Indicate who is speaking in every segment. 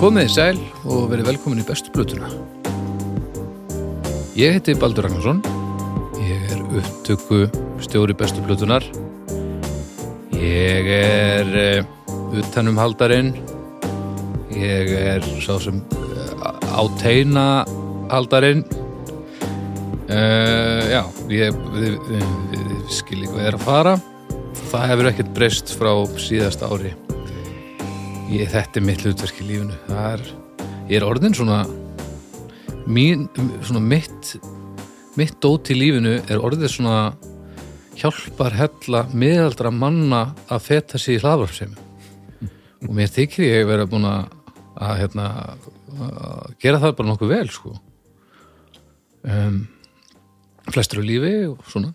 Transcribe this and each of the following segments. Speaker 1: Komið í sæl og verið velkomin í bestu blötuna. Ég heiti Baldur Ragnarsson, ég er upptöku stjóri bestu blötunar, ég er uh, utanum haldarinn, ég er sá sem uh, áteina haldarinn, uh, já, ég, við, við, við, við skilji hvað er að fara, það hefur ekkert breyst frá síðasta ári. Ég, þetta er mitt hlutverk í lífinu. Það er, ég er orðin svona, mín, svona mitt, mitt dót í lífinu er orðið svona hjálpar hella miðaldra manna að feta sig í hlaðvarpsemi. Og mér þykir ég vera búin að, að, hérna, að gera það bara nokkuð vel, sko. Um, flestir á lífi og svona.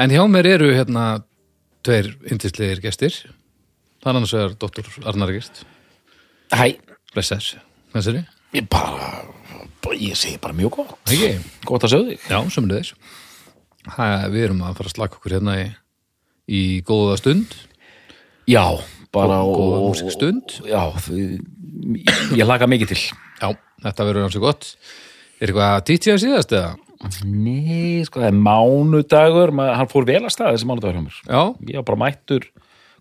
Speaker 1: En hjá mér eru hérna tveir yndislegir gestir. Það er annars vegar doktor Arnar Gist
Speaker 2: Hæ,
Speaker 1: Blessaður, hvað sér ég?
Speaker 2: ég bara, ég segi bara mjög gott.
Speaker 1: Ekki?
Speaker 2: Gott að sjá þig.
Speaker 1: Já, sömulegis Við erum að fara að slaka okkur hérna í, í góða stund
Speaker 2: Já, bara
Speaker 1: Gó-
Speaker 2: og...
Speaker 1: góða músikstund.
Speaker 2: Já, þið- ég laka mikið til.
Speaker 1: Já, þetta verður hansi gott Er eitthvað að títja síðast eða?
Speaker 2: Nei, sko, það er mánudagur, maður, hann fór vel að staða þessi mánudagur hjá mér.
Speaker 1: Já,
Speaker 2: Ég var bara mættur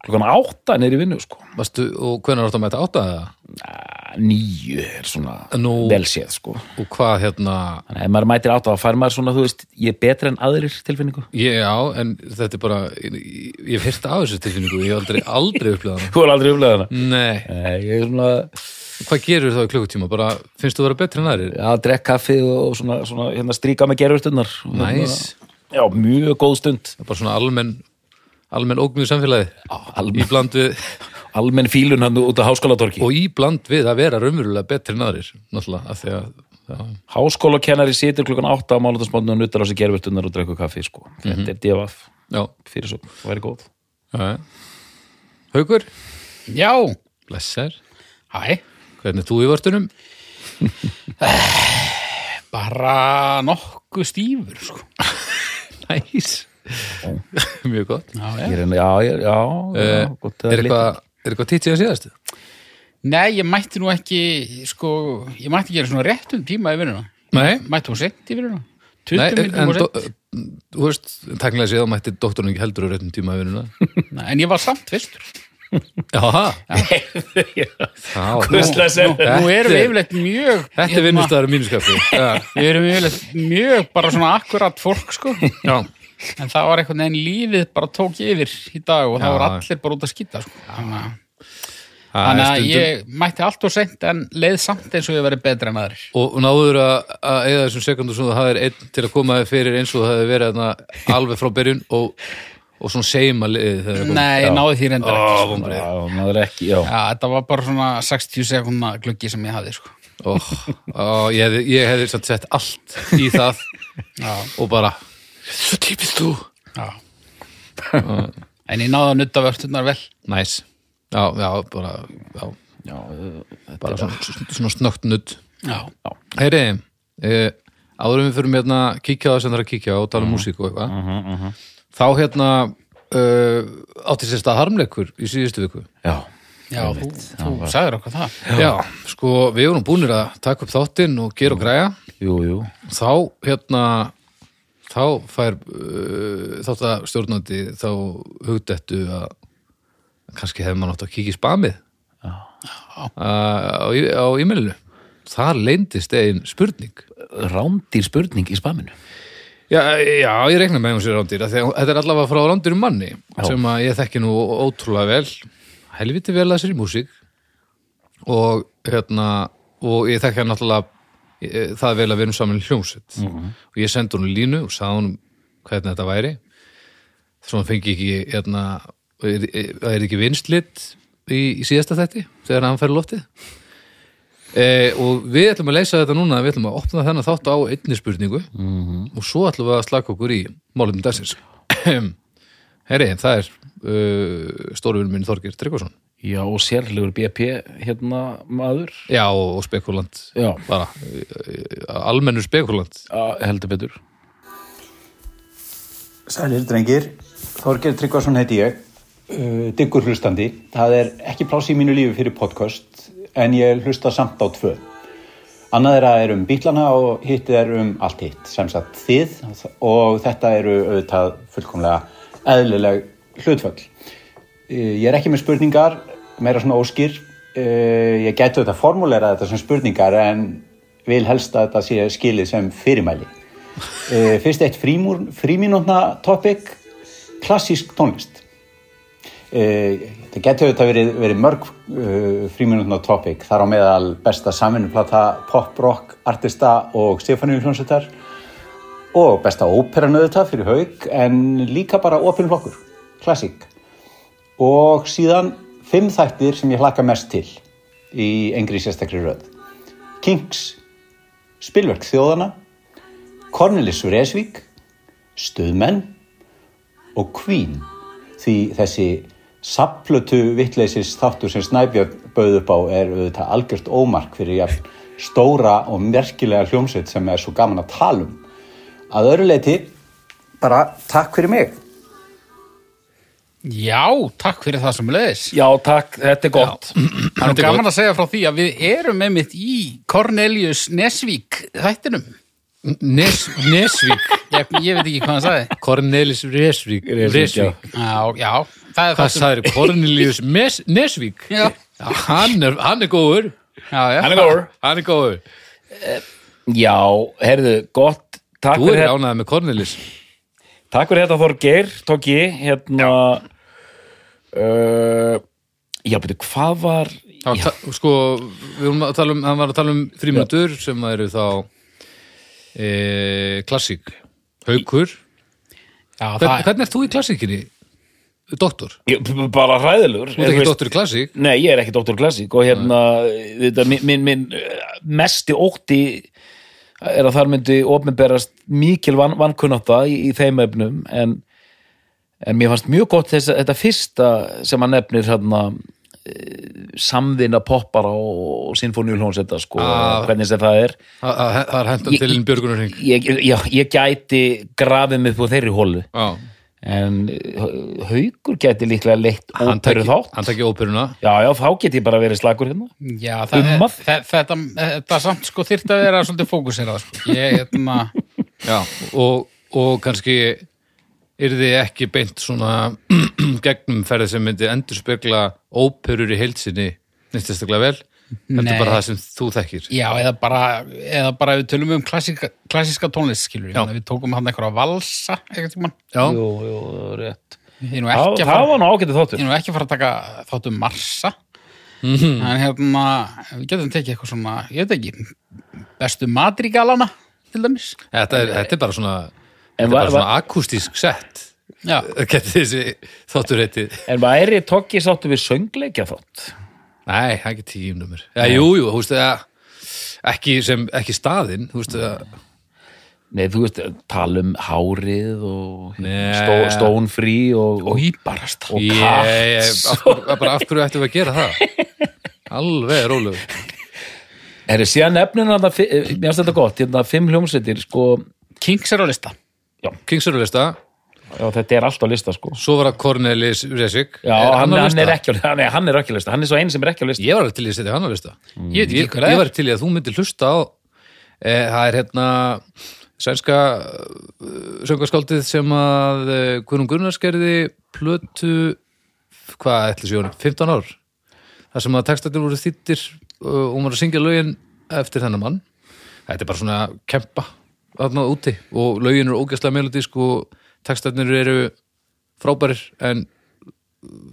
Speaker 2: klukkan átta neyri vinnu, sko.
Speaker 1: varstu, og hvernig áttu að mæta átta eða?
Speaker 2: Næ, Níu er svona
Speaker 1: Nú.
Speaker 2: vel séð, sko.
Speaker 1: Og hvað hérna
Speaker 2: Þannig að ef maður mætir átta, þá fær maður svona, þú veist, ég er betri en aðrir tilfinningu.
Speaker 1: Ég á, en þetta er bara Ég, ég hef hýrt af þessu tilfinningu Ég hef aldrei, aldrei upplegað hana
Speaker 2: Þú er aldrei umlega hana.
Speaker 1: Nei,
Speaker 2: Nei, Ég er svona
Speaker 1: hvað gerur þá í klukkutíma? Bara, finnst þú að vera betri en aðrir?
Speaker 2: að drekka kaffi og svona, svona hérna, stríka með gerfurtunnar.
Speaker 1: Næs,
Speaker 2: Já, mjög góð stund.
Speaker 1: bara svona almenn almenn ógnuð samfélagið
Speaker 2: almenn-
Speaker 1: í bland við
Speaker 2: almenn fílun hann út á háskólatorki.
Speaker 1: og íbland við að vera raunverulega betri en aðrir náttúrulega af því að já,
Speaker 2: Háskólakennari situr klukkan 8 á mánudagsmótinu og nuttar á sig gerfurtunnar og drekku kaffi, sko. Þetta er divaf
Speaker 1: já,
Speaker 2: fyrir svo, það væri góð.
Speaker 1: já. Haukur,
Speaker 3: Já,
Speaker 1: blessar
Speaker 3: hæ,
Speaker 1: hvernig ert þú í vörtunum?
Speaker 3: bara nokkuð stífur, sko.
Speaker 1: Næs, mjög gott Eh,
Speaker 2: Ég
Speaker 3: Já, já.
Speaker 2: er, já, já, já, já gott,
Speaker 1: er eitthvað, er eitthvað títt síðan síðast?
Speaker 3: Nei, ég mætti nú ekki, sko, ég mætti gera svona réttum tíma í vinnuna.
Speaker 1: Nei,
Speaker 3: Mætti hún sent í vinnuna.
Speaker 1: Nei
Speaker 3: 20
Speaker 1: en,
Speaker 3: minnum
Speaker 1: en
Speaker 3: og
Speaker 1: do-
Speaker 3: sent.
Speaker 1: þú veist, takkilega séð að mætti doktorinn ekki heldur á réttum tíma í vinnuna
Speaker 3: Nei, En ég var samt fyrstur.
Speaker 1: Jaha,
Speaker 3: Nú,
Speaker 1: já,
Speaker 2: Hvurslags er-
Speaker 3: nú, nú erum við
Speaker 1: Þetta er-
Speaker 3: yfirleitt mjög... hérna,
Speaker 1: þetta er vinnustæður mínuskapi já,
Speaker 3: Við erum yfirleitt mjög bara svona akkurat fólk, sko.
Speaker 1: já,
Speaker 3: En það var einhvern veginn lífið bara tók yfir í dag og það
Speaker 1: Já.
Speaker 3: var allir bara út að skýta, sko. Þannig að-
Speaker 1: það er
Speaker 3: þannig að
Speaker 1: stundum
Speaker 3: ég mætti allt og sent en leið samt eins og ég verið betra en aðrir.
Speaker 1: Og náður að, að eða þessum sekundum sem þú hafðir einn til að koma þér fyrir eins og það hefði verið þarna alveg frá byrjun og, og svona seima liðið þegar það kom.
Speaker 3: Nei, ég náði því reyndar ekki. sko.
Speaker 1: vonbrigði.
Speaker 2: Já, maður ekki, já.
Speaker 3: Já, þetta var bara svona 60 sekundna gluggi sem ég hafði, sko.
Speaker 1: Ó, ó, Oh, ég hefði, ég hefði samt sett allt í það
Speaker 3: Já,
Speaker 1: og bara, svo typist þú.
Speaker 3: já. en ég náði að nutta vörtunar vel.
Speaker 1: Næs. Já, já, bara, já,
Speaker 2: já þetta
Speaker 1: bara svona, svona snögt nudd.
Speaker 3: Já.
Speaker 1: Heyri, eh, áðurum við fyrir með hérna kíkja á það sem það er að kíkja á og tala um músík og eitthvað. Þá hérna uh, átti sérst að harmleikur í síðustu viku.
Speaker 2: já.
Speaker 3: Já, þú, þú sagður okkur það.
Speaker 1: Já, sko, við vorum búinir að taka upp þáttinn og gera og græja
Speaker 2: Jú, jú.
Speaker 1: þá, hérna þá fær uh, þátt að stjórnandi þá hugdettu að kannski hefði maður átt að kíkja í spamið uh, á, í- á e-mailinu þar leyndist einn spurning
Speaker 2: Rándýr spurning í spaminu.
Speaker 1: Já, já, ég reikna með hún sér rándýr af því að þetta er allavega frá rándýrum manni sem að ég þekki nú ótrúlega vel helviti vel að sér í músík og hérna og ég þekki hann náttúrulega eh, það vel að við erum saman í hljómsveit og ég sendi hún línu og sagði hún hvernig þetta væri svo hann fengi ekki hérna, er, er, það er ekki vinslit í, í síðasta þætti þegar hann fer í loftið Eh, og við ætlum að leysa þetta núna við ætlum að opna þennan þátt á einni spurningu
Speaker 2: Mhm.
Speaker 1: og svo ætlum við að slaka okkur í málum dagsins Herri, það er uh, stóruvinn minn Þorgir Tryggvason
Speaker 2: Já, og sérlegur BP, hérna, maður.
Speaker 1: Já, og spekulant
Speaker 2: Já.
Speaker 1: bara, eh, eh, almennur spekulant
Speaker 2: Já, heldur betur.
Speaker 4: Sælir drengir, Þorger Tryggvason heiti ég, uh, diggur hlustandi. Það er ekki pláss í mínu lífi fyrir podcast, en ég hlusta samt á tvö. Annað þeirra er um bílana og hitt er um allt hitt, sem sagt þið og þetta eru auðvitað fullkomlega eðlileg hlutföll. Eh, Ég er ekki með spurningar, meira svona óskýr. Eh, Ég gæti auðvitað formulera þetta sem spurningar en vil helst að þetta sé skilið sem fyrirmæli. Eh, Fyrst eitt frímúr- frímínútna topic, klassísk tónlist. Eh, Það getur auðvitað verið, verið mörg uh, fríminutna topic, þar á meðal besta samvinnuplata pop, rock, artista og Stefáníu hljónsettar og besta óperan auðvitað fyrir haug en líka bara opinn flokkur, klassík og síðan fimm þættir sem ég hlakka mest til í engri sérstakri röð Kings, Spilverk þjóðana, Cornelis Vreesvík, Stöðmenn og Queen því þessi saplötu vittleysis þáttur sem Snæbjörn bauð upp á er auðvitað algjört ómark fyrir jafn stóra og merkilega hljómsveit sem er svo gaman að tala um að öðru leiti bara takk fyrir mig
Speaker 3: Já, takk fyrir það sem leðis.
Speaker 2: Já, takk, þetta er gott
Speaker 3: Það er nú gaman að segja frá því að við erum einmitt í Cornelius Nesvík þættinum.
Speaker 1: Nes, Nesvík,
Speaker 3: Ég, ég veit ekki hvað hann sagði.
Speaker 1: Cornelis Resvík,
Speaker 2: Resvík, já.
Speaker 1: Resvík.
Speaker 3: Já, já, það
Speaker 1: Hvað
Speaker 3: er það sem...
Speaker 1: sagðir, Cornelius Mes, Nesvík?
Speaker 3: Já.
Speaker 1: Hann er, hann er góður,
Speaker 3: Já, já.
Speaker 2: Hann er góður
Speaker 1: hann er góður.
Speaker 2: Já, heyrðu, gott Takk
Speaker 1: Þú
Speaker 2: fyrir,
Speaker 1: er
Speaker 2: hér,
Speaker 1: ánæðið með Cornelis.
Speaker 2: takk fyrir þetta Þorgeir, Tóki Hérna uh, Já, betur, hvað var
Speaker 1: Já, ta, sko, við vorum að tala um, hann var að tala um frímyndur sem það eru þá e, klassík, haukur.
Speaker 3: já
Speaker 1: Hvern,
Speaker 3: það,
Speaker 1: Hvernig ert þú í klassíkinni, doktor?
Speaker 2: Ég- b- b- Bara hræðilegur
Speaker 1: Þú ert ekki doktor í klassík?
Speaker 2: Nei, ég er ekki Dr. Classic og hérna, þetta, minn, minn, minn eh, mesti ótti er að þar myndi ofnberast mikil van, vankunnáta í, í þeim efnum en, en mér fannst mjög gott þess, þetta fyrsta sem hann nefnir hérna, eh, samvinna poppara og, og sinfóníulhónsetta sko,
Speaker 1: Ah.
Speaker 2: hvernig sem það er
Speaker 1: Það- Það það er hendan
Speaker 2: Ég-
Speaker 1: til Björgunarhing.
Speaker 2: ég, já, ég gæti grafið mig på þeirri hólu
Speaker 1: Já,
Speaker 2: en eh, haukur gæti líklega leitt
Speaker 1: hann
Speaker 2: óperu
Speaker 1: taki-
Speaker 2: þátt
Speaker 1: hann takki óperuna.
Speaker 2: já, já, þá get ég bara verið slagur hérna
Speaker 3: já, það er,
Speaker 1: Um
Speaker 2: Dummað.
Speaker 3: þe- þetta, þetta samt sko þyrfti að vera svolítið fókuserað. Sko. Ég, hérna,
Speaker 1: Já, og, og kannski er þið ekki beint svona gegnumferð sem myndi endur spekla óperur í heilsinni neitt sérstaklega vel þetta
Speaker 3: Nei.
Speaker 1: er bara það sem þú þekkir
Speaker 3: já, eða bara, eða bara við tölum um klassika, klassíska tónlist, skilur
Speaker 1: Já.
Speaker 3: við. Við tókum hann eitthvað að valsa, eitthvað tímann.
Speaker 1: Já,
Speaker 2: jú, jú, rétt
Speaker 3: Ég er nú
Speaker 2: það,
Speaker 3: ekki að
Speaker 2: það
Speaker 3: fara...
Speaker 2: var nú ágætið
Speaker 3: Ég
Speaker 2: þáttur
Speaker 3: er nú ekki að fara að taka þáttu Marsa
Speaker 2: Mhm.
Speaker 3: en hérna við getum tekið eitthvað svona, ég veit ekki bestu madrigalana til dæmis
Speaker 1: þetta er, þetta er bara svona þetta er
Speaker 2: var-
Speaker 1: bara svona akústísk sett
Speaker 3: Já,
Speaker 1: getur þessi þáttur heitið
Speaker 2: en væri Toggi sáttu við söngleikja þátt
Speaker 1: Nei, ekki tíumnumur Já, jú, jú, þú veist það ekki, sem, ekki staðinn, þú veist það
Speaker 2: nei, þú veist, tala um hárið og
Speaker 1: Nei.
Speaker 2: stó, stónfrí og, og
Speaker 3: íbarast
Speaker 2: Og-
Speaker 1: Ég, ég, af, hverju- bara af hverju ættum við að gera það Alveg rólegur
Speaker 2: er það síðan nefnir hann að mér finnst þetta gott, hérna fimm hljómsveitir sko,
Speaker 3: Kings er á lista
Speaker 1: Kingsörulista,
Speaker 2: já, þetta er allt á lista sko
Speaker 1: svo var það Cornelis Resik
Speaker 2: já, hann,
Speaker 1: á
Speaker 2: hann,
Speaker 1: lista?
Speaker 2: er ekki, á- hann, er, hann er ekki á lista hann er svo einn sem er ekki á lista
Speaker 1: Ég var alveg til í að setja hann á lista
Speaker 3: Ég veit ekki
Speaker 1: Mm. ég,
Speaker 3: hvað það er.
Speaker 1: ég var til í að þú myndir hlusta á e, Það er hérna sænska uh, söngaskáldið sem að e, Guðrún Gunnars gerði plötu hvað ætlis ég honum, 15 ár þar sem að textatir voru þýttir og hún var að syngja lögin eftir þennan mann Þetta er bara svona kempa þarna úti og lögin eru ógæslega melodísk og textarnir eru frábærir en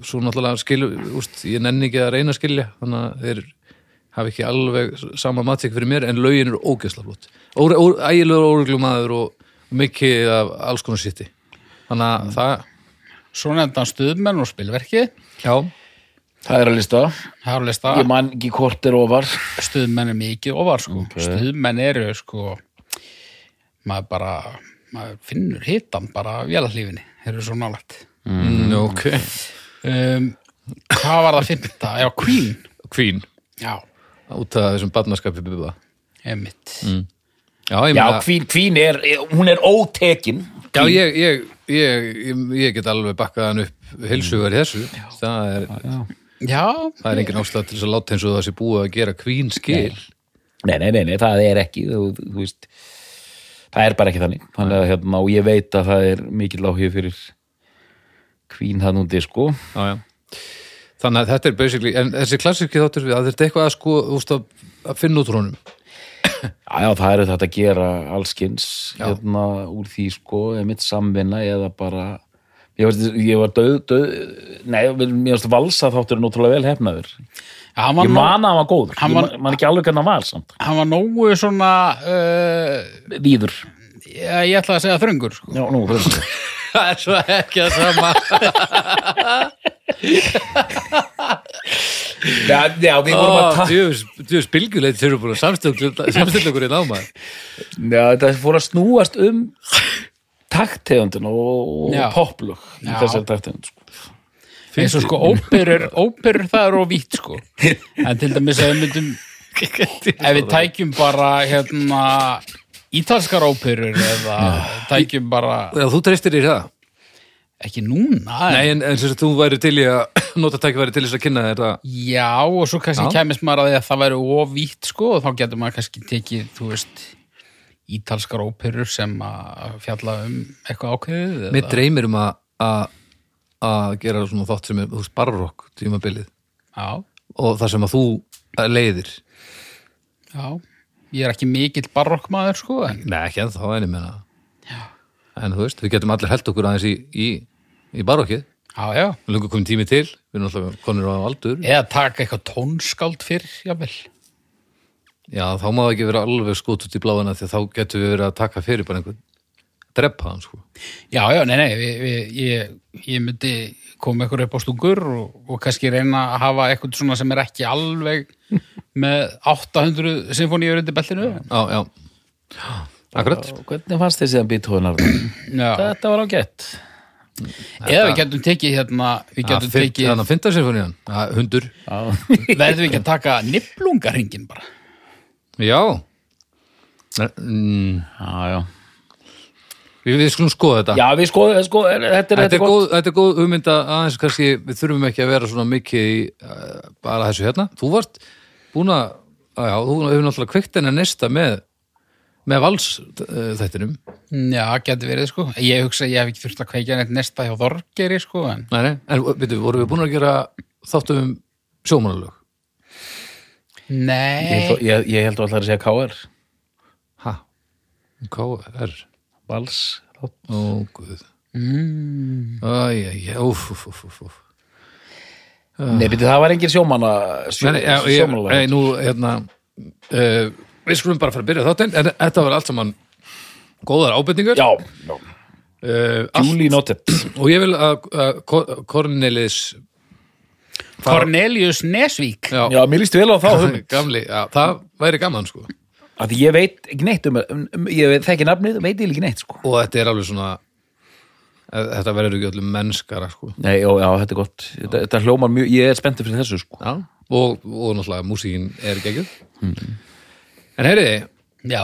Speaker 1: svo náttúrulega skilu, úst, ég nenni ekki að reyna að skilja þannig að þeir hafi ekki alveg sama matík fyrir mér en lögin eru ógeðslega flott Óre- ó- ægilegur óreglumadur og mikið af alls konar sitti þannig að það
Speaker 3: Svo nefndan stuðmenn og spilverkið
Speaker 1: já,
Speaker 2: það er á lista,
Speaker 3: Það er á lista
Speaker 2: ég man ekki hvort er ofar
Speaker 3: Stuðmenn er mikið ofar sko Stuðmenn eru sko maður bara maður finnur hitan bara vélahlífinni þeir eru svo nálægt
Speaker 1: mm, ok
Speaker 3: um, Hvað var það fymta? Já, Queen
Speaker 1: Queen,
Speaker 3: Já,
Speaker 1: út af þessum barnaskapi bubba
Speaker 3: emitt
Speaker 2: Mm.
Speaker 1: já, ég
Speaker 2: já,
Speaker 1: meina
Speaker 2: kvín, kvín er, hún er ótekin
Speaker 1: já, ég, Mm. ég, ég, ég, ég get alveg bakkað hann upp heilsugar í þessu það er,
Speaker 3: Já,
Speaker 1: það er engin ástæð til þess að láta eins og það sé búið að gera kvín skil
Speaker 2: nei, nei, nei, nei, það er ekki þú, þú veist, það er bara ekki þannig þannig að hérna, og ég veit að það er mikil áhug fyrir kvín það núti, sko
Speaker 1: já, já. þannig að þetta er basically en þessi klassiki þáttur við að þetta er eitthvað að sko úst, að, að finna út úr honum
Speaker 2: já, já, það er þetta að gera allskins hérna, úr því, sko, mitt samvinna eða bara ég var, ég var döð, döð nei, mér varst valsa þáttur er náttúrulega vel hefnaður
Speaker 3: hann var,
Speaker 2: ég
Speaker 3: nóg,
Speaker 2: man að hann var góður,
Speaker 3: Hann
Speaker 2: ég
Speaker 3: var-
Speaker 2: man, man ekki alveg hvernig hann var samt,
Speaker 3: hann var nógu svona uh,
Speaker 2: víður
Speaker 3: ég, ég ætla að segja þröngur sko.
Speaker 2: já, nú, þú veist
Speaker 1: það er svo ekki að sama
Speaker 2: Já, já, við vorum
Speaker 1: Ah.
Speaker 2: að ta-
Speaker 1: djöfus bylgjuleit þeir eru búin að samstilla samstilla okkur í náma
Speaker 2: Já, þetta fór að snúast um taktegundin og,
Speaker 3: Já.
Speaker 2: og poplög í
Speaker 3: Já.
Speaker 2: þessari taktegund sko.
Speaker 3: eins og sko óperur, óperur það er óvítt sko en til dæmis að við myndum ef við tækjum bara hérna ítalskar óperur eða tækjum bara
Speaker 1: Já, þú treystir í það
Speaker 3: ekki núna en,
Speaker 1: Nei, en, en sem sagt, þú væri til í að nota tækifæri til þess að kynna þetta
Speaker 3: já og svo kannski
Speaker 1: Já.
Speaker 3: kæmis maður að því að það væri óvítt sko og þá getur maður kannski tekið þú veist ítalskar óperur sem að fjalla um eitthvað ákveðið eða-
Speaker 1: Mér dreymir um að- að að gera svona þátt sem er þú veist, barrokk tímabilið
Speaker 3: já,
Speaker 1: og það sem að þú eh, leiðir
Speaker 3: já ég er ekki mikill barokkmaður sko en
Speaker 1: Nei, ekki ennþá, en ég meina En þú veist, við getum allir held okkur aðeins í, í, í barokkið
Speaker 3: já, já
Speaker 1: Lungu komin tími til, við erum alltaf konur á aldur
Speaker 3: eða taka eitthvað tónskáld fyrr, jável
Speaker 1: Já, þá má það ekki vera alveg skot út í bláðina því að þá getum við verið að taka fyrir bara einhvern drepa hann, sko
Speaker 3: Já, já, nei, nei, vi, vi, ég, ég myndi koma ykkur upp á stúkur og, og kannski reyna að hafa eitthvað svona sem er ekki alveg með 800 sinfoníur undir beltinu.
Speaker 1: Já, já, akkurat
Speaker 2: Og Hvernig fannst þér síðan bítóinar?
Speaker 3: Já.
Speaker 2: Þetta var ágætt
Speaker 3: Eða við getum tekið hérna, við getum tekið,
Speaker 1: Þannig að fynda sinfonían, Ja, hundur
Speaker 3: verðum við ekki að taka niflungarhingin bara.
Speaker 1: Já Nei, mm,
Speaker 2: Já, já
Speaker 1: Við, við skulum skoða þetta
Speaker 2: Já, við sko, sko er- þetta er,
Speaker 1: Þetta er, góð, þetta er góð hugmynd að aðeins kannski við þurfum ekki að vera svona mikið í uh, bara þessu hérna. Þú varst búin að, að já, þú hefur náttúrulega kveikt henni nesta með, með vals uh, þættinum.
Speaker 3: Já, getur verið, sko. Ég hugsa að ég hef ekki þurft að kveikja neitt nesta hjá Þorgeri, sko, en
Speaker 1: Nei, nei, en veitum, vorum við búin að gera þáttum um sjómanalög?
Speaker 2: Ég,
Speaker 3: nei,
Speaker 2: held- ég, ég held að allar að segja KR
Speaker 1: Ha? K.R.
Speaker 2: Vals þátt.
Speaker 1: Ó, guð. Mm. Æ, æ, æ, úf, úf, úf, úf, úf.
Speaker 2: Nei, beti, það var engin sjómanna sjó,
Speaker 1: Nei, nei, já, ég, nei, nú, hérna, uh, við skulum bara fara að byrja þáttinn, en þetta var allt saman góðar ábendingar.
Speaker 2: Já,
Speaker 1: Uh,
Speaker 2: Júli notet
Speaker 1: Og ég vil að, að Cor- Cornelis
Speaker 3: Cornelius Nesvík.
Speaker 1: Já,
Speaker 2: Já, mér líst vel á þá hugmynd.
Speaker 1: gamli, já, það væri gaman sko
Speaker 2: Af því ég veit ekki neitt um, um, um ég veit þekki nafnið, veit ég ekki neitt sko
Speaker 1: og þetta er alveg svona eh, þetta verður ekki öllum mennskara sko
Speaker 2: Nei, já, já, þetta er gott Þetta, þetta hljómar mjög, ég er spenntið fyrir þessu sko
Speaker 1: já. og, og náttúrulega músíkin er geggjöð En heyriði,
Speaker 3: Já,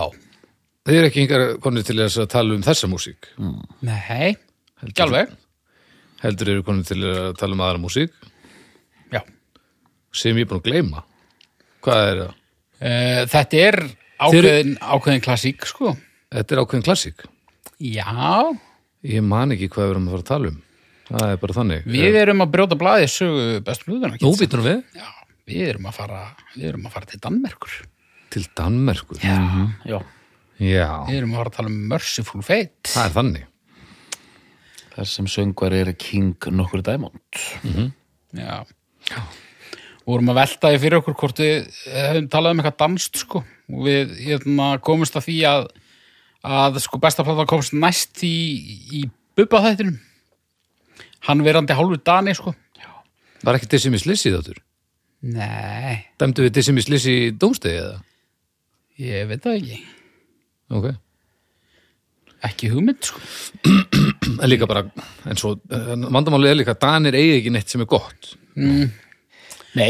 Speaker 1: þið eru ekki yngar konir til þess að tala um þessa músík
Speaker 3: nei, ekki alveg.
Speaker 1: heldur eru konir til að tala um aðra músík
Speaker 3: Já.
Speaker 1: sem ég er búin að gleyma Hvað er það?
Speaker 3: Uh, þetta er ákveðin, ákveðin klassík, sko.
Speaker 1: Þetta er ákveðin klassík
Speaker 3: Já,
Speaker 1: Ég man ekki hvað við erum að fara að tala um Það er bara þannig Eh,
Speaker 3: við erum að brjóta blaði sögu bestu hlutuna.
Speaker 1: Nú býtum við
Speaker 3: Já, við erum að fara, við erum að fara til Danmerkur.
Speaker 1: til Danmerkur Já,
Speaker 2: Já,
Speaker 3: Við erum að fara að tala um Merciful Fate.
Speaker 1: það er þannig
Speaker 2: þar sem söngvar er King nokkur dæmont
Speaker 3: Já. Og vorum að velta því fyrir okkur hvort við hefum talað um eitthvað danst, sko. Og við hérna, komumst að því að, að sko, besta plata komst næst í, í bubba þættinum. Hann verandi hálfur Dani, sko.
Speaker 1: Var ekki Dissimi Slissi þáttur?
Speaker 3: Nei,
Speaker 1: Dæmdu við Dissimi Slissi í dómstegi eða?
Speaker 3: ég veit það ekki.
Speaker 1: Ok.
Speaker 3: Ekki hugmynd, sko.
Speaker 1: En líka bara, en svo, eh, vandamálið er líka, Danir eigi ekki neitt sem er gott.
Speaker 2: Nei,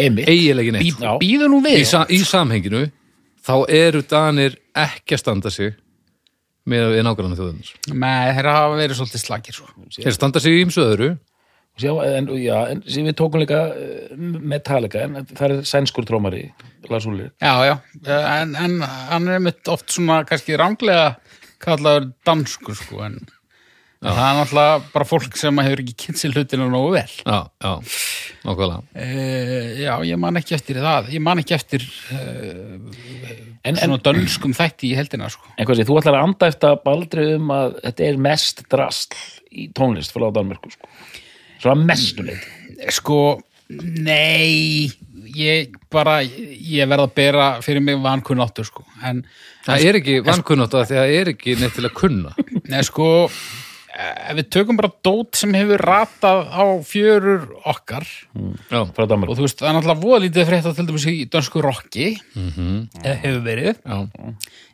Speaker 2: einmitt
Speaker 1: Eigilega ekki neitt.
Speaker 2: Já.
Speaker 3: Býðu nú
Speaker 1: Í,
Speaker 3: við.
Speaker 1: sa í samhenginu, þá eru Danir ekki að standa sig með við nákvæmlega þjóðunars.
Speaker 3: Nei, þeirra hafa verið svolítið slagir, sko.
Speaker 1: Þeir standa sig í ymsu öðru,
Speaker 2: Já, en, já, en sí, við tókum líka eh, Metallica, en það er sænskur trómari, Lars Ulrich.
Speaker 3: Já, já, en, en hann er mitt oft svona kannski ránglega kallaður danskur sko en en það er náttúrulega bara fólk sem hefur ekki kynnt sér hlutina nógu vel
Speaker 1: já, já, nákvæmlega
Speaker 3: e, Já, ég man ekki eftir það ég man ekki eftir eh,
Speaker 2: En, en,
Speaker 3: svona dönskum þætti í heldina sko
Speaker 2: en hvað sé, þú ætlar að anda eftir baldri um að þetta er mest drast í tónlist frá Danmörku, sko. Svo að mestu leiti.
Speaker 3: Sko, nei ég bara, ég verð að bera fyrir mig vankunnáttur sko en
Speaker 1: Það er ekki vankunnátt að því að það er ekki neitt til að kunna
Speaker 3: Nei, sko, eh, ef við tökum bara dót sem hefur ratað á fjörur okkar
Speaker 1: Já,
Speaker 2: Frá
Speaker 3: og
Speaker 2: Danmörku.
Speaker 3: þú veist, það er náttúrulega voða lítið frétta til dæmis í dönsku rocki
Speaker 1: Mhm.
Speaker 3: eða hefur verið
Speaker 1: já,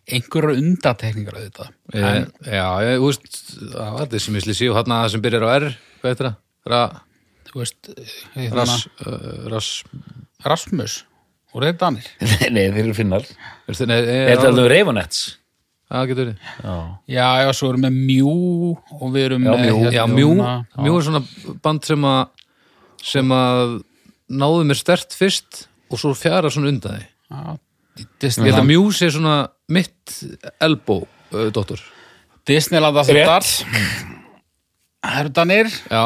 Speaker 3: einhverju undatekningar auðvitað
Speaker 1: e, já, ég, þú veist Það var þessi misli síu, hann að sem byrjar á R Hvað heitir það? Ra,
Speaker 3: þú veist, hérna,
Speaker 1: ras, uh, ras
Speaker 3: Rasmus og reyð Danir
Speaker 2: Nei, þeir eru finnar.
Speaker 1: Er þetta nei,
Speaker 2: Er þetta
Speaker 1: e,
Speaker 2: alveg Reifanets?
Speaker 1: Það getur verið
Speaker 3: já, já, svo erum við mjú og við erum
Speaker 2: Já,
Speaker 3: með
Speaker 2: Mjú.
Speaker 3: hérna,
Speaker 1: Já, Mjú, Mjú er svona band sem að sem að náðu mér stert fyrst og svo fjara svona undan því
Speaker 3: já,
Speaker 1: Ég held að
Speaker 3: Disneyland
Speaker 1: Mjú sé svona mitt elbow, uh, dóttur
Speaker 3: Disneyland að
Speaker 2: Rétt.
Speaker 3: þetta það eru Danir
Speaker 1: Já,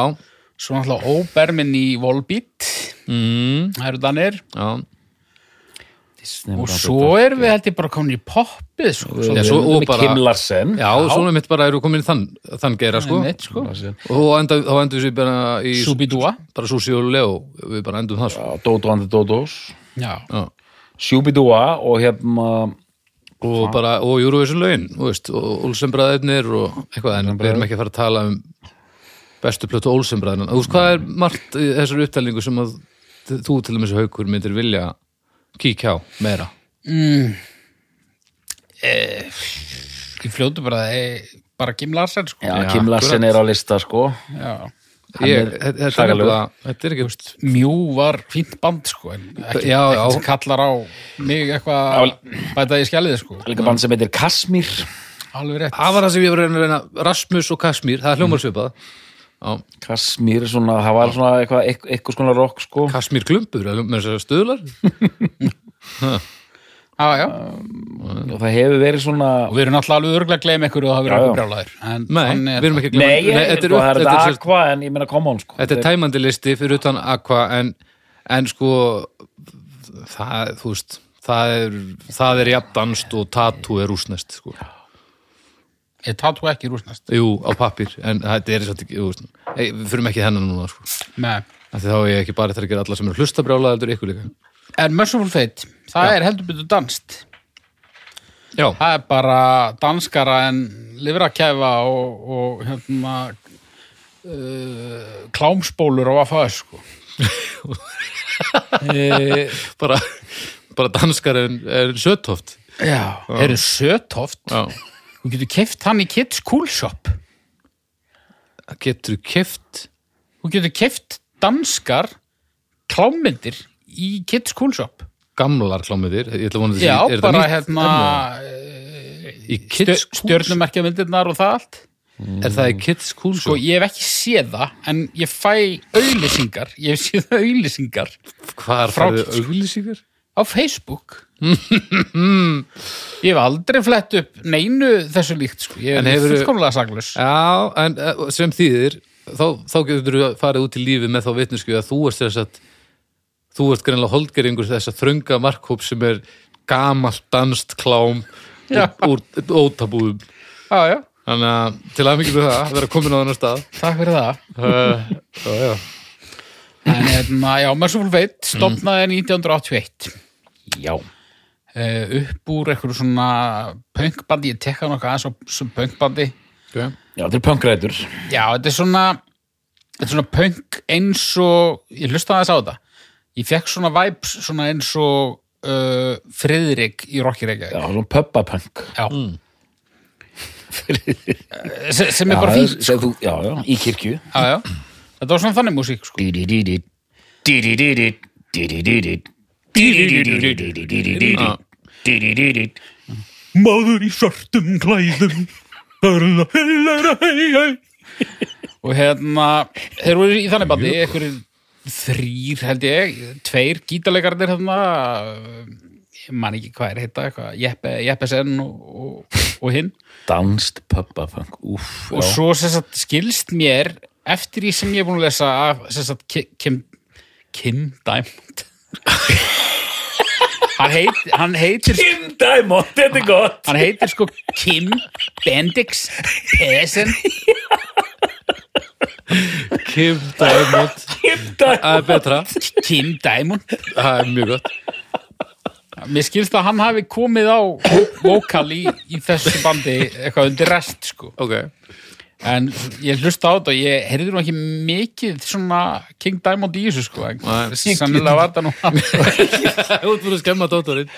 Speaker 3: svo náttúrulega óbermin í Volbeat
Speaker 1: mm,
Speaker 3: það eru Danir
Speaker 1: já
Speaker 3: og svo erum við held ég bara komin í poppið sko, svo,
Speaker 1: Já,
Speaker 2: Já,
Speaker 1: svo-
Speaker 2: svo
Speaker 1: og
Speaker 2: og
Speaker 1: bara-
Speaker 2: bara... Kim Larsen.
Speaker 1: Já, svona mitt bara eru komin í þann, þann geira sko
Speaker 3: Einmitt, sko.
Speaker 1: og þá enda- þá endum við bara í
Speaker 3: Súbidúa
Speaker 1: bara Susi og Leo, við bara endum það sko.
Speaker 2: Já, Dodo and the Dodos.
Speaker 3: já,
Speaker 1: Já.
Speaker 2: Shubidua og hérna
Speaker 1: og bara, og Eurovision laun veist, og Olsenbræðinir og eitthvað en við erum ekki að fara að tala um bestu plötu Olsenbræðina þú veist hvað er margt í þessari upptælingu sem að t- þú til dæmis haukur myndir vilja kíkja á meira
Speaker 3: ég fljótu bara e, bara Kim Larsen sko.
Speaker 2: Já,
Speaker 1: Já,
Speaker 2: Kim Larsen
Speaker 1: akkurat.
Speaker 2: er á lista sko
Speaker 3: Já.
Speaker 2: Hann
Speaker 1: ég,
Speaker 2: er
Speaker 1: þe- þetta er
Speaker 2: hragalegur.
Speaker 1: nefnilega þetta er ekki, veist
Speaker 3: Mjú var fínt band sko en ekki,
Speaker 1: Já,
Speaker 3: ekkert
Speaker 1: já.
Speaker 3: sem kallar á mig eitthvað að bæta í skjaliði sko
Speaker 2: Líka band sem heitir Kasmir
Speaker 3: alveg rétt
Speaker 1: það var það sem ég var að reyna að reyna Rasmus og Kasmír,
Speaker 2: Mhm.
Speaker 1: það er hljómar svipað Já,
Speaker 2: Kasmir er svona, það var svona eitthvað eitth- eitthvað skona rock sko
Speaker 1: Kasmír klumpur, er það með þessar stöðlar
Speaker 3: já, já.
Speaker 2: og það hefur verið svona
Speaker 3: og við erum alltaf alveg örgulega að gleyma ykkur og það
Speaker 2: Já,
Speaker 3: verður
Speaker 2: já.
Speaker 3: alveg brjálæður en
Speaker 1: Nei,
Speaker 3: þannig er
Speaker 1: við erum ekki að
Speaker 2: Nei,
Speaker 1: gleyma- þetta
Speaker 2: ég,
Speaker 1: er
Speaker 2: sko,
Speaker 1: upp-
Speaker 2: það er
Speaker 1: þetta
Speaker 2: þetta
Speaker 1: er sem sagt-
Speaker 2: Aqua en ég meina come on sko
Speaker 1: Þetta er tæmandi listi fyrir utan Aqua en, en sko það, þú veist það er, það er jafndanst og tatu er rúsnest sko.
Speaker 3: það. ég tatu ekki rúsnast
Speaker 1: Jú, á pappir, en þetta er satt ekki jú, veist, hey, við fyrum ekki hennan núna sko.
Speaker 3: Nei.
Speaker 1: Af því þá er ég ekki bara þetta að gera alla sem eru hlustabrjála heldur ykkur líka
Speaker 3: en Merciful Fate, það er heldur betur danst
Speaker 1: Já,
Speaker 3: það er bara danskara en lifirakæfa og, og hérna uh, klámsbólur á að fáið sko e,
Speaker 2: Eh.
Speaker 1: bara, bara danskar en, en söthoft
Speaker 3: já, eru sötoft
Speaker 1: Já.
Speaker 3: Þú getur keft hann í Kids Cool Shop.
Speaker 1: Getur keft
Speaker 3: Þú getur keft danskar klámyndir í Kids Cool Shop.
Speaker 1: gamlar klámiðir Ég ætla að vona að
Speaker 3: Já,
Speaker 1: þetta sé- er þetta
Speaker 3: bara
Speaker 1: nýtt?
Speaker 3: hérna
Speaker 1: í kids,
Speaker 3: stjörnumerkja myndirnar og það allt.
Speaker 1: Er það í kids cool sko,
Speaker 3: Sko, ég hef ekki séð það, en ég fæ auðlýsingar, ég hef séð auðlýsingar
Speaker 1: Hvað er
Speaker 3: frá
Speaker 1: það
Speaker 3: Kids Cool.
Speaker 1: auglýsingar?
Speaker 3: á Facebook. ég hef aldrei flett upp neinu þessu líkt, sko. Ég
Speaker 1: En
Speaker 3: er
Speaker 1: hefurðu-
Speaker 3: fullkomlega saglus.
Speaker 1: Já, en eh, sem þýðir þá, þá getur þú farið út í lífið með þá vitnisku að þú ert þess að þú ert greinlega holdgeringur þess að þrönga markhóp sem er gamalt danst klám
Speaker 3: Já.
Speaker 1: úr, úr ótabúðum
Speaker 3: Já, já,
Speaker 1: þannig að til að mikið með það að vera komin á þennan stað
Speaker 3: takk fyrir það.
Speaker 1: uh, já, já.
Speaker 3: En hérna, já, Merciful
Speaker 2: Mm.
Speaker 3: Fate stopnaði 1981
Speaker 2: Já,
Speaker 3: uh, upp úr einhverju svona punkbandi, ég tekka nokkuð aðeins á svo punkbandi.
Speaker 1: Okay.
Speaker 2: já þetta er punkrætur
Speaker 3: Já, þetta er svona þetta er svona punk eins og ég hlustaði aðeins á þetta ég fekk svona vibes svona eins og uh, Friðrik í Rockireika
Speaker 2: Já, Mm. svona pöppapunk
Speaker 3: já. Eh, sem, sem er bara
Speaker 2: það er-
Speaker 3: fínt
Speaker 2: sem
Speaker 1: sko.
Speaker 2: þú- Já, já, í kirkju
Speaker 3: já, já. þetta var svona þannig músík sko.
Speaker 2: Dí-dí-dí-dí Dí-dí-dí-dí Dí-dí-dí-dí Dí-dí-dí-dí-dí
Speaker 1: Já.
Speaker 2: Dí-dí-dí-dí
Speaker 3: maður í svartum klæðum og hérna, þeir voru í þannig bandi einhverjir þrýr held ég tveir gítalegarnir hérna ég man ekki hvað er heita eitthvað, Jeppe, Jeppesen og, og, og hinn
Speaker 2: Danst pappafang, úff
Speaker 3: og svo sem sagt, skilst mér eftir því sem ég er búin að lesa af sem sagt, Ki- Kim, Kim Diamond hann, heit, hann heitir
Speaker 2: Kim Diamond, þetta er gott
Speaker 3: hann heitir sko Kim Bendix Pesen
Speaker 1: Kim Diamond
Speaker 2: Kim Diamond,
Speaker 1: Það er betra,
Speaker 3: Kim Diamond
Speaker 1: það er mjög gott
Speaker 3: Mér skilst að hann hafi komið á vokal í, í þessu bandi eitthvað undir rest sko
Speaker 1: Ok,
Speaker 3: en ég hlusta á þetta og ég heyrði nú ekki mikið svona King Diamond í þessu sko en
Speaker 1: Nei.
Speaker 3: sennilega var þetta nú hann
Speaker 1: þú ert búin að skemma dóttorinn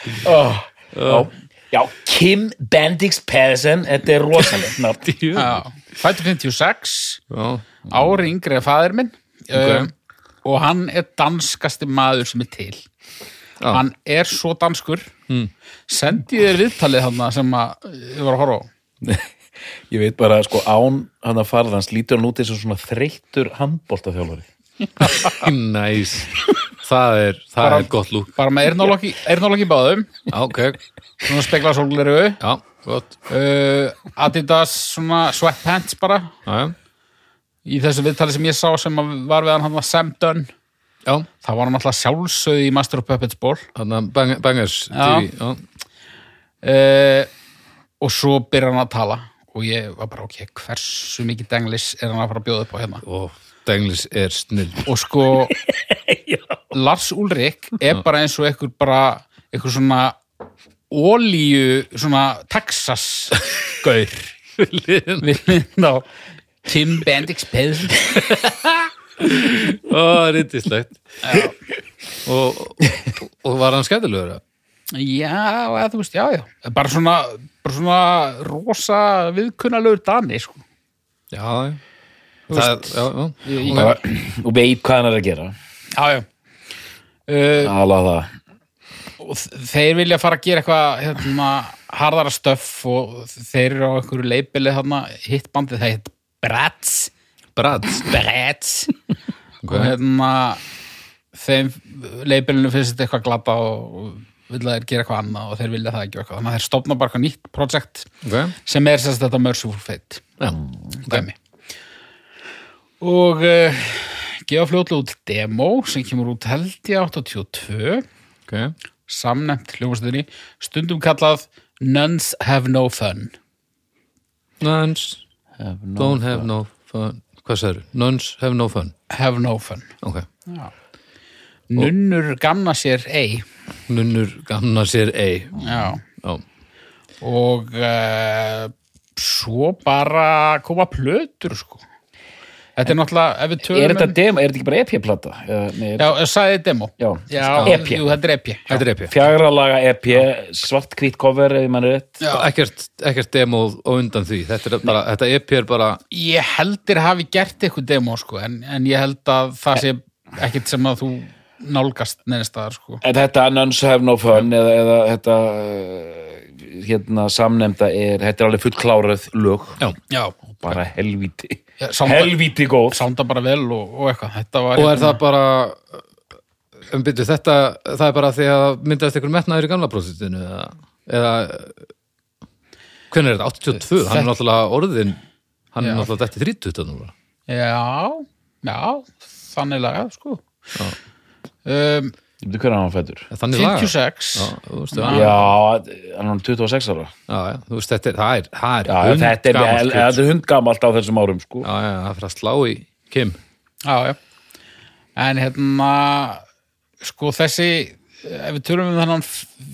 Speaker 2: já, Kim Bendix Pedersen, þetta er rosaleg nafn.
Speaker 3: Já. Fæddur 56
Speaker 1: Já,
Speaker 3: ári yngri að faðir minn okay. og hann er danskasti maður sem er til hann er svo danskur mm. sendi ég þér viðtalið hann sem að ég var að horfa á
Speaker 2: Ég veit bara, sko, án hann að fara þanns lítur hann út eins og svona þreyttur handbóltaþjálfari.
Speaker 1: næs Það er, það er gott lúk
Speaker 3: bara með eirnálokki eirnálokki báðum
Speaker 1: Já, Ok,
Speaker 3: svona spekla sólgleru
Speaker 1: já, gott
Speaker 3: uh, Adidas svona sweatpants bara
Speaker 1: Já, já,
Speaker 3: í þessu viðtali sem ég sá sem að var við hann hann var Sam Dunn
Speaker 1: já
Speaker 3: það var hann alltaf sjálfsögði í Master of Puppets ból
Speaker 1: Þannig að bang, bangers
Speaker 3: Já.
Speaker 1: TV Já,
Speaker 3: uh, og svo byrja hann að tala og ég var bara ok, hversu mikið denglis er hann að fara að bjóða upp á hérna
Speaker 1: og Denglis er snill
Speaker 3: og sko Lars Ulrik er bara eins og einhver bara einhver svona ólíu svona Texas gaur við hliðin á Tim Bendix Pell
Speaker 1: Ó, rindislegt og, og, og var hann skemmtilegur eða?
Speaker 3: Já, eða þú veist, já, já bara svona, bara svona rosa viðkunnalögur dani sko.
Speaker 1: Já, já Það, já, já,
Speaker 3: Ég-
Speaker 1: ok.
Speaker 2: Bara- og veit hvað hann er að gera
Speaker 3: Já, já uh,
Speaker 2: ala það
Speaker 3: og þ- Þeir vilja fara að gera eitthvað hérna, harðara stöff og þeir eru á einhverju leipilið hérna, hittbandið, það heit Bratz
Speaker 1: Brad
Speaker 3: Bratz og hérna þeim leipilinu finnst þetta eitthvað glata og vilja þeir gera eitthvað annað og þeir vilja það ekki og eitthvað þannig að þeir stopna bara eitthvað nýtt projekt
Speaker 1: okay.
Speaker 3: sem er sérst þetta Merciful Fate
Speaker 1: Já,
Speaker 3: dæmi og uh, gefa fljótlega út demo sem kemur út held ég 82
Speaker 1: ok
Speaker 3: samnefnt hljómsveitinni stundum kallað Nuns Have No Fun
Speaker 1: Nuns don't have no fun Hvað sagður? Nuns have no fun
Speaker 3: Have No Fun
Speaker 1: Ok
Speaker 3: Nunnur gamna sér ei
Speaker 1: Nunnur gamna sér ei
Speaker 3: Já.
Speaker 1: Já,
Speaker 3: og uh, svo bara koma plötur sko Þetta er náttúrulega, ef við tölum
Speaker 2: er þetta
Speaker 3: um-
Speaker 2: demo, er þetta ekki bara EP-plata Eða, nei, er-
Speaker 3: Já, ég sagði demo
Speaker 2: Já.
Speaker 3: já
Speaker 2: EP.
Speaker 3: Jú, þetta er E EP já.
Speaker 1: þetta er E epi
Speaker 2: fjagra laga EP, svart hvít cover ef mann er rétt
Speaker 1: ekkert, ekkert demo á undan því Þetta, er bara, þetta epi er bara
Speaker 3: Ég heldur hafi gert eitthvað demo sko, en, en ég held að það sé ekkert sem að þú nálgast neðinstaðar sko.
Speaker 2: en þetta Nuns Have No Fun eða, eða þetta eh, hérna samnefnda er þetta er alveg fullklárað lög
Speaker 1: Já
Speaker 3: Já,
Speaker 2: bara helvíti
Speaker 3: Já, samt-
Speaker 2: helvíti góð
Speaker 3: sánda bara vel og, og eitthvað. Þetta var hérna-
Speaker 1: Og er það bara um byrju, hérna- þetta, það er bara því að það myndast einhver metnaður í gamla prósitinu eða, eða hvernig er þetta? 82? Hann er náttúrulega orðin hann
Speaker 3: Já.
Speaker 1: er náttúrulega dætti 30 þetta núna
Speaker 3: Já, já, þannig laga sko. Um,
Speaker 2: hvernig er hann fættur?
Speaker 1: En Þannig laga
Speaker 3: 56
Speaker 1: Já, þú veist, já,
Speaker 2: já, hann er 26 ára
Speaker 1: já, já, þú veist, þetta er, það er, það
Speaker 2: já,
Speaker 1: er
Speaker 2: þetta er,
Speaker 1: hundgamalt
Speaker 2: gamalt,
Speaker 1: kjöt.
Speaker 2: þetta er hundgamalt á þessum árum sko.
Speaker 1: Já, já, það er fyrir að slá í Kim
Speaker 3: Já, já. En hérna, sko þessi, ef við tölum um þannan, f-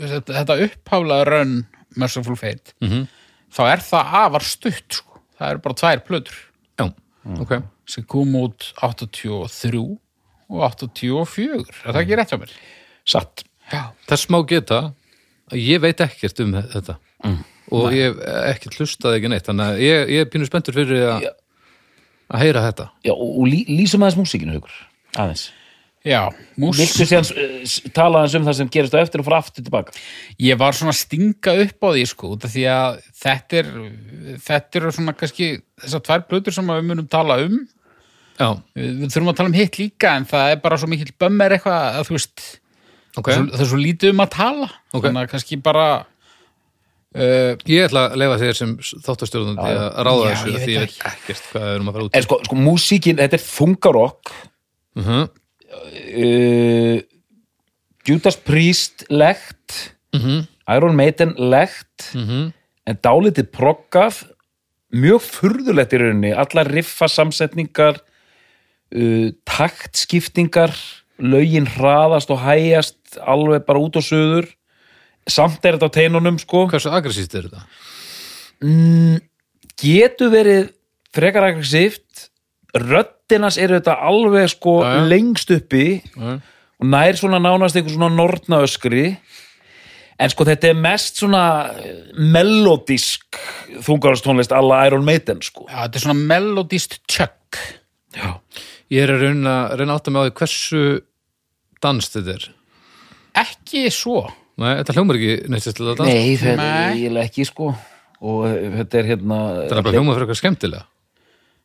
Speaker 3: þetta þetta upphaflega rönn Merciful Fate, -hmm. þá er það afar stutt, sko. Það eru bara tvær plötur
Speaker 1: Já, ok
Speaker 3: sem kom út 83 og 84. Er það ekki rétt hjá mér?
Speaker 2: satt
Speaker 3: Já.
Speaker 1: Þess má geta að ég veit ekkert um þetta
Speaker 3: Mm.
Speaker 1: og ég hef ekkert hlustaði ekki neitt þannig að ég, ég er pínu spenntur fyrir að að heyra þetta
Speaker 2: já, og og lí, lýsum aðeins músíkinu hugur aðeins
Speaker 3: já, mús
Speaker 2: Viltu síðan uh, tala hans um það sem gerist á eftir og fara aftur tilbaka?
Speaker 3: Ég var svona að stinga upp á því sko, út af því að þetta er þetta eru svona kannski þessar tvær blöður sem að við munum tala um
Speaker 1: Já,
Speaker 3: við við þurfum að tala um hitt líka en það er bara svo mikill bömmir eitthvað að þú veist,
Speaker 1: ok.
Speaker 3: okay. svo, það er svo lítið um að tala
Speaker 1: Ok.
Speaker 3: þannig að kannski bara uh,
Speaker 1: eh, Ég ætla að leifa þér sem þáttastjórnandi að ráða
Speaker 3: Já,
Speaker 1: þessu
Speaker 3: ég veit
Speaker 1: því ég
Speaker 3: það
Speaker 1: veit ekkert hvað við erum að fara út.
Speaker 2: En sko, sko músíkin, þetta er þungarokk
Speaker 1: Uh -huh.
Speaker 2: uh, Judas Priest legt Iron Maiden legt en dálítið proggað mjög furðulegt í rauninni allar riffa samsetningar uh, taktskiptingar lögin hraðast og hægjast alveg bara út og söður samt er þetta á teinunum sko
Speaker 1: Hversu agressíft er þetta?
Speaker 2: getur verið frekar aggressíft röddinas eru þetta alveg sko
Speaker 1: Já, já.
Speaker 2: lengst uppi
Speaker 1: Já.
Speaker 2: og nær svona nánast einhver svona nortna öskri en sko þetta er mest svona eh, melodísk þungarastónlist alla Iron Maiden sko
Speaker 3: já, þetta er svona melodist tjökk
Speaker 2: já.
Speaker 1: Ég er að reyna, reyna að átta mig á því hversu dans þetta er.
Speaker 3: ekki svo
Speaker 1: Nei, þetta hljómar ekki neitt til að dansa.
Speaker 2: nei þetta er
Speaker 3: Nei.
Speaker 2: eiginlega ekki sko og eh, þetta er hérna
Speaker 1: Þetta er bara hljómar fyrir eitthvað skemmtilega.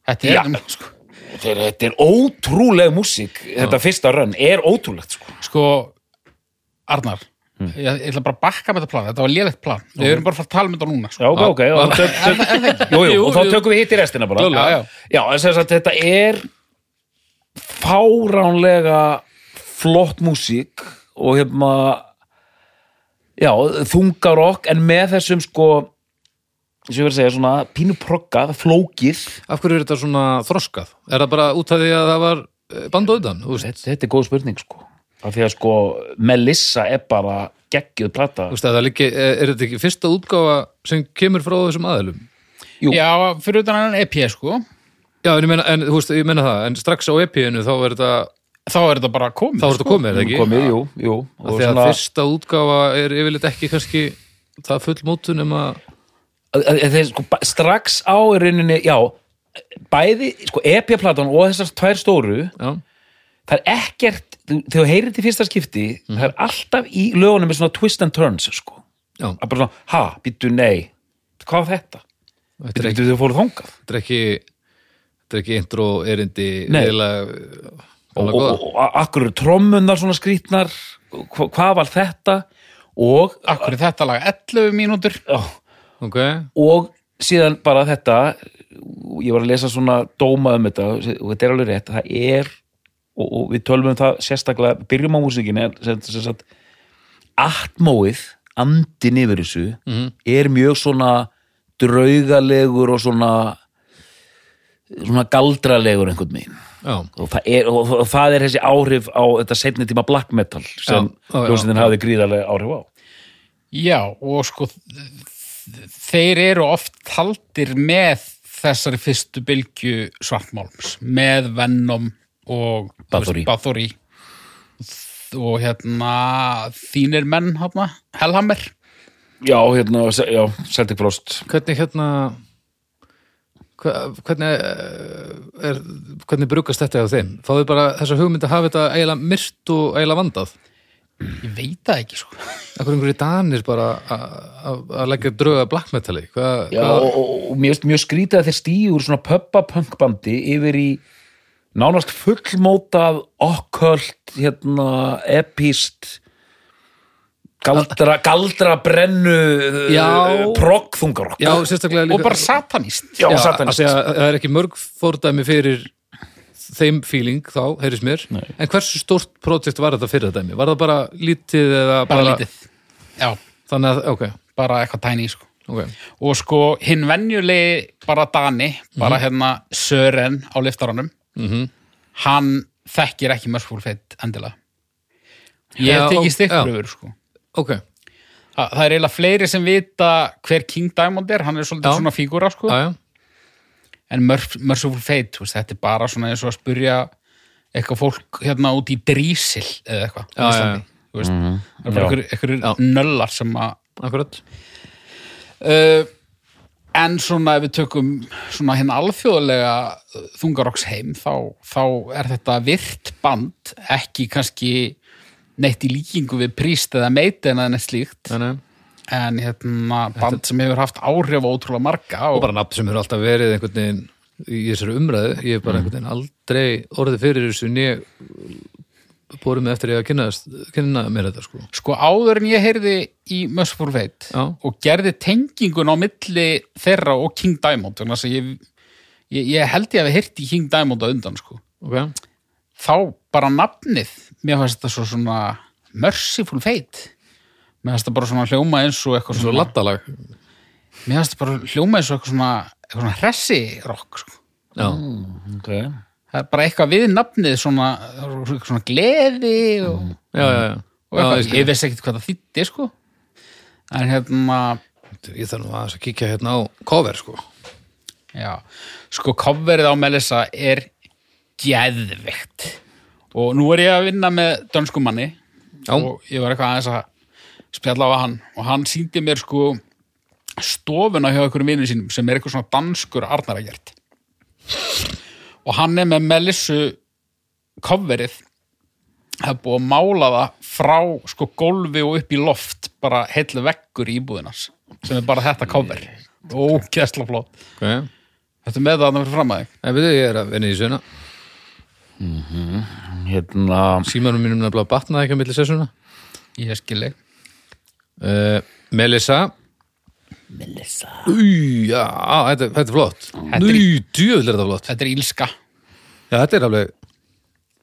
Speaker 3: þetta er,
Speaker 2: Já.
Speaker 3: um, sko,
Speaker 2: þetta er, þetta er ótrúleg músík þetta fyrsta rönn er ótrúlegt sko
Speaker 3: sko Arnar,
Speaker 1: Hmm.
Speaker 3: ég, ég ætla bara að bakka með þetta plan, þetta var lélegt plan við erum bara að fara að tala með þetta núna sko.
Speaker 2: Já, ok, ok, og þá tök- tök- jú, jú, og þá tökum við hitt í restina bara
Speaker 3: Klárlega.
Speaker 2: já, já. já en sem sagt, þetta er fáránlega flott músík og hefma já, þungarokk en með þessum sko sem ég verið að segja, svona pínu progga flókið,
Speaker 1: Af hverju er þetta svona þroskað? Er það bara út af því að það var eh, band og utan? Þú veist,
Speaker 2: þetta, þetta er góð spurning sko, af því að sko Melissa er bara geggjöð plata
Speaker 1: þú veist að það liggi, eh, er er þetta ekki fyrsta útgáfa sem kemur frá þessum aðilum?
Speaker 2: Jú.
Speaker 3: já, fyrir utan annan EP sko
Speaker 1: Já, en ég meina, en, þú veist, ég meina það, en strax á EP-inu þá er þetta,
Speaker 3: þá er þetta bara komið
Speaker 1: þá er þetta komið, er það ekki?
Speaker 2: Sko, mm, komið, jú, jú
Speaker 1: Af því að fyrsta útgáfa er yfirleitt ekki kannski það full mótun um að
Speaker 2: að- að- að þeir sko ba- strax á í rauninni, já bæði, sko EP-platan og þessar tvær stóru,
Speaker 1: já,
Speaker 2: það er ekkert þú- þegar þú heyrir til fyrsta skipti það er alltaf í lögunum með svona twist and turns sko,
Speaker 1: já,
Speaker 2: að bara svona ha, býttu nei, hvað var þetta?
Speaker 1: þetta er ekki,
Speaker 2: Býttu þau fóru þangað
Speaker 1: þetta er ekki þetta er ekki intro erindi
Speaker 2: Nei.
Speaker 1: eiginlega,
Speaker 2: og,
Speaker 1: alveg
Speaker 2: og,
Speaker 1: góðar.
Speaker 2: og, og akkur eru trommunnar svona skrýtnar hva, hvað var þetta? Og,
Speaker 3: Akkur er þetta lag 11 mínútur
Speaker 2: já,
Speaker 1: ok,
Speaker 2: og síðan bara þetta ég var að lesa svona dóma um þetta og þetta er alveg rétt, það er og, og við tölum um það sérstaklega byrjum á músikinni sem, sem sagt, atmóið andin yfir þessu er mjög svona draugalegur og svona svona galdralegur einhvern veginn
Speaker 1: já
Speaker 2: og það er, og, og það er þessi áhrif á þetta setni tíma black metal sem
Speaker 1: Já, já, já.
Speaker 2: ljósindin hafði gríðarlega áhrif á
Speaker 3: Já, og sko þ- þeir eru oft taldir með þessari fyrstu bylgju svartmálms, með Venom og
Speaker 2: Bathory.
Speaker 3: Bathory. og hérna þínir menn hérna, Hellhammer
Speaker 2: já, hérna, já, Celtic Frost
Speaker 1: hvernig hérna hva- hvernig eh, er, hvernig brugast þetta á þeim þá er bara þessa hugmynd að hafa þetta eiginlega myrt og eiginlega vandað
Speaker 3: ég veit það ekki sko
Speaker 1: Akkur einhverju danir bara að- að að leggja drauga black metali hvað,
Speaker 2: Já,
Speaker 1: hvað,
Speaker 2: og, og, og mér finnst mjög skrítið að þeir stígur svona pöppapunk bandi yfir í nánast fullmótað okkult, hérna, epist galdra, galdra brennu
Speaker 1: Já.
Speaker 2: proggþungar
Speaker 1: já, sérstaklega líka
Speaker 3: og bara satanist
Speaker 2: já,
Speaker 1: Já, af
Speaker 2: satanist
Speaker 1: því að það er ekki mörg fordæmi fyrir þeim feeling þá, heyrðis mér en hversu stórt projekt var þetta fyrir dæmi? Var það bara lítið eða
Speaker 3: bara lítið já,
Speaker 1: Þannig að, ok,
Speaker 3: bara eitthvað tæni sko
Speaker 1: ok
Speaker 3: og sko hinn venjulegi bara Dani,
Speaker 1: Mhm.
Speaker 3: bara hérna Sören á liftaranum hann þekkir ekki Mörsfúl Fett endilega ég
Speaker 1: Já,
Speaker 3: hef
Speaker 1: og-
Speaker 3: tekið stikkpröfur sko
Speaker 1: Ok,
Speaker 3: Þa, það er eiginlega fleiri sem vita hver King Diamond er, hann er svolítið
Speaker 1: Já.
Speaker 3: svona fígúra sko,
Speaker 1: aðja,
Speaker 3: en Mörsfúl Fett veist, þetta er bara svona eins og að spurja eitthvað fólk hérna út í drísil eða eitthvað á
Speaker 1: Já, já, Mhm. já.
Speaker 3: Íslandi, þú veist. það er bara
Speaker 2: Já.
Speaker 3: einhverjir einhverjir nöllar sem að
Speaker 1: akkurat
Speaker 3: uh, en svona ef við tökum svona hinn alþjóðlega þungarokks heim þá, þá er þetta virt band ekki kannski neitt í líkingu við príst eða meiti en neitt slíkt
Speaker 1: Nei, nei.
Speaker 3: en hérna band sem hefur haft áhrif á ótrúlega marga
Speaker 1: og bara nafn sem hefur alltaf verið einhvern veginn í þessari umræðu, ég hef bara einhvern veginn aldrei orðið fyrir þessu en ég bórum eftir ég að kynna, kynna mér þetta sko
Speaker 3: sko áður en ég heyrði í Mössfúr Veit
Speaker 1: Já.
Speaker 3: og gerði tengingun á milli þeirra og King Diamond þannig að ég, ég, ég held ég að við heyrti King Diamond á undan sko
Speaker 1: okay.
Speaker 3: þá bara nafnið mér fannst þetta svo svona Merciful Fate mér fannst þetta bara svona hljóma eins og eitthvað
Speaker 1: Svo
Speaker 3: svona,
Speaker 1: lattalag
Speaker 3: mér fannst þetta bara hljóma eins og eitthvað svona, eitthvað svona hressi rock sko.
Speaker 1: Já,
Speaker 2: okay.
Speaker 3: það er bara eitthvað við nafnið svona, svona gleði og,
Speaker 1: já, já, já.
Speaker 3: og
Speaker 1: já
Speaker 3: eitthvað,
Speaker 1: ég,
Speaker 3: ég veist ekkert hvað það þýtti sko en hérna
Speaker 1: skil- ég þarf nú aðeins að kíkja hérna á cover sko
Speaker 3: Já, sko coverið á Melissa er geðveikt og nú er ég að vinna með dönskum manni
Speaker 1: Já.
Speaker 3: og ég var eitthvað aðeins að spjalla á hann og hann síndi mér sko stofuna hjá einhverjum vinum sínum sem er eitthvað svona danskur Arnaragjart og hann er með Melissu coverið það er búið að mála það frá sko gólfi og upp í loft bara heillu vekkur í íbúðinans sem er bara þetta cover ógeðsla flott
Speaker 1: okay.
Speaker 3: Þetta er með það að það fyrir fram að þig.
Speaker 1: En við þau, ég er að vinna í sjöna
Speaker 2: hérna
Speaker 1: Símanum mínum nefnilega batnaði ekki að milli sessuna
Speaker 3: Ég skilji.
Speaker 1: uh, Melissa
Speaker 2: Melissa
Speaker 1: Új, já, á, þetta, þetta er flott
Speaker 3: er-
Speaker 1: Új, djöfull er þetta flott
Speaker 3: Þetta er ílska.
Speaker 1: Já, þetta er alveg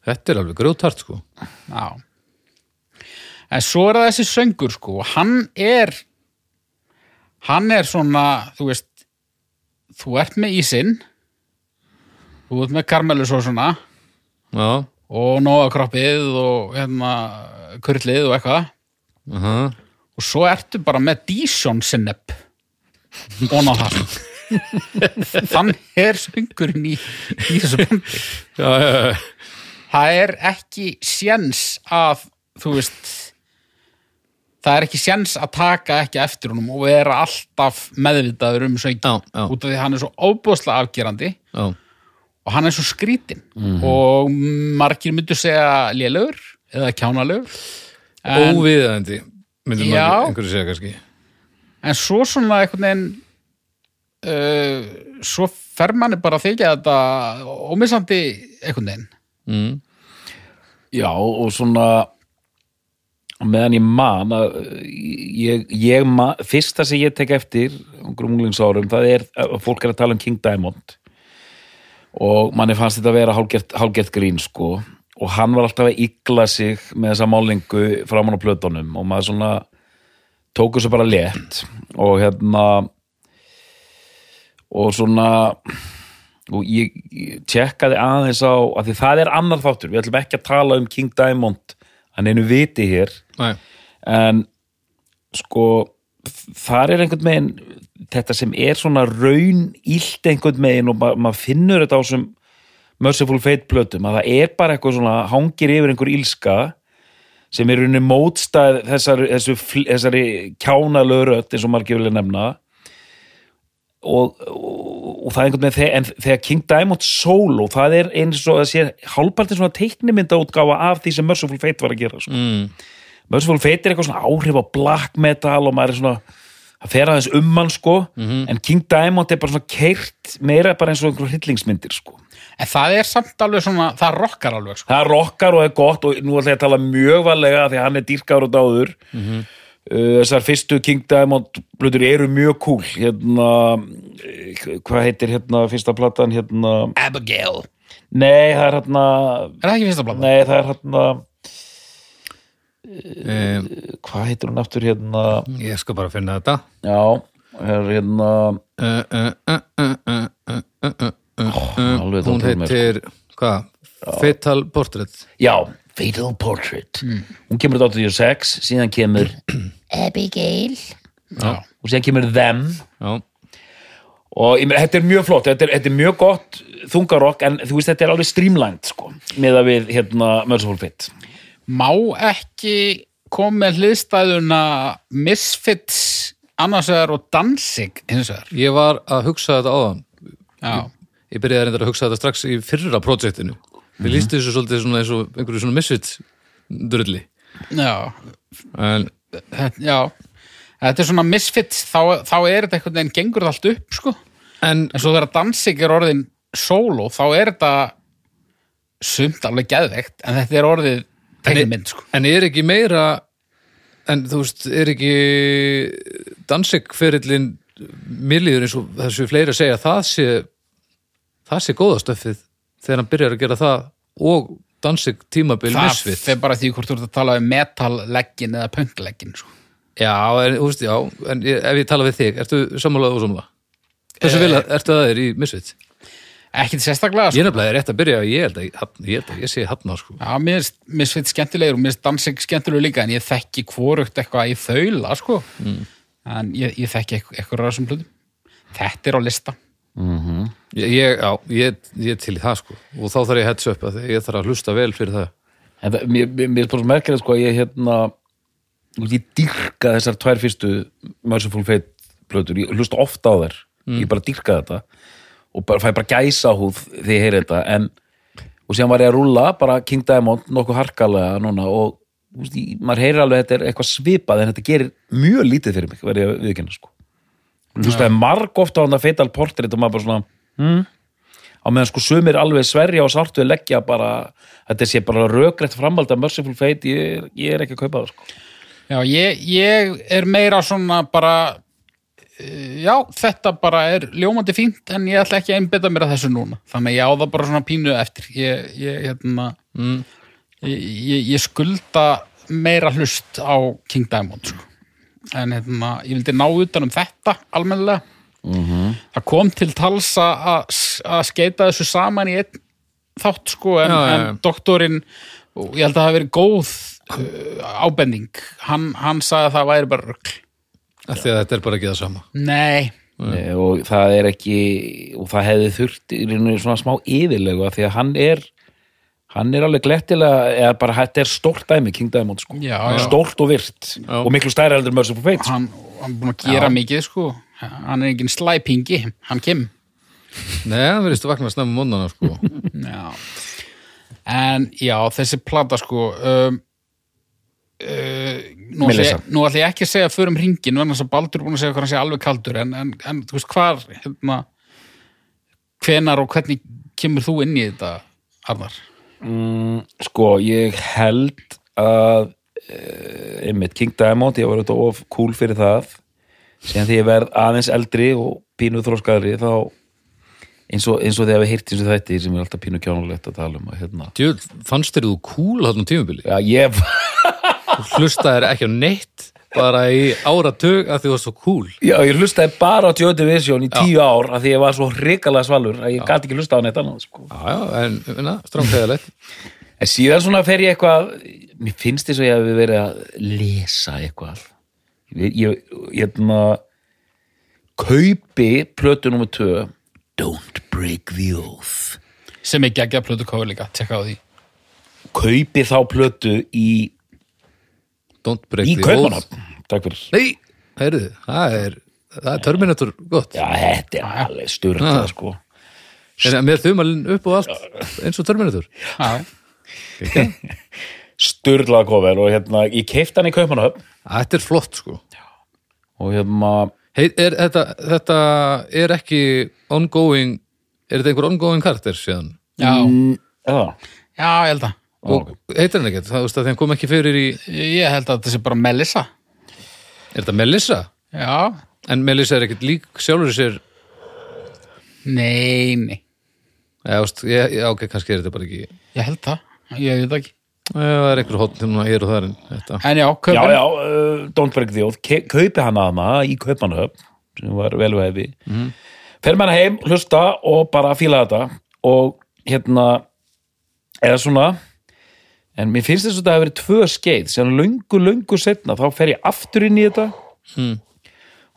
Speaker 1: Þetta er alveg grjótart sko
Speaker 3: Já. En svo er það þessi söngur, sko. og Hann er, hann er svona, þú veist, þú ert með ísinn, þú ert með karmelusósuna
Speaker 1: Já,
Speaker 3: og nóakroppið og hérna, kurlið og eitthvað.
Speaker 1: uh -huh.
Speaker 3: Og svo ertu bara með Dijon sinnepp og ná það. Þann er söngurinn í, í þessu bandi.
Speaker 1: já, já, já.
Speaker 3: það er ekki sjens að þú veist það er ekki sjens að taka ekki eftir honum og vera alltaf meðvitaður um söngin
Speaker 1: Já, já.
Speaker 3: út af því að hann er svo óbúðslega afgerandi
Speaker 1: já.
Speaker 3: og hann er svo skrítin
Speaker 1: Mhm.
Speaker 3: og margir myndu segja lélegur eða kjánalegur en,
Speaker 1: óviðandi myndum
Speaker 3: Já.
Speaker 1: maður einhverju segja kannski
Speaker 3: en svo svona einhvern veginn uh, svo fer manni bara að þykja þetta ómissandi einhvern veginn
Speaker 1: mm.
Speaker 2: Já, og svona á meðan ég man að ég, ég man, fyrsta sem ég tek eftir grumlingsárum, það er að fólk er að tala um King Diamond og manni fannst þetta að vera hálgert, hálgert grín sko og hann var alltaf að ygla sig með þessa málingu framan á plötunum og maður svona tóku þessu bara létt og hérna og svona og ég, ég tjekkaði aðeins á að því það er annar þáttur, við ætlum ekki að tala um King Diamond hann einu viti hér
Speaker 1: Nei,
Speaker 2: en sko þar er einhvern veginn þetta sem er svona raun illt einhvern veginn og ma maður finnur þetta á sem Merciful Fate plötum að það er bara eitthvað svona hangir yfir einhver ílska sem er unni mótstæð þessari, þessu, fl- þessari kjánalögu rödd eins og margir vilja nefna og, og, og það er einhvern veginn þegar, en þegar King Diamond solo það er eins og það sé hálfpartin svona teiknimynda útgáfa af því sem Merciful Fate var að gera sko.
Speaker 1: mm.
Speaker 2: Merciful Fate er eitthvað svona áhrif á black metal og maður er svona það fer aðeins um hann sko en King Diamond er bara svona keirt meira bara eins og einhver hryllingsmyndir sko
Speaker 3: en það er samt alveg svona, það rokkar alveg sko.
Speaker 2: það rokkar og er gott og nú ætla ég að tala mjög varlega af því að hann er dýrkar og dáður uh, þessar fyrstu King Diamond blöður eru mjög cool hérna eh, hvað heitir hérna fyrsta platan hérna
Speaker 3: Abigail
Speaker 2: nei það er hérna
Speaker 3: Er það ekki fyrsta blanda?
Speaker 2: nei það er hérna eh,
Speaker 1: um,
Speaker 2: hvað heitir hún aftur hérna
Speaker 1: ég skal bara finna þetta
Speaker 2: já er hérna
Speaker 1: uh, uh, uh, uh, uh, uh, uh, uh, uh,
Speaker 2: alveg
Speaker 1: hún
Speaker 2: dottir mér, sko.
Speaker 1: heitir hvað? Fatal Portrait
Speaker 2: Já, Fatal Portrait
Speaker 1: Mm.
Speaker 2: Hún kemur 86, síðan kemur Abigail
Speaker 3: Já.
Speaker 2: og síðan kemur Them
Speaker 1: já,
Speaker 2: og ég meina, þetta er mjög flott, þetta er, þetta er mjög gott þungarokk, en þú veist, þetta er alveg streamlined sko, með að við, hérna, Merciful Fit
Speaker 3: Má ekki koma með hliðstæðuna Misfits annars vegar og Danzig hins vegar
Speaker 1: Ég var að hugsa þetta áðan.
Speaker 3: já,
Speaker 1: Ég byrjaði reyndar að hugsa þetta strax í fyrra projektinu. Við lístu þessu svolítið svona eins og einhverju svona misfit drulli.
Speaker 3: já,
Speaker 1: En
Speaker 3: þetta, já. þetta er svona misfit þá, þá er þetta einhvern veginn gengur það allt upp sko.
Speaker 1: En
Speaker 3: en svo þegar Danzig er orðin solo þá er þetta sumt alveg geðveikt en þetta er orðið tegnmynd sko.
Speaker 1: En er ekki meira en þú veist, er ekki dansikferillin milliður eins og þessu fleiri að segja að það sé það sé góða stöfið þegar hann byrjar að gera það og dansik tímabil
Speaker 3: það
Speaker 1: misfit
Speaker 3: fer bara því hvort þú ert að tala um metal-leggin eða punk-leggin sko.
Speaker 1: Já, en þú veist, já, en ég, ef ég tala við þig ertu sammálaðu og sammála? Þessu vil að, ertu að þeir í misfit?
Speaker 3: ekkit sérstaklega
Speaker 1: Ég
Speaker 3: sko.
Speaker 1: er nefnilega er rétt að byrja að ég held að ég, held að ég, ég sé hann á sko
Speaker 3: já, mér finnst misfit skemmtilegur og mér finnst Danzig skemmtilegur líka en ég þekki hvorugt eitthvað í þaula sko. en ég, ég þekki eitthvað, eitthvað ræðsum hlutum þetta er á lista
Speaker 1: Ég, ég, já, ég, ég er til í það sko og þá þarf ég heads up að ég þarf að hlusta vel fyrir það
Speaker 2: en það, mér, mér, mér er bara svo merkilegt sko að ég hérna þú veist, ég dýrka þessar tvær fyrstu Merciful Fate blötur, ég hlusta ofta á þær ég bara dýrka þetta og bara, fæ bara gæsa húð því ég heyri þetta en, og síðan var ég að rúlla bara King Diamond nokkuð harkalega núna og þú veist, ég, maður heyrir alveg að þetta er eitthvað svipað en þetta gerir mjög lítið fyrir mig verið ég að viðkynna sko hlustaði marg ofta á þetta Fatal Portrait og maður bara svona á meðan sko sumir alveg sverja og sartu leggja bara, þetta sé bara rökrætt framhald að Merciful Fate, ég, ég er ekki að kaupa það sko.
Speaker 3: Já, ég, ég er meira svona bara eh, já, þetta bara er ljómandi fínt en ég ætla ekki að einbytta mér að þessu núna þannig að ég á það bara svona pínu eftir ég, ég, hérna,
Speaker 1: Mm.
Speaker 3: ég, ég, ég skulda meira hlust á King Diamond sko. en hérna, ég vildi ná utan um þetta almennilega
Speaker 1: Mhm.
Speaker 3: -hmm. það kom til tals að- að að skeita þessu saman í einn þátt sko en,
Speaker 1: Já, já, já.
Speaker 3: en doktorinn og ég held að það hafi verið góð uh, ábending hann, hann sagði að það væri bara rugl
Speaker 1: af því að þetta er bara ekki það sama
Speaker 3: Nei,
Speaker 2: Eh, og það er ekki og það hefði þurft í rauninni svona smá yfirlegu af því að hann er hann er alveg glettilega, eða bara þetta er stórt dæmi, King Diamond sko
Speaker 3: Já, já.
Speaker 2: stórt og virt, og miklu stærra heldur en Merciful Fate sko.
Speaker 3: hann, hann er búin að gera mikið sko hann er engin slæpingi, hann kem
Speaker 1: Nei, það verðist að vakna snemma mónana sko
Speaker 3: já. en já, þessi plata sko um, uh, nú, ætla
Speaker 2: Melissa.
Speaker 3: ég, nú ætla ég ekki að segja förum hringin, en þess að Baldur er búin að segja hvað hann sé alveg kaldur, en, en, en þú veist hvar hérna hvenar og hvernig kemur þú inn í þetta Arnar?
Speaker 2: sko, ég held að eh, einmitt King Diamond, ég var auðvitað of cool fyrir það síðan því ég verð aðeins eldri og pínu þróskaðri þá eins og, eins og þegar við heyrt eins og þetta sem er alltaf pínu kjánulegt að tala um og hérna
Speaker 1: Djöl, fannst þér þú cool þarna á tímabili?
Speaker 2: Já, ég,
Speaker 1: Þú hlustaðir ekki á neitt bara í áratug að þú varst svo cool
Speaker 2: já, ég hlustaði bara á Jody Vision í tíu ár af því ég var svo hrikalega svalur að ég gat ekki hlusta á neitt annað sko.
Speaker 1: Já, já, en na, strámkæðilegt
Speaker 2: En síðan svona fer ég eitthvað, mér finnst þess að ég hafi verið að lesa eitthvað. Ég, ég, ég, ég kaupi plötu nummer 2, Don't Break the Oath.
Speaker 3: sem er geggja plötu kóðu líka, tekka á því
Speaker 2: Kaupi þá plötu í,
Speaker 1: Don't break
Speaker 2: í
Speaker 1: the oath.
Speaker 2: kaupanum. Takk fyrir.
Speaker 1: Nei, heyrðu, það er það er Terminator gott
Speaker 2: Já, þetta er alveg styrtað, sko.
Speaker 1: en með þumalinn upp og allt eins og Terminator
Speaker 3: Já,
Speaker 2: Styrlað kofel og hérna, ég keipti hann í kaupanum
Speaker 1: Þetta er flott sko
Speaker 2: og hérna,
Speaker 1: Hei, er, þetta, þetta er ekki ongoing er þetta einhver ongoing karakter síðan?
Speaker 3: já,
Speaker 2: Mm. já,
Speaker 3: já, ég held að
Speaker 1: Og heitir hann ekkert, það þú veist að þeim kom ekki fyrir í
Speaker 3: Ég held að þetta sé bara Melissa
Speaker 1: er þetta Melissa?
Speaker 3: Já,
Speaker 1: En Melissa er ekkert lík sjálfur sér
Speaker 3: nei, nei
Speaker 1: Já, veist, ég, já, ok, kannski er þetta bara ekki
Speaker 3: Ég held það, ég veit það ekki
Speaker 1: Já, það er einhver hótt hérna hér og þar en þetta
Speaker 3: En já,
Speaker 2: já,
Speaker 3: kaupin,
Speaker 2: já, uh, Don't Break the Oath ke- kaupi hann að maður í kaupanöf sem var velvæfi mm. fer maður heim, hlusta og bara fíla þetta og hérna eða svona en mér finnst þess að þetta hafa verið tvö skeið sem löngu, löngu setna þá fer ég aftur inn í þetta mm.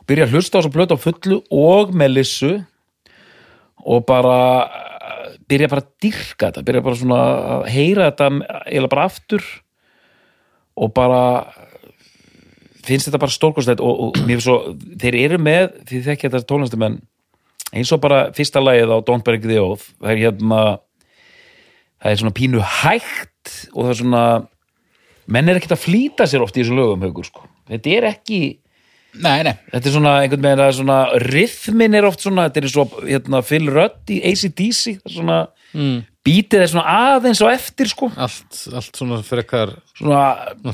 Speaker 2: og byrja að hlusta á svo blötu á fullu og með lissu og bara eh, byrja bara að dyrka þetta byrja bara svona að heyra þetta eða bara aftur og bara finnst þetta bara stórkostlegt og, og mér finnst svo, þeir eru með því þekki þetta tónlistumenn eins og bara fyrsta lagið á Don't Break the Oath það er hérna það er svona pínu hægt og það er svona menn er ekkert að flýta sér oft í þessum lögum haukur sko, þetta er ekki
Speaker 3: Nei, nei,
Speaker 2: þetta er svona einhvern veginn að svona rithmin er oft svona, þetta er svo hérna, Phil Rudd í ACDC það er svona, mm. bítið er svona aðeins á eftir sko,
Speaker 1: allt, allt svona frekar
Speaker 2: svona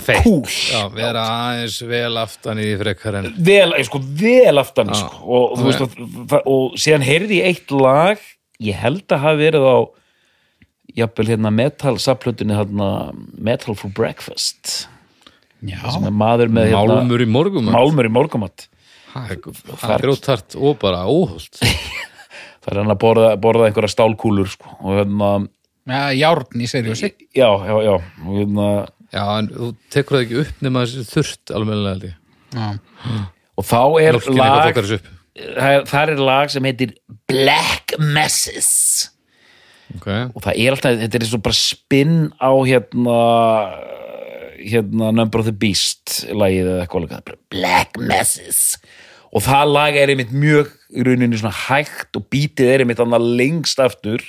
Speaker 1: feitt.
Speaker 2: cool
Speaker 1: Já, vera aðeins vel aftan í því frekar en
Speaker 2: vel, eh, sko, vel aftan í, sko. og, þú
Speaker 1: Já,
Speaker 2: veist, og, og síðan heyrði ég eitt lag ég held að hafa verið á jafnvel hérna metal saplutinni hérna metal for breakfast
Speaker 3: já,
Speaker 2: sem er maður með hérna
Speaker 1: málmur í morgum
Speaker 2: málmur í morgumat
Speaker 1: það er grótart sko, og bara óholt
Speaker 2: það er hann að borða, borða einhverja stálkúlur sko. og hérna,
Speaker 3: já, járn í seriósi
Speaker 2: já, já, já og hérna
Speaker 1: Já, en þú tekur það ekki upp nema þessi þurft almennilega held ég.
Speaker 3: Já,
Speaker 2: og þá er
Speaker 1: Mjólkin eitthvað
Speaker 2: lag
Speaker 1: fokkar þessu upp
Speaker 2: það er- þar er lag sem heitir Black Messes
Speaker 1: okay.
Speaker 2: og það er alltaf, þetta er eins og bara spinn á hérna hérna Number of the Beast lagið eða eitthvað alveg, bara Black Masses og það lag er einmitt mjög í rauninni svona hægt og bítið er einmitt annað lengst aftur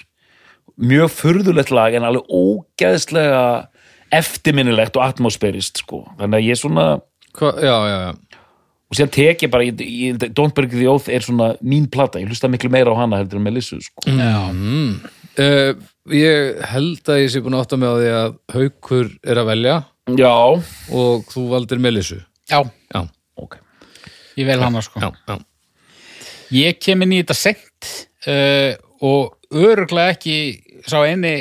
Speaker 2: mjög furðulegt lag en alveg ógeðslega eftirminnilegt og atmosfærist sko, þannig að ég er svona
Speaker 1: Hva, já, já, já,
Speaker 2: og sér tek ég bara, ég, ég, Don't Break the Oath er svona mín plata, ég hlusta miklu meira á hana heldur en með Lissu sko
Speaker 3: já,
Speaker 1: uh, Ég held að ég sé búin að átta mig á því að haukur er að velja
Speaker 2: Já,
Speaker 1: og þú valdir Melissu
Speaker 3: já
Speaker 1: Já,
Speaker 2: ok
Speaker 3: ég vel hana sko
Speaker 1: já, já
Speaker 3: Ég kem inn í þetta sent uh, og öruglega ekki sá eini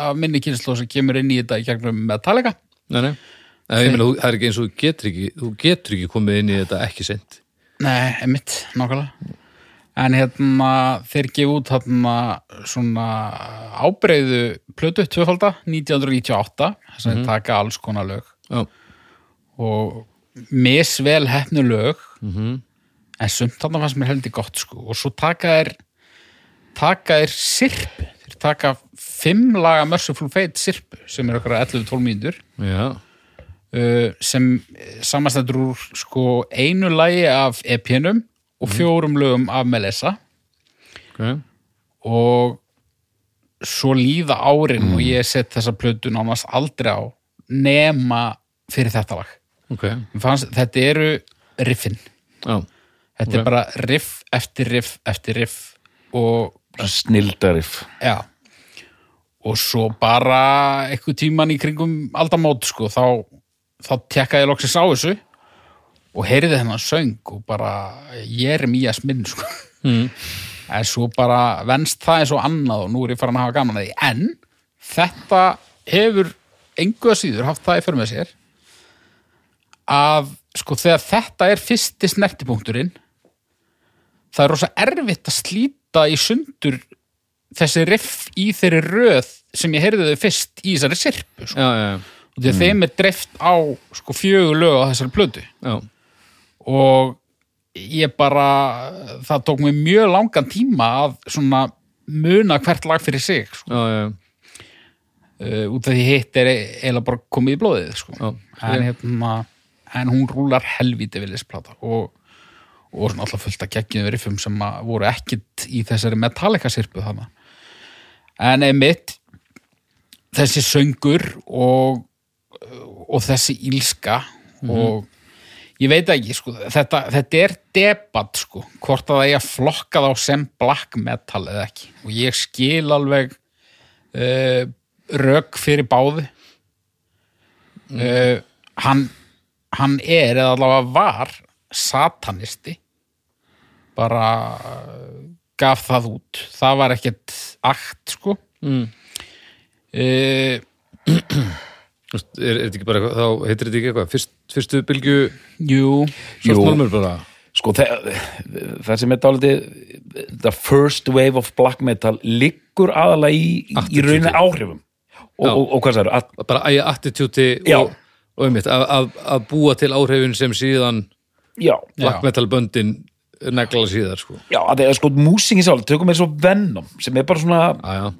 Speaker 3: af minni kynslu sem kemur inn í þetta í gegnum Metallica
Speaker 1: Nei, nei Nei, ég meina, þú- það er ekki eins og þú getur ekki, þú getur ekki komið inn í þetta ekki sent.
Speaker 3: Nei, emitt, nákvæmlega En hérna, þeir gefa út hérna svona ábreyðu plötu, tvöfalda, 1998
Speaker 2: Mhm.
Speaker 3: þess að þeir taka alls konar lög
Speaker 1: Já,
Speaker 3: og misvel hefnu lög en sumt þarna fannst mér heldur gott sko og svo taka þér taka þér sirpu þeir taka fimm laga Merciful Fate sirpu sem er okkar 11-12 mínútur
Speaker 1: já,
Speaker 3: uh, sem samastendur úr sko einu lagi af epjunum og fjórum lögum af Melissa
Speaker 1: ok,
Speaker 3: og svo líða árin og ég set þessa plötu nánast aldrei á nema fyrir þetta lag
Speaker 1: ok,
Speaker 3: Mér fannst, þetta eru riffin
Speaker 1: já,
Speaker 3: þetta er bara riff eftir riff eftir riff og
Speaker 2: Snildariff
Speaker 3: já og svo bara eitthvað tíman í kringum aldamót sko þá, þá tekka ég loksins á þessu og heyrði þennan söng og bara ég er mýjas minn sko mm. en svo bara venst það eins og annað og nú er ég farin að hafa gaman að því en þetta hefur engu að síður haft það í för með sér að sko þegar þetta er fyrsti snertipunkturinn það er rosa erfitt að slíta í sundur þessi riff í þeirri röð sem ég heyrði þau fyrst í þessari sirpu sko.
Speaker 1: já, já, já,
Speaker 3: og því að þeim er dreift á sko, fjögur lög á þessari plötu
Speaker 1: já,
Speaker 3: og ég bara það tók mig mjög langan tíma að svona muna hvert lag fyrir sig sko.
Speaker 1: já, já,
Speaker 3: uh, út af því hitt er e- eiginlega bara komið í blóðið sko.
Speaker 1: Já.
Speaker 3: en, hérna, en hún rúlar helvíti við lesplata og, og svona alltaf fullt að geggjum riffum sem að voru ekkit í þessari Metallica sirpu þarna en einmitt þessi söngur og, og þessi ílska og ég veit ekki sko, þetta, þetta er debat sko, hvort að það er að flokka þá sem black metal eða ekki og ég skil alveg uh, rök fyrir báði uh, hann, hann er eða allavega var satanisti bara eh, gaf það út það var ekkert akt sko Eh, mm.
Speaker 1: Þú veist, Er, er þetta ekki bara, eitthvað- þá heitir þetta ekki eitthvað, fyrst, fyrstu bylgju,
Speaker 3: jú
Speaker 1: svart
Speaker 2: Jú.
Speaker 1: normur bara.
Speaker 2: sko það, það sem er dálítið the first wave of black metal liggur aðalega í, í rauninni áhrifum og,
Speaker 1: Já.
Speaker 2: og, og hvað það eru
Speaker 1: Bara æja attitúti
Speaker 2: Já.
Speaker 1: og, og einmitt, að- að að búa til áhrifin sem síðan
Speaker 2: já,
Speaker 1: black metal böndin negla síðar, sko.
Speaker 2: já að það er sko músingin sálega, tökum við svo Venom sem er bara svona,
Speaker 1: Já, já,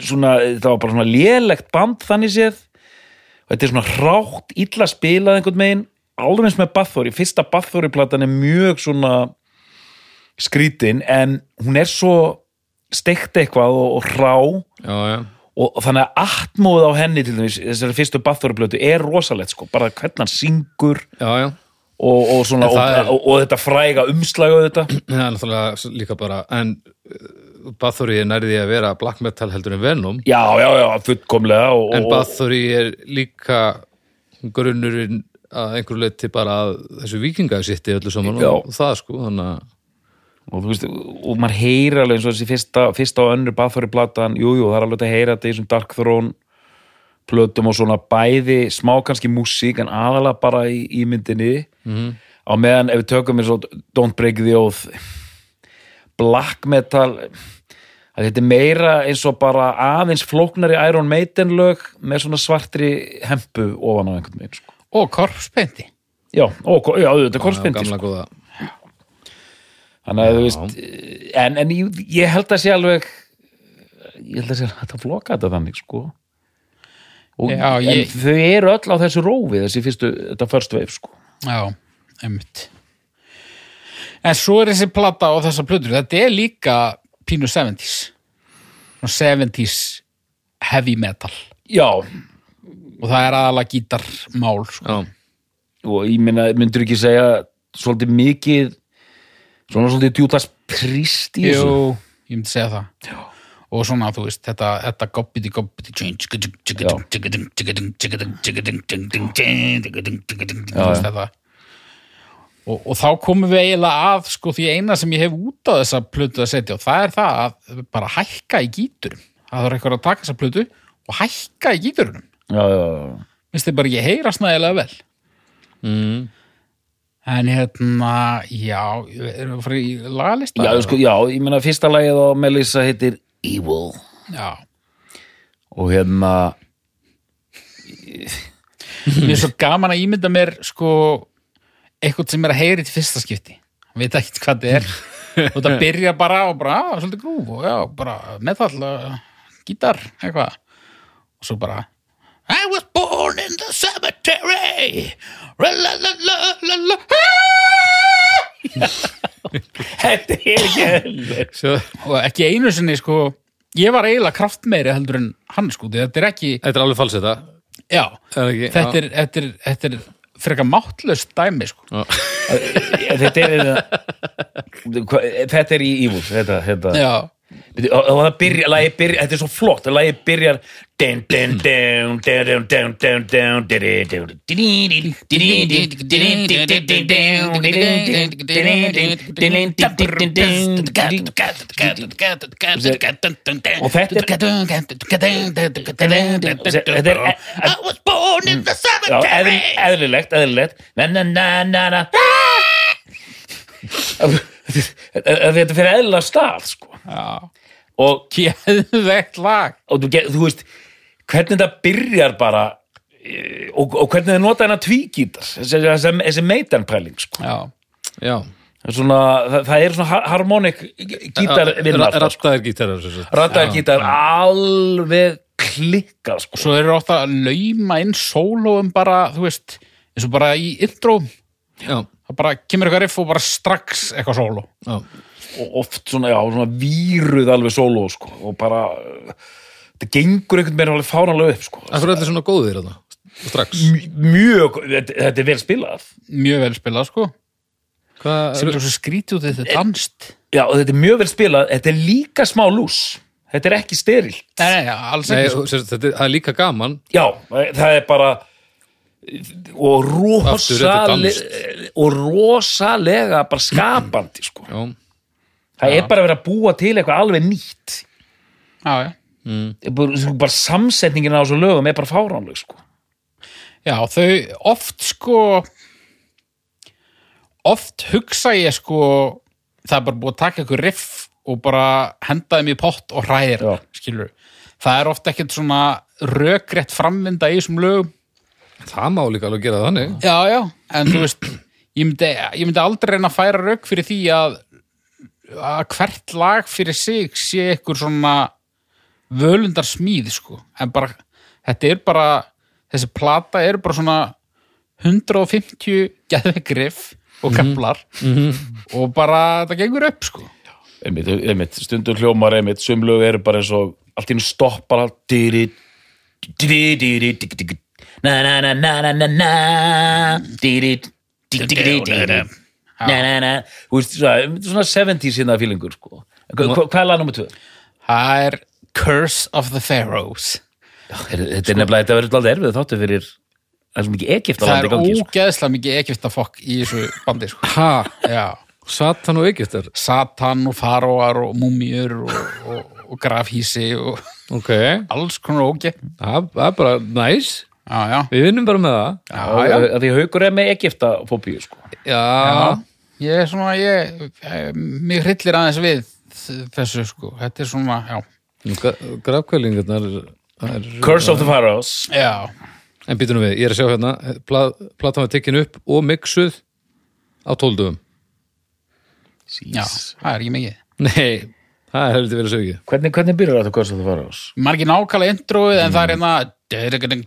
Speaker 2: svona það var bara svona lélegt band þannig séð og þetta er svona hrátt, illa spilað einhvern megin alveg eins með Bathory, fyrsta Bathory platan er mjög svona skrítin en hún er svo steikt eitthvað og, og rá
Speaker 1: já, já,
Speaker 2: og þannig að atmóð á henni til þess þessari fyrstu Bathory plötu er rosalegt sko, bara hvernig hann syngur
Speaker 1: já, já.
Speaker 2: og, og, svona,
Speaker 1: En
Speaker 2: og,
Speaker 1: það er-
Speaker 2: og, og þetta fræga umslaga þetta
Speaker 1: Það er náttúrulega líka bara en Bathory er nærði að vera black metal heldur en Venom
Speaker 2: já, já, já, fullkomlega og,
Speaker 1: en
Speaker 2: og-
Speaker 1: Bathory er líka grunnurinn að einhverju leyti bara að þessu vikingasitti öllu saman
Speaker 2: Já.
Speaker 1: og það sko þannig að
Speaker 2: og, þú veist, og maður heyri alveg eins og þessi fyrsta, fyrsta og önnur Bathory platan, jú, jú, það er alveg að heyra þetta í þessum Dark Throne plötum og svona bæði smá kannski músík en aðalega bara í, í myndinni
Speaker 1: Mhm.
Speaker 2: -hmm. á meðan ef við tökum eins og Don't Break the Oath black metal að þetta er meira eins og bara aðeins flóknari Iron Maiden lög með svona svartri hempu ofan á einhvern veginn sko.
Speaker 3: og korpspeinti
Speaker 2: já, og, ko- já, þetta er
Speaker 1: Já,
Speaker 2: korspindi
Speaker 1: gamla góða
Speaker 2: þannig að þú veist eh, en, en ég, ég held að sé alveg ég held að sé alveg hægt að floka þetta þannig sko og,
Speaker 3: Já, ég-
Speaker 2: en þau eru öll á þessu rófi þessi fyrstu, þetta first wave sko
Speaker 3: Já, einmitt En svo er þessi plata og þessar plötur, þetta er líka pínu 70s Svona 70s heavy metal
Speaker 2: já,
Speaker 3: og það er aðalega gítarmál sko.
Speaker 1: já,
Speaker 2: og ég minna, myndur ekki segja svolítið mikið svona svolítið djútas príst í þessu
Speaker 3: Jú, ég myndi segja það Já. og svona, þú veist, þetta, þetta gobbiti gobbiti change þetta og, og þá komum við eiginlega að sko því eina sem ég hef út á þessa plötu að setja og það er það að bara hækka í gíturum það þarf eitthvað að taka þessa plötu og hækka í gíturunum
Speaker 2: já, já, já.
Speaker 3: minnst þið bara ekki heyra snæðilega vel
Speaker 1: mm,
Speaker 3: en hérna, já erum við að fara í lagalista?
Speaker 2: já, sko, já, ég minna fyrsta lagið á Melissa heitir Evil
Speaker 3: já.
Speaker 2: og hérna
Speaker 3: Mér er svo gaman að ímynda mér sko eitthvað sem er að heyri til fyrsta skipti hann veit ekkert hvað þetta er og það byrja bara og bara, á, svolítið grúf og já, bara meðfall gítar, eitthvað og svo bara I was born in the cemetery la la la la la la
Speaker 2: þetta er ekki eðlilegt.
Speaker 1: sjá,
Speaker 3: og ekki einu sinni sko ég var eiginlega kraftmeiri heldur en hann sko því þetta er ekki,
Speaker 1: þetta er alveg falsið það
Speaker 3: já
Speaker 1: er ekki,
Speaker 3: þetta er, þetta er, þetta er frekar máttlaust dæmi sko
Speaker 2: þetta er Hva- þetta er í Evil þetta, þetta.
Speaker 3: já
Speaker 2: Bíddu, og og það byrja, lagi byrja, þetta er svo flott lagi byrjar dun, dun, dun, dun, dun, dun, dun, dun, dun, dun, dun.
Speaker 5: Og þetta er I was born in the
Speaker 2: Já, eðl,
Speaker 5: cemetery
Speaker 2: eðlilegt, eðlilegt na na na na na þetta þetta fyrir eðlilega stað sko. og
Speaker 3: geðvegt lag
Speaker 2: og þú, ge- þú veist hvernig það byrjar bara eh, og, og hvernig það nota hennar tvígítar þessi, þessi, þessi meitanpæling sko.
Speaker 3: já,
Speaker 1: já,
Speaker 2: Það er svona, það, það er svona har- harmonik gítar vinna alltaf, sko.
Speaker 1: rattaðir gítarar sem sagt.
Speaker 2: rattaðar gítar alveg klikkað sko.
Speaker 3: svo þeir eru ofta að lauma inn sólóum bara, þú veist eins og bara í intro
Speaker 1: já,
Speaker 3: það bara kemur eitthvað riff og bara strax eitthvað sóló
Speaker 1: já,
Speaker 2: og oft svona, já, svona víruð alveg sóló sko. og bara eh, þetta gengur einhvern veginn alveg fáranlega upp sko.
Speaker 1: það er allir svona góðir þetta strax,
Speaker 2: Mj- mjög, þetta, þetta er vel spilað
Speaker 3: mjög vel spilað sko
Speaker 1: hvað
Speaker 3: sem
Speaker 1: eru
Speaker 3: er svo skrítið út í þetta er danst
Speaker 2: já, og þetta er mjög vel spilað, þetta er líka smá lús þetta er ekki sterilt
Speaker 3: nei, nei, alls
Speaker 1: Nei,
Speaker 3: ekki sko.
Speaker 2: sko.
Speaker 1: sem sagt, þetta, er- það er líka gaman
Speaker 2: Já, það er bara og
Speaker 1: Aftur, þetta er
Speaker 2: rosalega
Speaker 1: danst.
Speaker 2: og rosalega bara skapandi sko.
Speaker 1: já,
Speaker 2: það er bara verið að búa til eitthvað alveg nýtt
Speaker 3: já, já
Speaker 2: Ég bara, sko, bara samsetningin á þessu lögum er bara fáránleg sko.
Speaker 3: Já, þau oft sko oft hugsa ég sko það er bara búið að taka ykkur riff og bara henda þeim í pott og hræðir
Speaker 2: Já.
Speaker 3: skilur. Það er oft ekkert svona rökrétt framvinda í þessum lögum
Speaker 1: það má líka alveg gera þannig
Speaker 3: Já, já, en þú veist ég myndi, ég myndi aldrei reyna að færa rök fyrir því að, að hvert lag fyrir sig sé ykkur svona völundar smíð sko, en bara þetta er bara, þessi plata er bara svona 150 geðvegriff og keplar og bara það gengur upp sko
Speaker 2: einmitt, einmitt, stundum hljómar einmitt, sumlög eru bara eins og allt í hennu stoppar allt dýri dýri dýri dýri dýri na na na na na na na dýri dýri dýri dýri na na na Þú veist, svona einmitt svona 70s hérna fílingur sko Hva- hva- hvað er lag nummer 2?
Speaker 3: Það er Curse of the Pharaohs
Speaker 2: þetta er nefnilega, þetta verður alltaf erfið þáttu fyrir það er svo mikið Egypt að
Speaker 3: Það
Speaker 2: landa
Speaker 3: er
Speaker 2: í gangi sko.
Speaker 3: ógeðslega mikið Egyptafokk í þessu bandi sko
Speaker 1: Ha,
Speaker 3: Já
Speaker 1: Satan og Egyptar
Speaker 3: Satan og faróar og múmiur og, og, og grafhísi og
Speaker 1: Ok, það
Speaker 3: alls konar ógeð
Speaker 1: það er bara næs
Speaker 3: Já, já,
Speaker 1: Við vinnum bara með það
Speaker 3: já,
Speaker 2: Og-
Speaker 3: já.
Speaker 2: og- að því haukur er með Egypta fóbíu sko
Speaker 1: Já,
Speaker 3: Ég er svona, ég, eh, mig hryllir aðeins við þessu sko, þetta er svona, já.
Speaker 1: já. grafkvælingarnar er-
Speaker 2: Curse of the Pharaohs
Speaker 3: Já,
Speaker 1: En býtum við, ég er að sjá hérna pla- Platan var tekin upp og mixuð á tóldugum
Speaker 3: já, það er ekki mikið.
Speaker 1: Nei, það er heldur verið að sögja
Speaker 2: hvernig, hvernig byrjar þetta Curse of the Pharaohs?
Speaker 3: Margi nákvæmlega introið en það er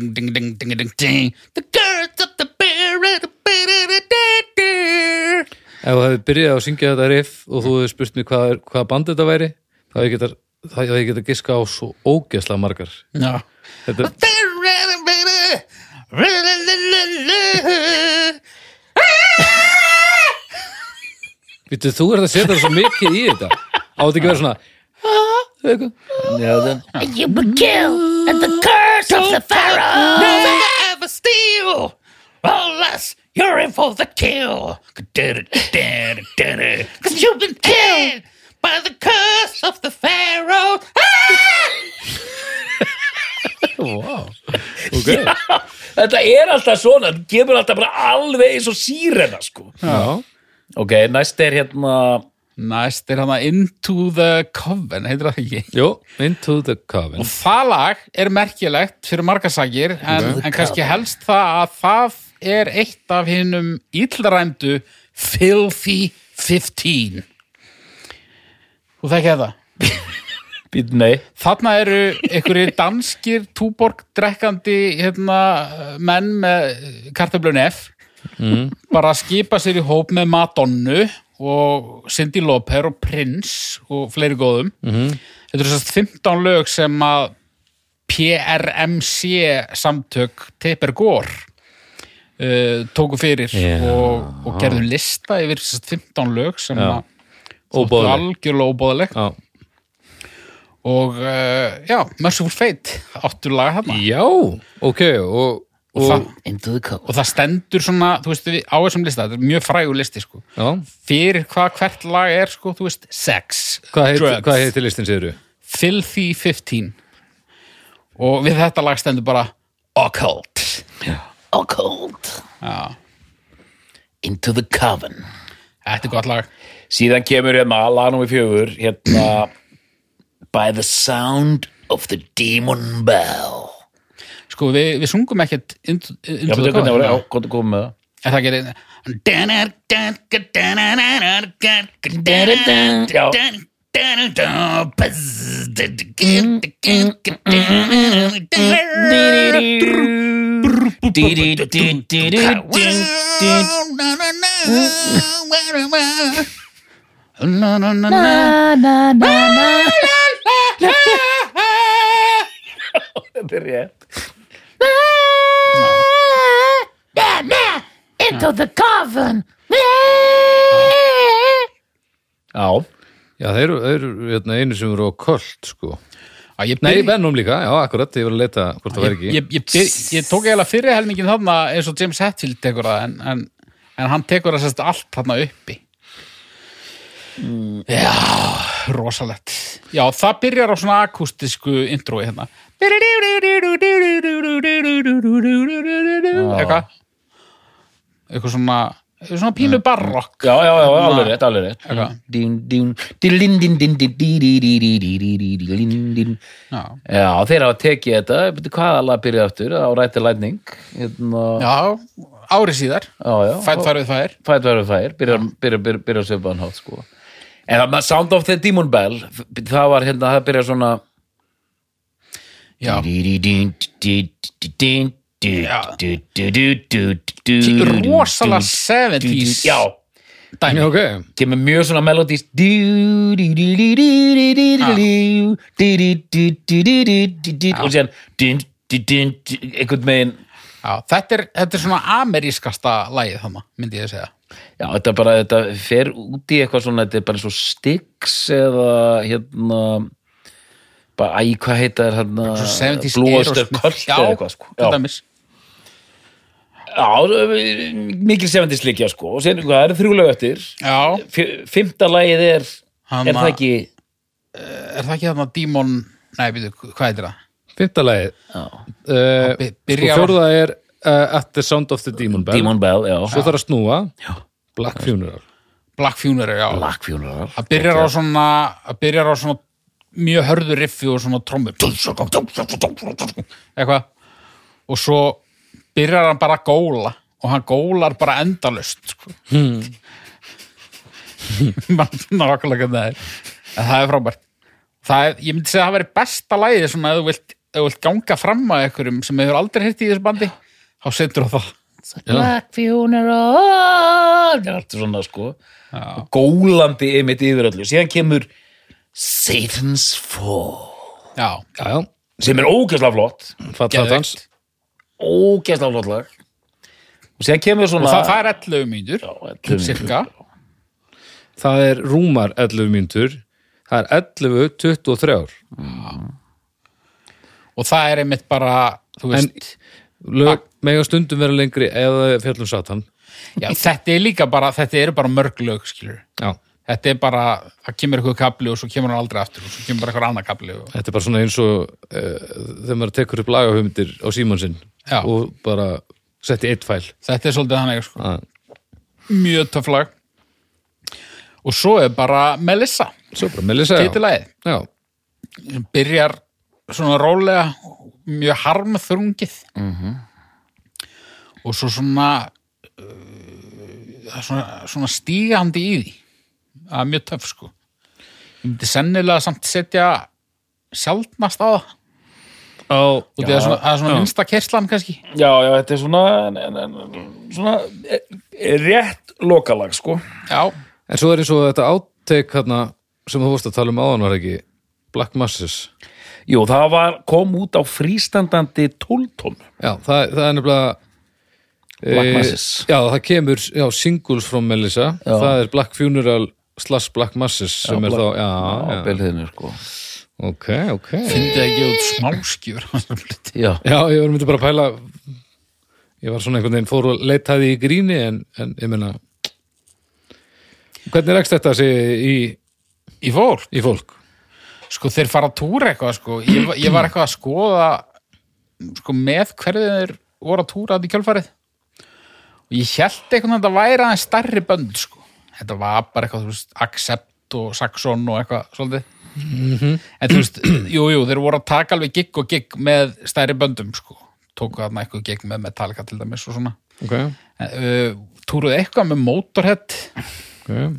Speaker 3: hérna The girls of the bear
Speaker 1: Ef þú hefði byrjað að syngja þetta riff og þú hefði spurt mér hvað, er- hvaða band þetta væri þá hefði ég getar, þá hefði ég getar giska á svo ógeðslega margar
Speaker 3: Já
Speaker 1: Þetta, Vítu, þú ert að setja svo mikið í þetta Átt ekki að vera svona
Speaker 2: Já, það
Speaker 5: You were killed at the curse of the Pharaoh.
Speaker 3: Never ever steal unless you're in for the kill. Cause you've been killed by the curse of the pharaoh.
Speaker 1: okay.
Speaker 2: Þetta er alltaf svona, þetta gefur alltaf bara alveg eins og sírena, sko.
Speaker 1: Já,
Speaker 2: Ok, næst er hérna,
Speaker 3: Næst er hana Into the Coven, heitir það ekki?
Speaker 1: jú, Into the Coven
Speaker 3: Og það lag er merkilegt fyrir margasakir en, en kannski helst það að það er eitt af hinnum illræmdu Filthy 15 Þú þekkið það?
Speaker 2: být, nei,
Speaker 3: Þarna eru einhverjir danskir túborg drekkandi hérna, menn með kartöflun F bara að skipa sér í hóp með Madonnu og Cindy Loper og Prince og fleiri góðum Þetta eru sérst 15 lög sem að PRMC samtök Teper Gór uh, tóku fyrir
Speaker 1: Já.
Speaker 3: og, og gerðu lista yfir sérst 15 lög sem að þóttu
Speaker 1: Óboðleg.
Speaker 3: algjörlega óbóðleg
Speaker 1: Já,
Speaker 3: og uh, já, Merciful Fate áttu laga þarna
Speaker 1: já ok og,
Speaker 3: og, það,
Speaker 1: og,
Speaker 2: into the cold.
Speaker 3: og það stendur svona, þú veist, við, á þessum lista þetta er mjög frægur listi, sko
Speaker 1: já,
Speaker 3: fyrir hvað hvert lag er, sko, þú veist sex,
Speaker 1: Hvað heit,
Speaker 3: drugs,
Speaker 1: hvað heitir listin séru?
Speaker 3: filthy 15 og við þetta lag stendur bara occult
Speaker 5: Occult.
Speaker 2: Into the coven.
Speaker 3: þetta er gott lag
Speaker 2: Síðan kemur hérna, lag númer fjögur, hérna, by the sound of the demon bell.
Speaker 3: sko, við, við sungum ekkert into, into
Speaker 2: Já,
Speaker 3: the
Speaker 2: betur hvernig
Speaker 3: Coven,
Speaker 2: voru, já,
Speaker 3: já.
Speaker 2: hvað er komið með það?
Speaker 3: en það gerir
Speaker 2: Já. Þetta er rétt.
Speaker 5: Into the coven.
Speaker 2: Já,
Speaker 1: Já, þeir eru, þeir eru hérna, einu sem eru á köld sko.
Speaker 3: Að ég
Speaker 1: Nei,
Speaker 3: byrja-
Speaker 1: Venom líka, já, akkurat, ég var að leita hvort það væri ekki
Speaker 3: ég, ég, ég, ég tók eiginlega fyrir helmingin þarna eins og James Hetfield tekur það en, en, en hann tekur það sérst allt þarna uppi Já, rosalegt Já, það byrjar á svona akústisku introi hérna Eitthvað Eitthvað svona svona pínu barrock
Speaker 2: já, já, já, alveg rétt, alveg rétt.
Speaker 3: Eitthvað.
Speaker 2: Dín, dín, dín, dín, dín, dín, dín, dín, dín, dín, dín, dín, dín, dín, dín, dín.
Speaker 3: Já,
Speaker 2: Já, þeir hafa tekið þetta, betur hvað alveg byrjaði aftur á rætti lætning hérna,
Speaker 3: já ári síðar
Speaker 2: já, já,
Speaker 3: Fætt farið fær
Speaker 2: fætt verður fær byrjar byrja, byrja, byrja að söpa hann hátt sko en það með Sound of the Demon Bell það var hérna, það byrjar svona
Speaker 3: Já. Rosalega
Speaker 2: rosalega
Speaker 3: 70s.
Speaker 2: já,
Speaker 1: Já,
Speaker 3: dæmi
Speaker 1: ok.
Speaker 2: kemur mjög svona melodís og síðan einhvern veginn
Speaker 3: Já, þetta, er, þetta er svona amerískasta lagið þannig, myndi ég að segja
Speaker 2: já, þetta bara, þetta fer út í eitthvað svona, þetta er bara eins og Styx eða hérna bara, æ, hvað heita þér hérna
Speaker 3: Svo 70s
Speaker 2: Blue Oyster
Speaker 3: Aerosmith.
Speaker 2: Cult
Speaker 3: Já,
Speaker 2: eða eitthvað sko
Speaker 3: til
Speaker 2: já,
Speaker 3: dæmis.
Speaker 2: já, mikil 70s líkja sko og síðan, hvað, það eru þrjúlega eftir
Speaker 3: Já,
Speaker 2: Fjö- fymta lagið er
Speaker 3: Hanna-
Speaker 2: er það ekki
Speaker 3: er það ekki þarna Demon Nei, býtu, hvað heitir það?
Speaker 1: Fymta lagið. Uh,
Speaker 3: By-
Speaker 1: sko,
Speaker 3: byrja á-
Speaker 1: fjórða er uh, At the Sound of the Demon Bell.
Speaker 2: Demon Bell, já,
Speaker 1: Svo þarf að snúa. Black Funeral.
Speaker 3: Black Funeral, já
Speaker 2: Black Funeral
Speaker 3: Það byrjar á svona, það byrjar á svona mjög hörðu riffi og svona trommu eitthvað og svo byrjar hann bara að góla og hann gólar bara endalust sko. mann svona okkurlega það er en það er frábært það er, ég myndi segja að það veri besta lagið svona ef þú vilt, ef þú vilt ganga fram að einhverjum sem hefur aldrei hirt í þessu bandi þá setur þú það
Speaker 2: Black Funeral það er allt svona sko og gólandi einmitt yfir öllu síðan kemur Satan's Fall
Speaker 3: já,
Speaker 1: Já, já.
Speaker 2: sem er ógæslega flott
Speaker 1: Fatla dans.
Speaker 2: ógæslega flott lag og síðan kemur
Speaker 3: og
Speaker 2: svona
Speaker 3: það, það er 11 mínútur
Speaker 2: Ætlum-
Speaker 3: cirka
Speaker 1: Það er rúmar 11 mínútur. Það er 11, 23 ár.
Speaker 3: og það er einmitt bara þú
Speaker 1: En
Speaker 3: veist,
Speaker 1: lög mega stundum vera lengri eða fjallum satan.
Speaker 3: já, þetta er líka bara þetta eru bara mörg lög skilur
Speaker 1: Já.
Speaker 3: þetta er bara, það kemur eitthvað kapli og svo kemur hann aldrei aftur og svo kemur bara eitthvað annað kapli og...
Speaker 1: Þetta er bara svona eins og uh, þegar maður tekur upp lagahöfundir á símann sinn
Speaker 3: Já.
Speaker 1: og bara setti eitt fæl.
Speaker 3: þetta er svolítið þannig sko.
Speaker 1: Já.
Speaker 3: mjög töflag og svo er bara Melissa
Speaker 1: Svo bara Melissa. já.
Speaker 3: titilagið,
Speaker 1: Já.
Speaker 3: sem byrjar svona rólega mjög harmþrungið mm -hmm. og svo svona, uh, svona svona stígandi í því það er mjög töf sko ég myndi sennilega samt setja sjaldnast á það
Speaker 1: Á,
Speaker 3: og það er svona, það er svona minnsta kerslan kannski
Speaker 2: já, já, þetta er svona en- en- en- svona eh, eh, rétt lokalag sko
Speaker 3: já,
Speaker 1: En svo er eins og þetta áttek hérna sem þú vorst að tala um áðan var ekki Black Masses.
Speaker 2: jú, það var, kom út á frístandandi 12 tónn
Speaker 1: Já, það, það er nefnilega
Speaker 2: Black
Speaker 1: eh,
Speaker 2: Masses.
Speaker 1: Já, það kemur já, singles frá Melissa. Það er Black Funeral slash Black Masses sem er þá, já,
Speaker 2: á belðinu sko
Speaker 1: já. ok, ok.
Speaker 3: myndi að gefa út smáskjur
Speaker 2: já,
Speaker 1: Já, ég var myndi bara að pæla ég var svona einhvern veginn fór og leitaði í gríni en, en ég meina hvernig rekst þetta sig í,
Speaker 3: í fólk,
Speaker 1: í fólk?
Speaker 3: sko þeir fara að túra eitthvað sko, ég, var- ég var eitthvað að skoða sko með hverju þeir voru að túra þetta í kjálfarið og ég held einhvern veginn að þetta væri aðeins starri bönd sko, þetta var bara eitthvað þú veist, Accept og Saxon og eitthvað svolítið en þú veist, jú, jú, þeir voru að taka alveg gig og gig með stærri böndum sko, tóku þarna eitthvað gig með Metallica til dæmis og svona,
Speaker 1: Ok,
Speaker 3: uh, túruðu eitthvað með Motorhead
Speaker 1: ok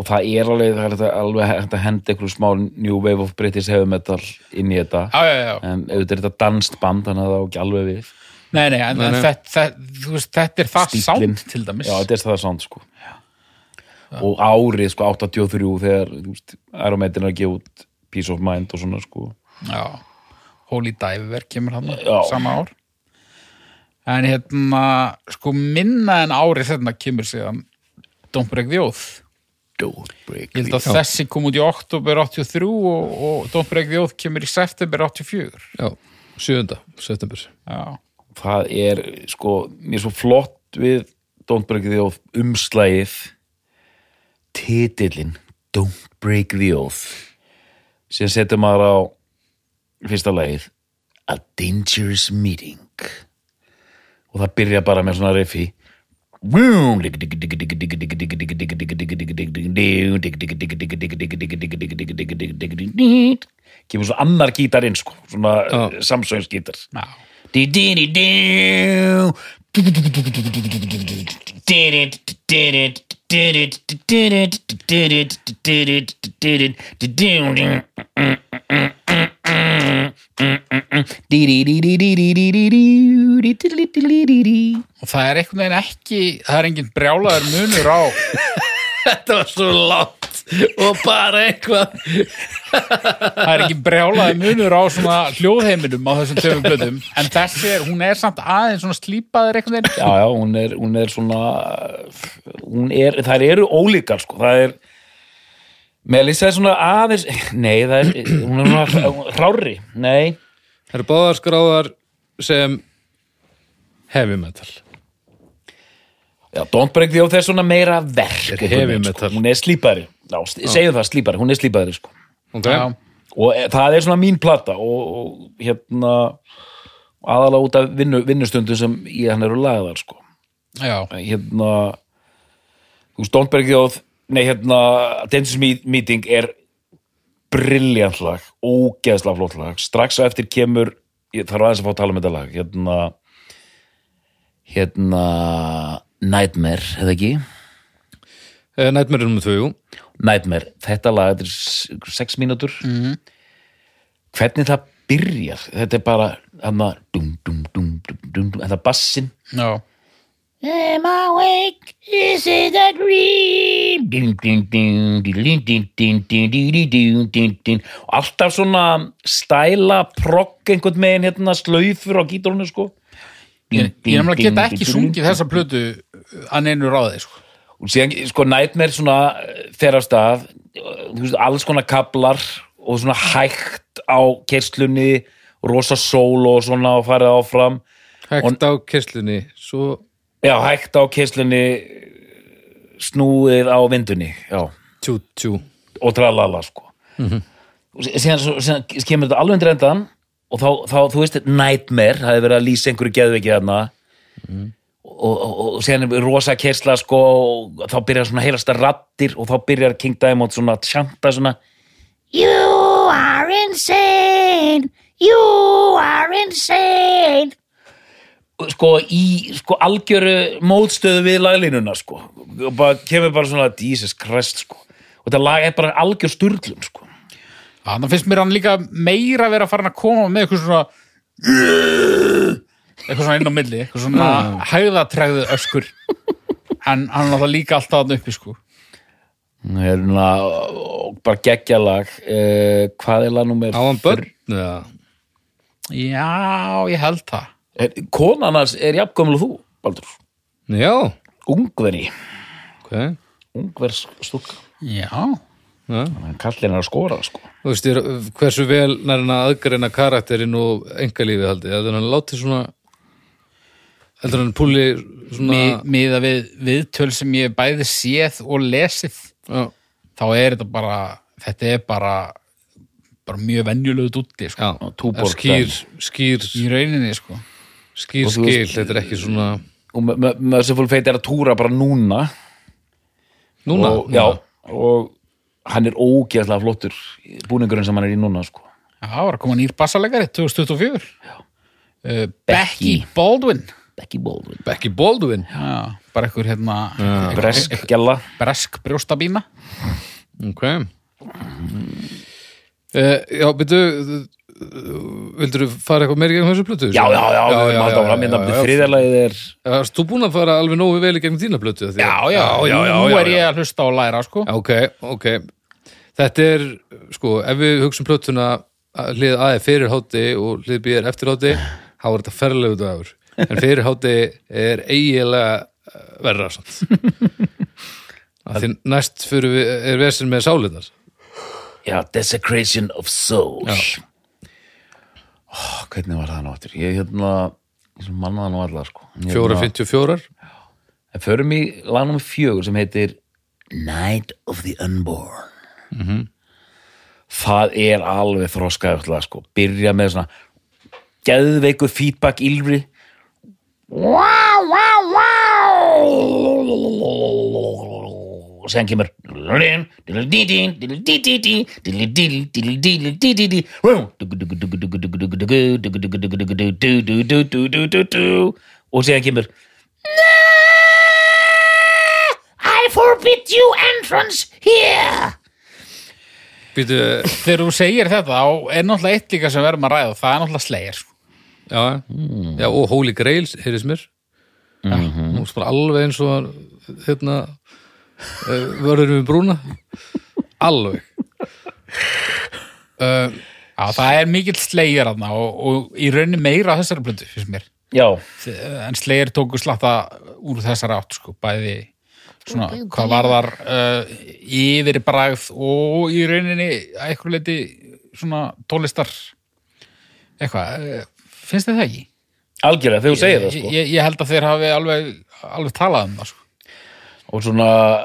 Speaker 2: og það er alveg, það er þetta alveg hægt að henda einhverju smá New Wave of British Heavy Metal inn í þetta
Speaker 3: já, já, já, já.
Speaker 2: en auðvitað er þetta danst band þannig að það á ekki alveg við
Speaker 3: Nei, nei, en, en
Speaker 1: nei.
Speaker 3: þetta, þetta, þú veist, þetta er það
Speaker 2: Stíllinn.
Speaker 3: sound til dæmis
Speaker 2: já, þetta er það sound sko og árið sko 83 þegar þú veist, Iron Maiden er að gefa út Peace of Mind og svona sko
Speaker 3: Já. Holy Diver kemur hann
Speaker 2: Já.
Speaker 3: sama ár en hérna sko minna en ári þetta kemur síðan Don't Break the Oath
Speaker 2: Break.
Speaker 3: ég held að þessi kom út í oktober 83 og, og Don't Break the Oath kemur í september 84
Speaker 1: Já, 7. september
Speaker 3: Já,
Speaker 2: það er sko mér er svo flott við Don't Break the Oath umslægið titillin Don't Break the Oath sem setur maður á fyrsta lagið A Dangerous Meeting og það byrja bara með svona riffi kemur svo annar gítar inn sko, svona
Speaker 1: Já.
Speaker 2: samsöngsgítar
Speaker 3: já,
Speaker 2: Di-di-di-do. Di-di-di-di-do. Di-di-di-di-do. Di-di-di-di-do. Di-di-di-di-do. Di-di-di-di-do. Þetta
Speaker 3: og það er einhvern veginn ekki það er enginn brjálaður munur á
Speaker 1: Þetta var svo látt og bara eitthvað
Speaker 3: það er enginn brjálaður munur á svona hljóðheiminum á þessum tveimur blöðum en þessi er, hún er samt aðeins svona slípaður einhvern veginn
Speaker 2: Já, já, hún er, hún er svona hún er, þær eru ólíkar sko, það er Melissa er svona aðeins nei, það er, hún er svona hrári, nei
Speaker 1: Það eru báðar skráðar sem heavy metal
Speaker 2: Já, Don't Break the Oath er svona meira verk
Speaker 1: Er heavy
Speaker 2: einhvern veginn,
Speaker 1: metal.
Speaker 2: sko. hún er slípari, já, s- segjum það slípari hún er slípari, sko
Speaker 1: okay?
Speaker 3: Já.
Speaker 2: og e, það er svona mín plata og, og hérna aðalega út af vinnu, vinnustundu sem í hann eru lagðar, sko
Speaker 3: Já,
Speaker 2: hérna þú veist, Don't Break the Oath nei, hérna, Dance Me- Meeting er brilljant lag ógeðslega flott lag, strax á eftir kemur ég þarf aðeins að fá að tala um þetta lag hérna hérna Nightmare, hefði ekki?
Speaker 1: Eh, Nightmare nr. 2 jú.
Speaker 2: Nightmare, þetta lag þetta er s- sex mínútur -hmm. hvernig það byrjar þetta er bara hann að dum, dum, dum, dum, dum, dum, þetta er bassin
Speaker 3: já,
Speaker 5: Am I awake? Is it a dream?
Speaker 2: og alltaf svona stæla progg einhvern megin hérna slöyfur á gítarunni sko
Speaker 3: ég, ég er nefnilega geta ekki sungið þessa plötu að neinu ráði sko.
Speaker 2: og síðan sko Nightmare svona eh, fer af stað eh, þú veist, alls konar kablar og svona hægt á kerslunni rosa sól og svona og farið áfram
Speaker 1: Hægt á kistlunni Svo
Speaker 2: já, hægt á kerslunni eh, snúið á vindunni já,
Speaker 1: tjú tjú
Speaker 2: og tralala sko og sí- síðan, svo- síðan kemur þetta alveg undir endan og þá, þá þú veist, Nightmare það hefur verið að lýsa einhverju geðveikið þarna Mhm. og, og, og, og síðan er rosa kersla sko og þá byrjar svona heilasta rattir og þá byrjar King Diamond svona að tjanta svona
Speaker 5: You are insane. You are insane.
Speaker 2: sko í sko algjöru mótstöðu við laglínuna sko og bara kemur bara svona Jesus Christ sko og þetta lag er bara algjör sturglum sko
Speaker 3: Þannig finnst mér hann líka meira vera farin að koma með eitthvað svona eitthvað svona inn á milli eitthvað svona hæðatræðu öskur en hann er náttúrulega líka alltaf þannig uppi sko
Speaker 2: hérna og bara geggja lag uh, hvað er lag nummer
Speaker 1: Á hann börn eða?
Speaker 3: Já, ég held það
Speaker 2: Er, konan hans er jafnkvæmul og þú, Baldur.
Speaker 1: Já,
Speaker 2: Ungveri.
Speaker 1: ok
Speaker 2: Ungvers stúka.
Speaker 3: Já,
Speaker 1: Já.
Speaker 2: Þannig að kallin er að skora það, sko.
Speaker 1: Þú veist, ég er- hversu vel nærna aðgreina karakterinn og engalífið haldið, heldur hann láti svona heldur hann púli svona
Speaker 3: Mi, miða við viðtöl sem ég hef bæði séð og lesið
Speaker 1: já,
Speaker 3: þá er þetta bara þetta er bara, bara mjög venjulegu dútti sko.
Speaker 1: já, en
Speaker 2: Túborg
Speaker 1: skýr, skýr
Speaker 3: í rauninni sko.
Speaker 1: skýr
Speaker 2: Og þú veist-
Speaker 1: skil, þetta er ekki svona
Speaker 2: Og Merciful Fate er að túra bara núna.
Speaker 1: núna,
Speaker 2: Og, já, og hann er ógeðslega flottur búningurinn sem hann er í núna, sko.
Speaker 3: Já, það var að koma nýr bassalegari 2024 uh, Becky
Speaker 2: Becky.
Speaker 3: Baldwin
Speaker 2: Becky Baldwin.
Speaker 1: Becky Baldwin
Speaker 3: Já, bara einhver hérna einhver-
Speaker 2: Bresk gæla.
Speaker 3: bresk brjóstabína
Speaker 1: ok uh, já, byrju vildur þú fara eitthvað meir í gegn þessu plötu?
Speaker 2: Já, já, já, við erum alltaf fram innan þriðalagið er...
Speaker 1: Erst þú búin að fara alveg nógu vel í gegn þína plötu? af því að- já, já,
Speaker 3: nú
Speaker 1: já,
Speaker 3: er
Speaker 1: já.
Speaker 3: ég að hlusta og læra sko.
Speaker 1: Já, Ok, ok Þetta er, sko, ef við hugsaum plötuna að hlið A er fyrir hátti og hlið B er eftir hátti þá er þetta ferlegu dagur en fyrir hátti er eiginlega eh, verra samt að því næst fyrir við er vesinn með sálinar
Speaker 2: Já, Desecration of Souls oh, Hvernig var það náttur? Ég hérna ég manna það nú allar sko En hérna-
Speaker 1: 454
Speaker 2: En förum í lagnum fjögur sem heitir Night of the Unborn Það er alveg þroskaðið lag sko Byrja með svona geðveiku feedback ylfri
Speaker 5: Wow, wow, wow.
Speaker 2: og sen kemur og sen kemur
Speaker 5: I forbid you entrance here.
Speaker 1: Býtu,
Speaker 3: þegar þú segir þetta á er náttúrulega eitt líka sem við erum að ræða það er náttúrulega slegir sko.
Speaker 1: já,
Speaker 2: Hmm.
Speaker 1: já, og Holy Grail, heyrðis mér
Speaker 2: Mhm.
Speaker 1: mm -hmm. bara alveg eins og hérna eh, vörður við brúna alveg uh,
Speaker 3: Já, það er mikill slegir aðna og, og í rauninni meira á þessari blöndu, finnst mér.
Speaker 2: já,
Speaker 3: eh, En slegir tóku slatta úr þessari átt, sko, bæði svona, hvað varðar uh, yfirbragð og í rauninni að einhverju leiti svona tólistar eitthvað, uh, finnst þið það ekki?
Speaker 2: algjörlega þegar þú segir það sko.
Speaker 3: Ég, ég held að þeir hafi alveg, alveg talað um það, sko.
Speaker 2: og svona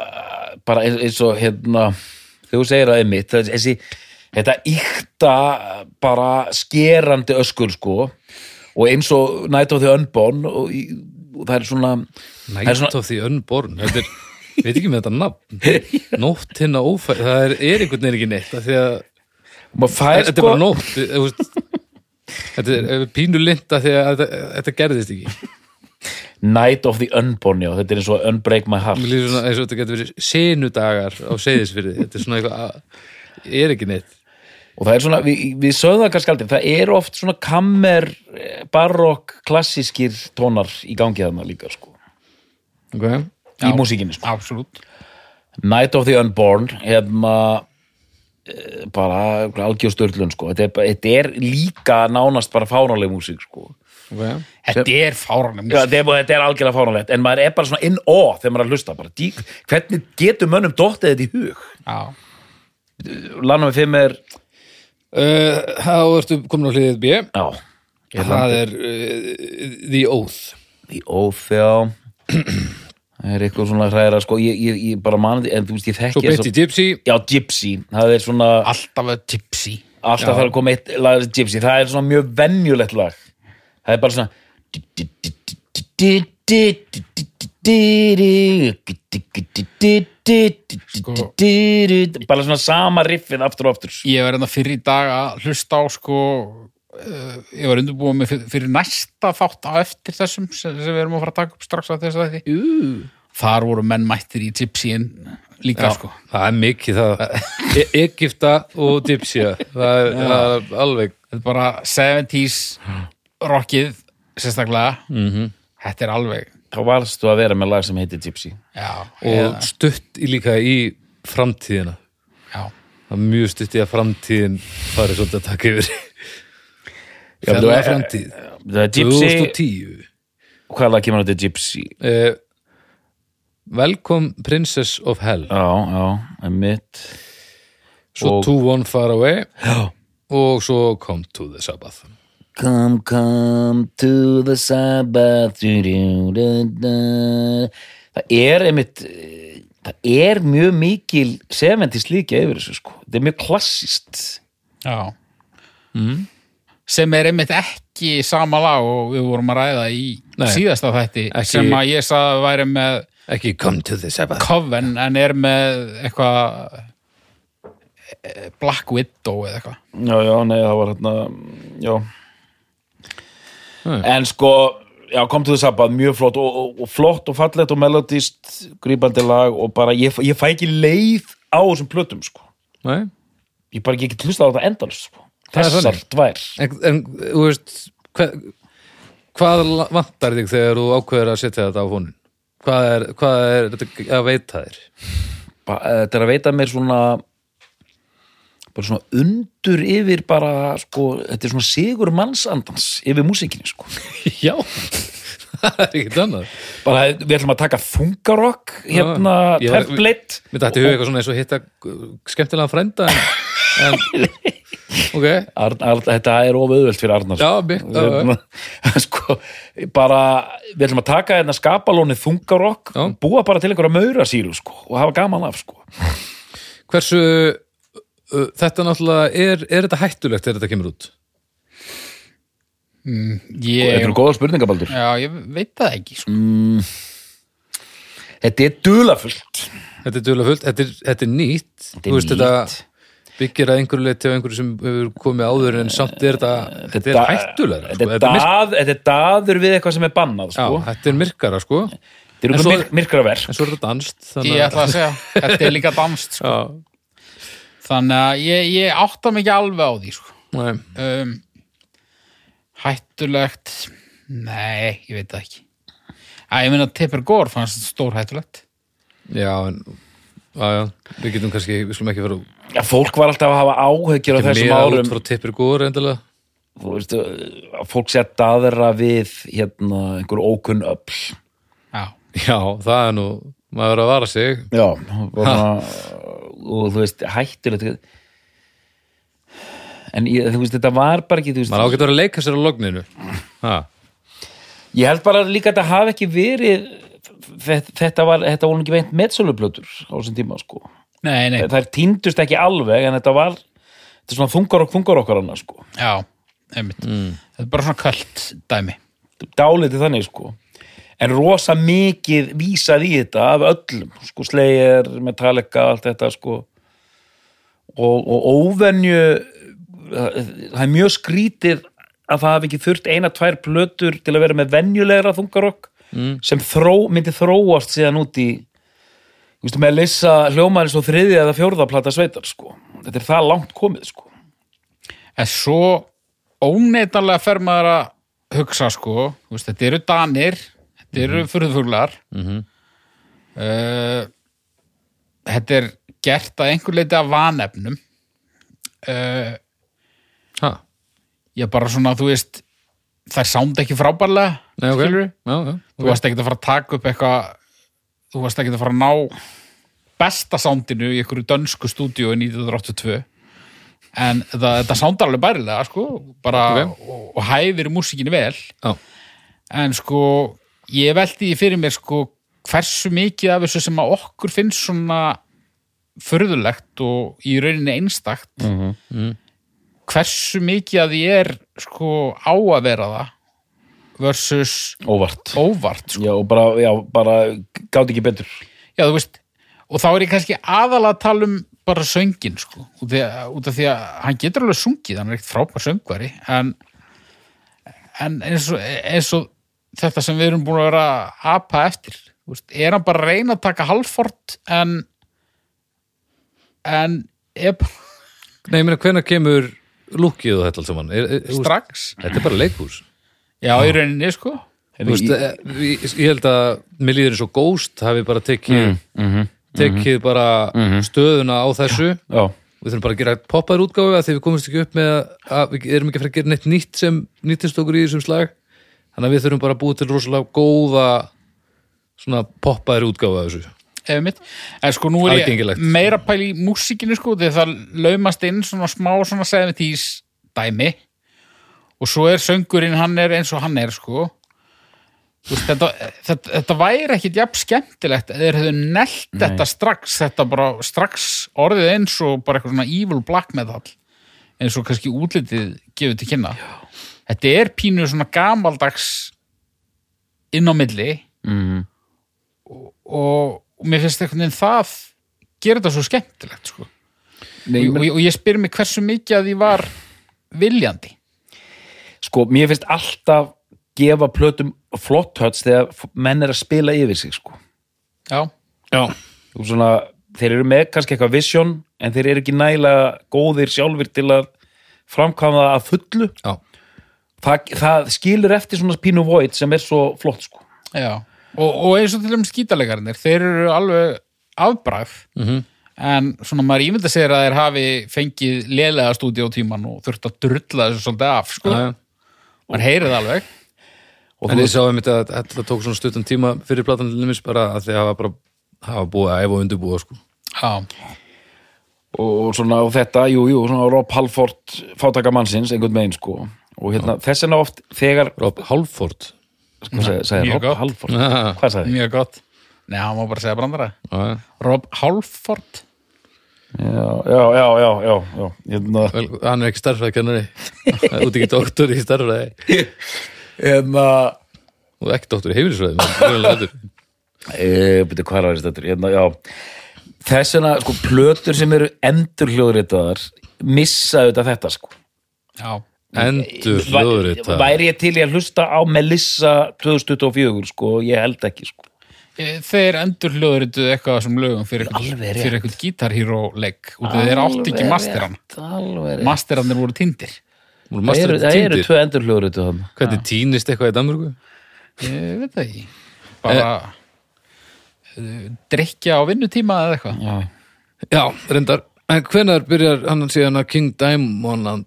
Speaker 2: bara eins, eins og hérna þegar þú segir það einmitt það- þessi, þetta ykta bara skerandi öskur sko og eins og Night of the Unborn og, í- og það er svona það er
Speaker 1: Night
Speaker 2: svona
Speaker 1: of the Unborn þetta er, við veit ekki með þetta nafn nótt hérna ófæð, það er, er einhvern veginn ekki neitt af því að
Speaker 2: maður fær
Speaker 1: þetta er
Speaker 2: sko
Speaker 1: bara nótt þú- þú veist, þetta er eh, pínu linda því að þetta, þetta gerðist ekki
Speaker 2: Night of the Unborn já, þetta er eins og Unbreak My Heart
Speaker 1: mér líður svona eins og þetta getur verið senudagar á seyðisfyrði, þetta er svona eitthvað að- er ekki neitt
Speaker 2: og það er svona, við, við sögum það kannski aldrei það eru oft svona kammer eh, barokk, klassískir tónar í gangi þarna líka sko
Speaker 1: okay.
Speaker 2: í músíkinni sko
Speaker 3: Absolutt.
Speaker 2: Night of the Unborn hérna eh, bara algjörstörlun sko þetta er, bara- þetta er líka nánast bara fánaleg músík sko
Speaker 1: Okay.
Speaker 3: Þetta er fáranum.
Speaker 2: Já, þetta, er, bara- þetta er algjörlega fánalegt en maður er bara svona in awe þegar maður er að hlusta bara, dí, hvernig getur mönnum dottið þetta í hug
Speaker 3: Já.
Speaker 2: landa með fimm er
Speaker 1: Uh, þá ertu komin á hliðið B
Speaker 2: já,
Speaker 1: það er uh, The Oath
Speaker 2: í óþjá það er eitthvað svona hræðra sko ég, ég, ég bara mani en þú veist ég
Speaker 1: Svo
Speaker 2: þekki
Speaker 1: Betty
Speaker 2: þessa-
Speaker 1: Gypsy
Speaker 2: já, Gypsy, það er svona
Speaker 3: Alltaf að tipsi.
Speaker 2: alltaf þarf að koma eitt lag þessi Gypsy, það er svona mjög venjulegt lag það er bara svona bara svona sama riffið aftur og aftur
Speaker 3: ég var enda fyrir í dag að hlusta á sko uh, ég var undirbúið með fyrir, fyrir næsta þátt á eftir þessum sem, sem við erum að fara að taka upp strax á þess að því þar voru menn mættir í gypsyin líka sko
Speaker 1: Það er mikið það e Egipta og Gypsy það er, það er alveg
Speaker 3: þetta er bara 70s rockið sérstaklega
Speaker 1: Mhm.
Speaker 3: -hmm. þetta er alveg
Speaker 2: þá varstu að vera með lag sem heitir Gypsy
Speaker 3: já,
Speaker 1: og
Speaker 3: eða,
Speaker 1: stutt í líka í framtíðina
Speaker 3: já.
Speaker 1: það er mjög stutt í að framtíðin farið svolítið að taka yfir
Speaker 2: þú
Speaker 1: Fjarlæga
Speaker 2: er-
Speaker 1: framtíð
Speaker 2: það er eh, Gypsy,
Speaker 1: 2010
Speaker 2: hvað lag kemur þetta Gypsy
Speaker 1: uh, Welcome Princess of Hell
Speaker 2: já, já, emitt
Speaker 1: svo
Speaker 2: og-
Speaker 1: To One Far Away og svo Come to the Sabbath
Speaker 2: Come, come to the Sabbath du, du, du, du. Það er einmitt eh, það er mjög mikil 70s líka yfir þessu sko það er mjög klassist
Speaker 3: já. Mm. sem er einmitt ekki sama lag og við vorum að ræða í
Speaker 1: Nei.
Speaker 3: síðasta þætti
Speaker 1: Ekki-
Speaker 3: sem að ég sagði að væri með
Speaker 1: ekki Come to the Sabbath
Speaker 3: Coven en er með eitthvað eh, Black Widow eða eitthvað
Speaker 2: Já, já, nei, það var hérna já En sko, já, kom til the Sabbath mjög flott og, og, og flott og fallegt og melodist grípandi lag og bara ég, ég fæ ekki leið á þessum plötum sko
Speaker 1: Nei?
Speaker 2: ég bara ekki get hlusta á þetta endalus sko
Speaker 1: er
Speaker 2: þessar
Speaker 1: þannig.
Speaker 2: tvær
Speaker 1: en, en þú veist hva, hvað la- vantar þig þegar þú ákveður að setja þetta á honum hvað er, hvað er þetta að veita þér
Speaker 2: Ba- eh, þetta er að veita mér svona bara svona undur yfir bara sko, þetta er svona sigur mannsandans yfir músikinni sko
Speaker 1: já það er ekkert annað
Speaker 2: bara við ætlum að taka þungarokk hérna,
Speaker 1: Ah, ég var-
Speaker 2: template
Speaker 1: mér dætti huga eitthvað svona eins og hitta uh, skemmtilega frænda en, en ok,
Speaker 2: Arn, Arn, þetta er of auðvelt fyrir Arnar
Speaker 1: já,
Speaker 2: sko.
Speaker 1: mjög
Speaker 2: Hérna, sko, bara við ætlum að taka hérna skapalónið þungarokk
Speaker 1: Já.
Speaker 2: og búa bara til einhverja maura síru sko, og hafa gaman af sko.
Speaker 1: hversu uh, þetta náttúrulega, er, er þetta hættulegt þegar þetta kemur út?
Speaker 2: þetta
Speaker 3: ég,
Speaker 2: eru góða spurningabaldur
Speaker 3: já, ég veit það ekki sko.
Speaker 2: þetta er dulafullt
Speaker 1: Þetta er duðlega fullt, þetta er, þetta er nýtt
Speaker 2: er
Speaker 1: Þú veist,
Speaker 2: nýtt.
Speaker 1: þetta byggir að einhverju leiti af einhverju sem hefur komið áður en samt er þetta, þetta er hættulega sko.
Speaker 2: þetta, er dað, þetta er daður við eitthvað sem er bannað
Speaker 1: já,
Speaker 2: sko.
Speaker 1: þetta er myrkara sko en
Speaker 2: þetta eru
Speaker 1: En svo-
Speaker 2: svo... myrkraver
Speaker 1: svo er þetta danst
Speaker 3: ég ætla að segja, þetta er líka danst sko.
Speaker 1: já,
Speaker 3: þannig að ég, ég átta mig ekki alveg á því sko.
Speaker 1: Nei.
Speaker 3: um, hættulegt nei, ég veit það ekki að ég meina Tipper Gore fannst þetta stór hættulegt
Speaker 1: Já, en já, já, við getum kannski, við skulum ekki vera
Speaker 2: Já, fólk var alltaf að hafa áhyggjur af þessum
Speaker 1: meira
Speaker 2: árum
Speaker 1: út frá tippir góður endilega
Speaker 2: þú veist, uh, að fólk sé að daðra við hérna, einhver ókunn öll
Speaker 3: já,
Speaker 1: Já, það er nú, maður verður að vara sig
Speaker 2: já svona, og þú veist, hættulegt en ég, þú veist, þetta var bara ekki þú veist,
Speaker 1: maður ágætt að vera að leika sér á logninu ha.
Speaker 2: ég held bara líka að þetta hafi ekki verið þe- þetta var, þetta voru ekki veint metsölublötur á þessum tíma, sko
Speaker 3: nei, nei,
Speaker 2: þær týndust ekki alveg, en þetta var þetta er svona þungar og þungar okkar annars, sko
Speaker 3: já einmitt, þetta er bara svona kvöld dæmi
Speaker 2: dálítið þannig sko en rosa mikið vísað í þetta af öllum, sko Slayer Metallica, allt þetta sko og, og óvenju það það er mjög skrítir að það hafi ekki þurft eina, tvær plötur til að vera með venjulegra þungarokk mm. sem þró, myndi þróast síðan út í þú veist, með að lissa hljómaðin svo þriðja eða fjórða plata sveitar sko, þetta er það langt komið sko
Speaker 3: en svo óneitanlega fer maður að hugsa sko, þú veist, þetta eru danir þetta eru
Speaker 1: Mhm.
Speaker 3: mm. furðufuglar uh, þetta er gert að einhver leiti af vanefnum uh,
Speaker 1: Ha.
Speaker 3: ég bara svona, þú veist þær sánd ekki frábærlega
Speaker 1: Nei, ok
Speaker 3: skilurðu?
Speaker 1: já, já,
Speaker 3: þú varst ekkert að fara að taka upp eitthvað þú varst ekkert að fara að ná besta sándinu í einhverju dönsku stúdíu í 1982 en þetta, þetta sándar alveg bærilega sko, bara og, og hæfir músikinu vel
Speaker 1: Já.
Speaker 3: en sko ég velti því fyrir mér sko hversu mikið af þessu sem að okkur finnst svona förðulegt og í rauninni einstakt hversu mikið að því er sko á að vera það versus
Speaker 2: óvart,
Speaker 3: óvart sko.
Speaker 2: já og bara, já, bara gátt ekki betur
Speaker 3: Já, þú veist, og þá er ég kannski aðalega að tala um bara söngin, sko, út, því, út af því að hann getur alveg sungið, hann er eitt frábær söngvari, en, en eins, og, eins og þetta sem við erum búin að vera að apa eftir, þú veist, er hann bara að reyna að taka halvfort, en, en, ep,
Speaker 1: Nei, ég meina, hvenær kemur lúkið og þetta allt saman? Er, er, þú veist,
Speaker 3: strax,
Speaker 1: Þetta er bara leikhús
Speaker 3: já, í rauninni, sko,
Speaker 1: Þú veist, eh, ég, ég held að mér líður eins og Ghost hafi bara tekið mhm, tekið bara stöðuna á þessu
Speaker 2: já
Speaker 1: við þurfum bara að gera poppaður útgáfu að því við komumst ekki upp með að, að við erum ekki að fara að gera neitt nýtt sem nýttist okkur í þessum slag þannig að við þurfum bara að búið til rosalega góða svona poppaður útgáfu af þessu
Speaker 3: eða mitt, en sko nú er ég
Speaker 1: Aðgengilegt.
Speaker 3: meira að pæla í músíkinu sko þegar það laumast inn svona smá svona 70s dæmi og svo er söngurinn hann er eins og hann er sko Þú veist, þetta, þetta, þetta væri ekkit jafn skemmtilegt eða þeir hefðu nelt þetta strax þetta bara strax orðið eins og bara eitthvað svona evil black metal eins og kannski útlitið gefur til kynna Já. þetta er pínu svona gamaldags inn á milli og, og mér finnst einhvern veginn það gera þetta svo skemmtilegt sko.
Speaker 2: Nei,
Speaker 3: og, og, og ég spyr mig hversu mikið að því var viljandi
Speaker 2: sko, mér finnst alltaf gefa plötum flott höts þegar f- menn er að spila yfir sig sko.
Speaker 3: já,
Speaker 1: Já,
Speaker 2: Þú svona, þeir eru með kannski eitthvað vision en þeir eru ekki nægilega góðir sjálfur til að framkvæma það að fullu
Speaker 1: já,
Speaker 2: það, það skilur eftir svona pínu void sem er svo flott sko.
Speaker 3: já. Og, og eins og til um skítalegarnir þeir eru alveg afbræð -hmm. en svona maður ímynda sér að þeir hafi fengið lélega stúdíótíman og þurft að drulla þessu svolítið af sko.
Speaker 1: já, já.
Speaker 3: maður heyrið alveg
Speaker 2: og
Speaker 1: En
Speaker 2: þú
Speaker 1: ég sá einmitt að þetta tók svona stuttan tíma fyrir platan limis bara að því að hafa bara hafa búið að æfa og undirbúa sko.
Speaker 3: já,
Speaker 2: og, svona, og þetta, jú, jú, svona Rob Halford fátaka mannsins, einhvern veginn sko. og hérna, þess vegna oft þegar
Speaker 1: Rob Halford
Speaker 2: sko, sagði, sagði
Speaker 3: mjög
Speaker 2: Rob
Speaker 3: gott.
Speaker 2: Halford,
Speaker 1: Já,
Speaker 2: hvað sagði?
Speaker 3: mjög gott Nei, hann má bara segja brandara
Speaker 1: já.
Speaker 3: Rob Halford
Speaker 2: Já, já, já, já, já, já. Hérna,
Speaker 1: Vel, hann er ekki starfræðkennari út ekki doktor í starfræði
Speaker 2: hérna
Speaker 1: og ekki doktor í heimilisfræði
Speaker 2: e, beti, hvað var þetta? Hérna, já þess vegna, sko, plötur sem eru endur hljóðritaðar missa auðvitað þetta, sko
Speaker 3: já,
Speaker 1: endur hljóðrita
Speaker 2: væri ég til í að hlusta á Melissa 2024, sko, ég held ekki, sko
Speaker 3: Eh, Þeir endur hljóðurituð eitthvað sem lögum fyrir,
Speaker 2: Alveg rétt.
Speaker 3: fyrir eitthvað gítarhíró-leik út af því þeir átti ekki masteran
Speaker 2: Alveg rétt.
Speaker 3: masteranir voru tindir
Speaker 1: Voru
Speaker 2: Það
Speaker 1: master
Speaker 2: eru- Það eru
Speaker 1: týndir?
Speaker 2: tvö endur hljóðrötu hann
Speaker 1: Hvernig týnist eitthvað í Danmörku?
Speaker 3: ég veit það ekki bara eh, drikkja á vinnutíma eða eitthvað
Speaker 2: Já,
Speaker 1: Já, reyndar. En hvenar byrjar hann síðan að King Diamond uh,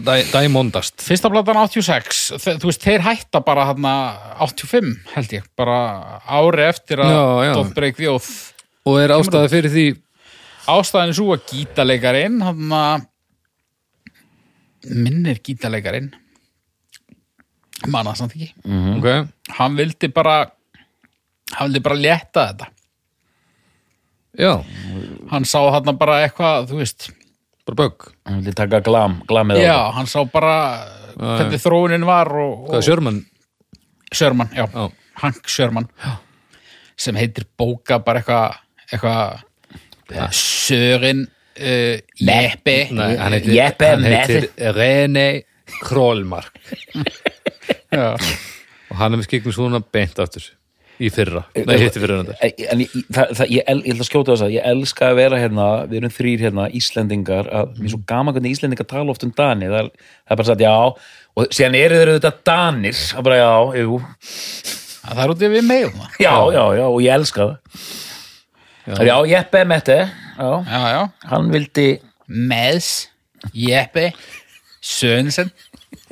Speaker 1: Diamondast?
Speaker 3: Fyrsta platan 86, þe- þú veist, þeir hætta bara hann 85, held ég, bara ári eftir að
Speaker 1: Já, já.
Speaker 3: Don't Break the Oath.
Speaker 1: Og er ástæða fyrir því
Speaker 3: Ástæðan er svo að gítaleikarin, hann að minnir gítaleikarin, manna samt ekki,
Speaker 2: Mhm.
Speaker 1: Ok,
Speaker 3: hann vildi bara, hann vildi bara létta þetta.
Speaker 1: já,
Speaker 3: Hann sá hann bara eitthvað, þú veist,
Speaker 1: bara bögg
Speaker 2: hann vildi taka glam, glamið á
Speaker 3: já, hann sá bara hvernig þróunin var
Speaker 1: Hvað
Speaker 3: og, og
Speaker 1: er Sjörmann?
Speaker 3: Sherman, já,
Speaker 1: Já.
Speaker 3: Hank Sherman sem heitir bóka bara eitthvað eitthvað Sörin uh, Jeppe
Speaker 1: Nei, hann heitir,
Speaker 2: Jeppe
Speaker 1: hann heitir René Królmark
Speaker 3: Já.
Speaker 1: og hann er með skikkum svona beint aftur í fyrra, nei, hittir fyrra reyndar.
Speaker 2: En en ég, það, það, ég, el, ég ætla að skjóta þess að ég elska að vera hérna, við erum þrýr hérna Íslendingar, að mér er svo gaman hvernig Íslendingar tala oft um Dani, það, er- það er bara satt já, og síðan eru þeir auðvitað Danir það er bara já, jú,
Speaker 3: Að það er út í við meðum það
Speaker 2: já, já, já og ég elska það já, já Jeppe Mette já,
Speaker 3: Já, já,
Speaker 2: hann vildi
Speaker 3: Meds Jeppe Sönsen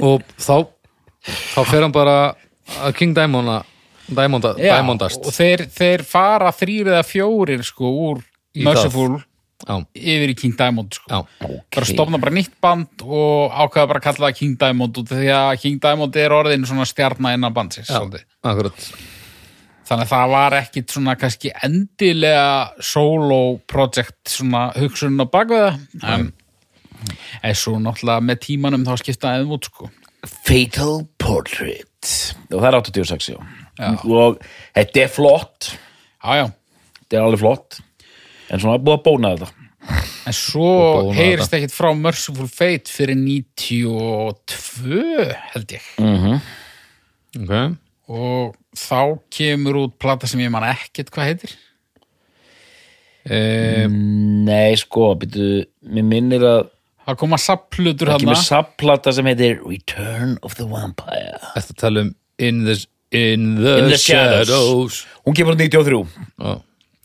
Speaker 1: og þá þá fer hann bara að King Diamonda Diamonda,
Speaker 3: Já,
Speaker 1: Diamondast
Speaker 3: og þeir, þeir fara þrýr eða fjórir sko úr
Speaker 1: Í
Speaker 3: Merciful
Speaker 1: já,
Speaker 3: yfir í King Diamond sko.
Speaker 1: já,
Speaker 3: bara stofna bara nýtt band og ákveða bara að kalla það King Diamond út af því að King Diamond er orðin svona stjarna innan bandsins
Speaker 1: já,
Speaker 3: svolítið.
Speaker 1: akkurat
Speaker 3: þannig að það var ekkit svona kannski endilega solo project svona hugsun á bakveða en, en svo náttúrulega með tímanum þá skiptaði þeim út sko
Speaker 2: Fatal Portrait og það er 86, já, og þetta er flott,
Speaker 3: já já,
Speaker 2: þetta er alveg flott en svona búið að bóna þetta
Speaker 3: en svo
Speaker 1: Og bónaði
Speaker 3: heyrist ekkit frá Merciful Fate fyrir 92 held ég
Speaker 1: Mm. ok,
Speaker 3: og þá kemur út plata sem ég man ekkit hvað heitir
Speaker 2: Nei, sko, byrju, mér minnir að
Speaker 3: það koma sapplutur
Speaker 2: það
Speaker 3: hann
Speaker 2: kemur sabplata sem heitir Return of the Vampire
Speaker 1: eftir að tala um In the, in the,
Speaker 2: In the Shadows.
Speaker 1: shadows.
Speaker 2: Hún kemur út 93,
Speaker 1: Já.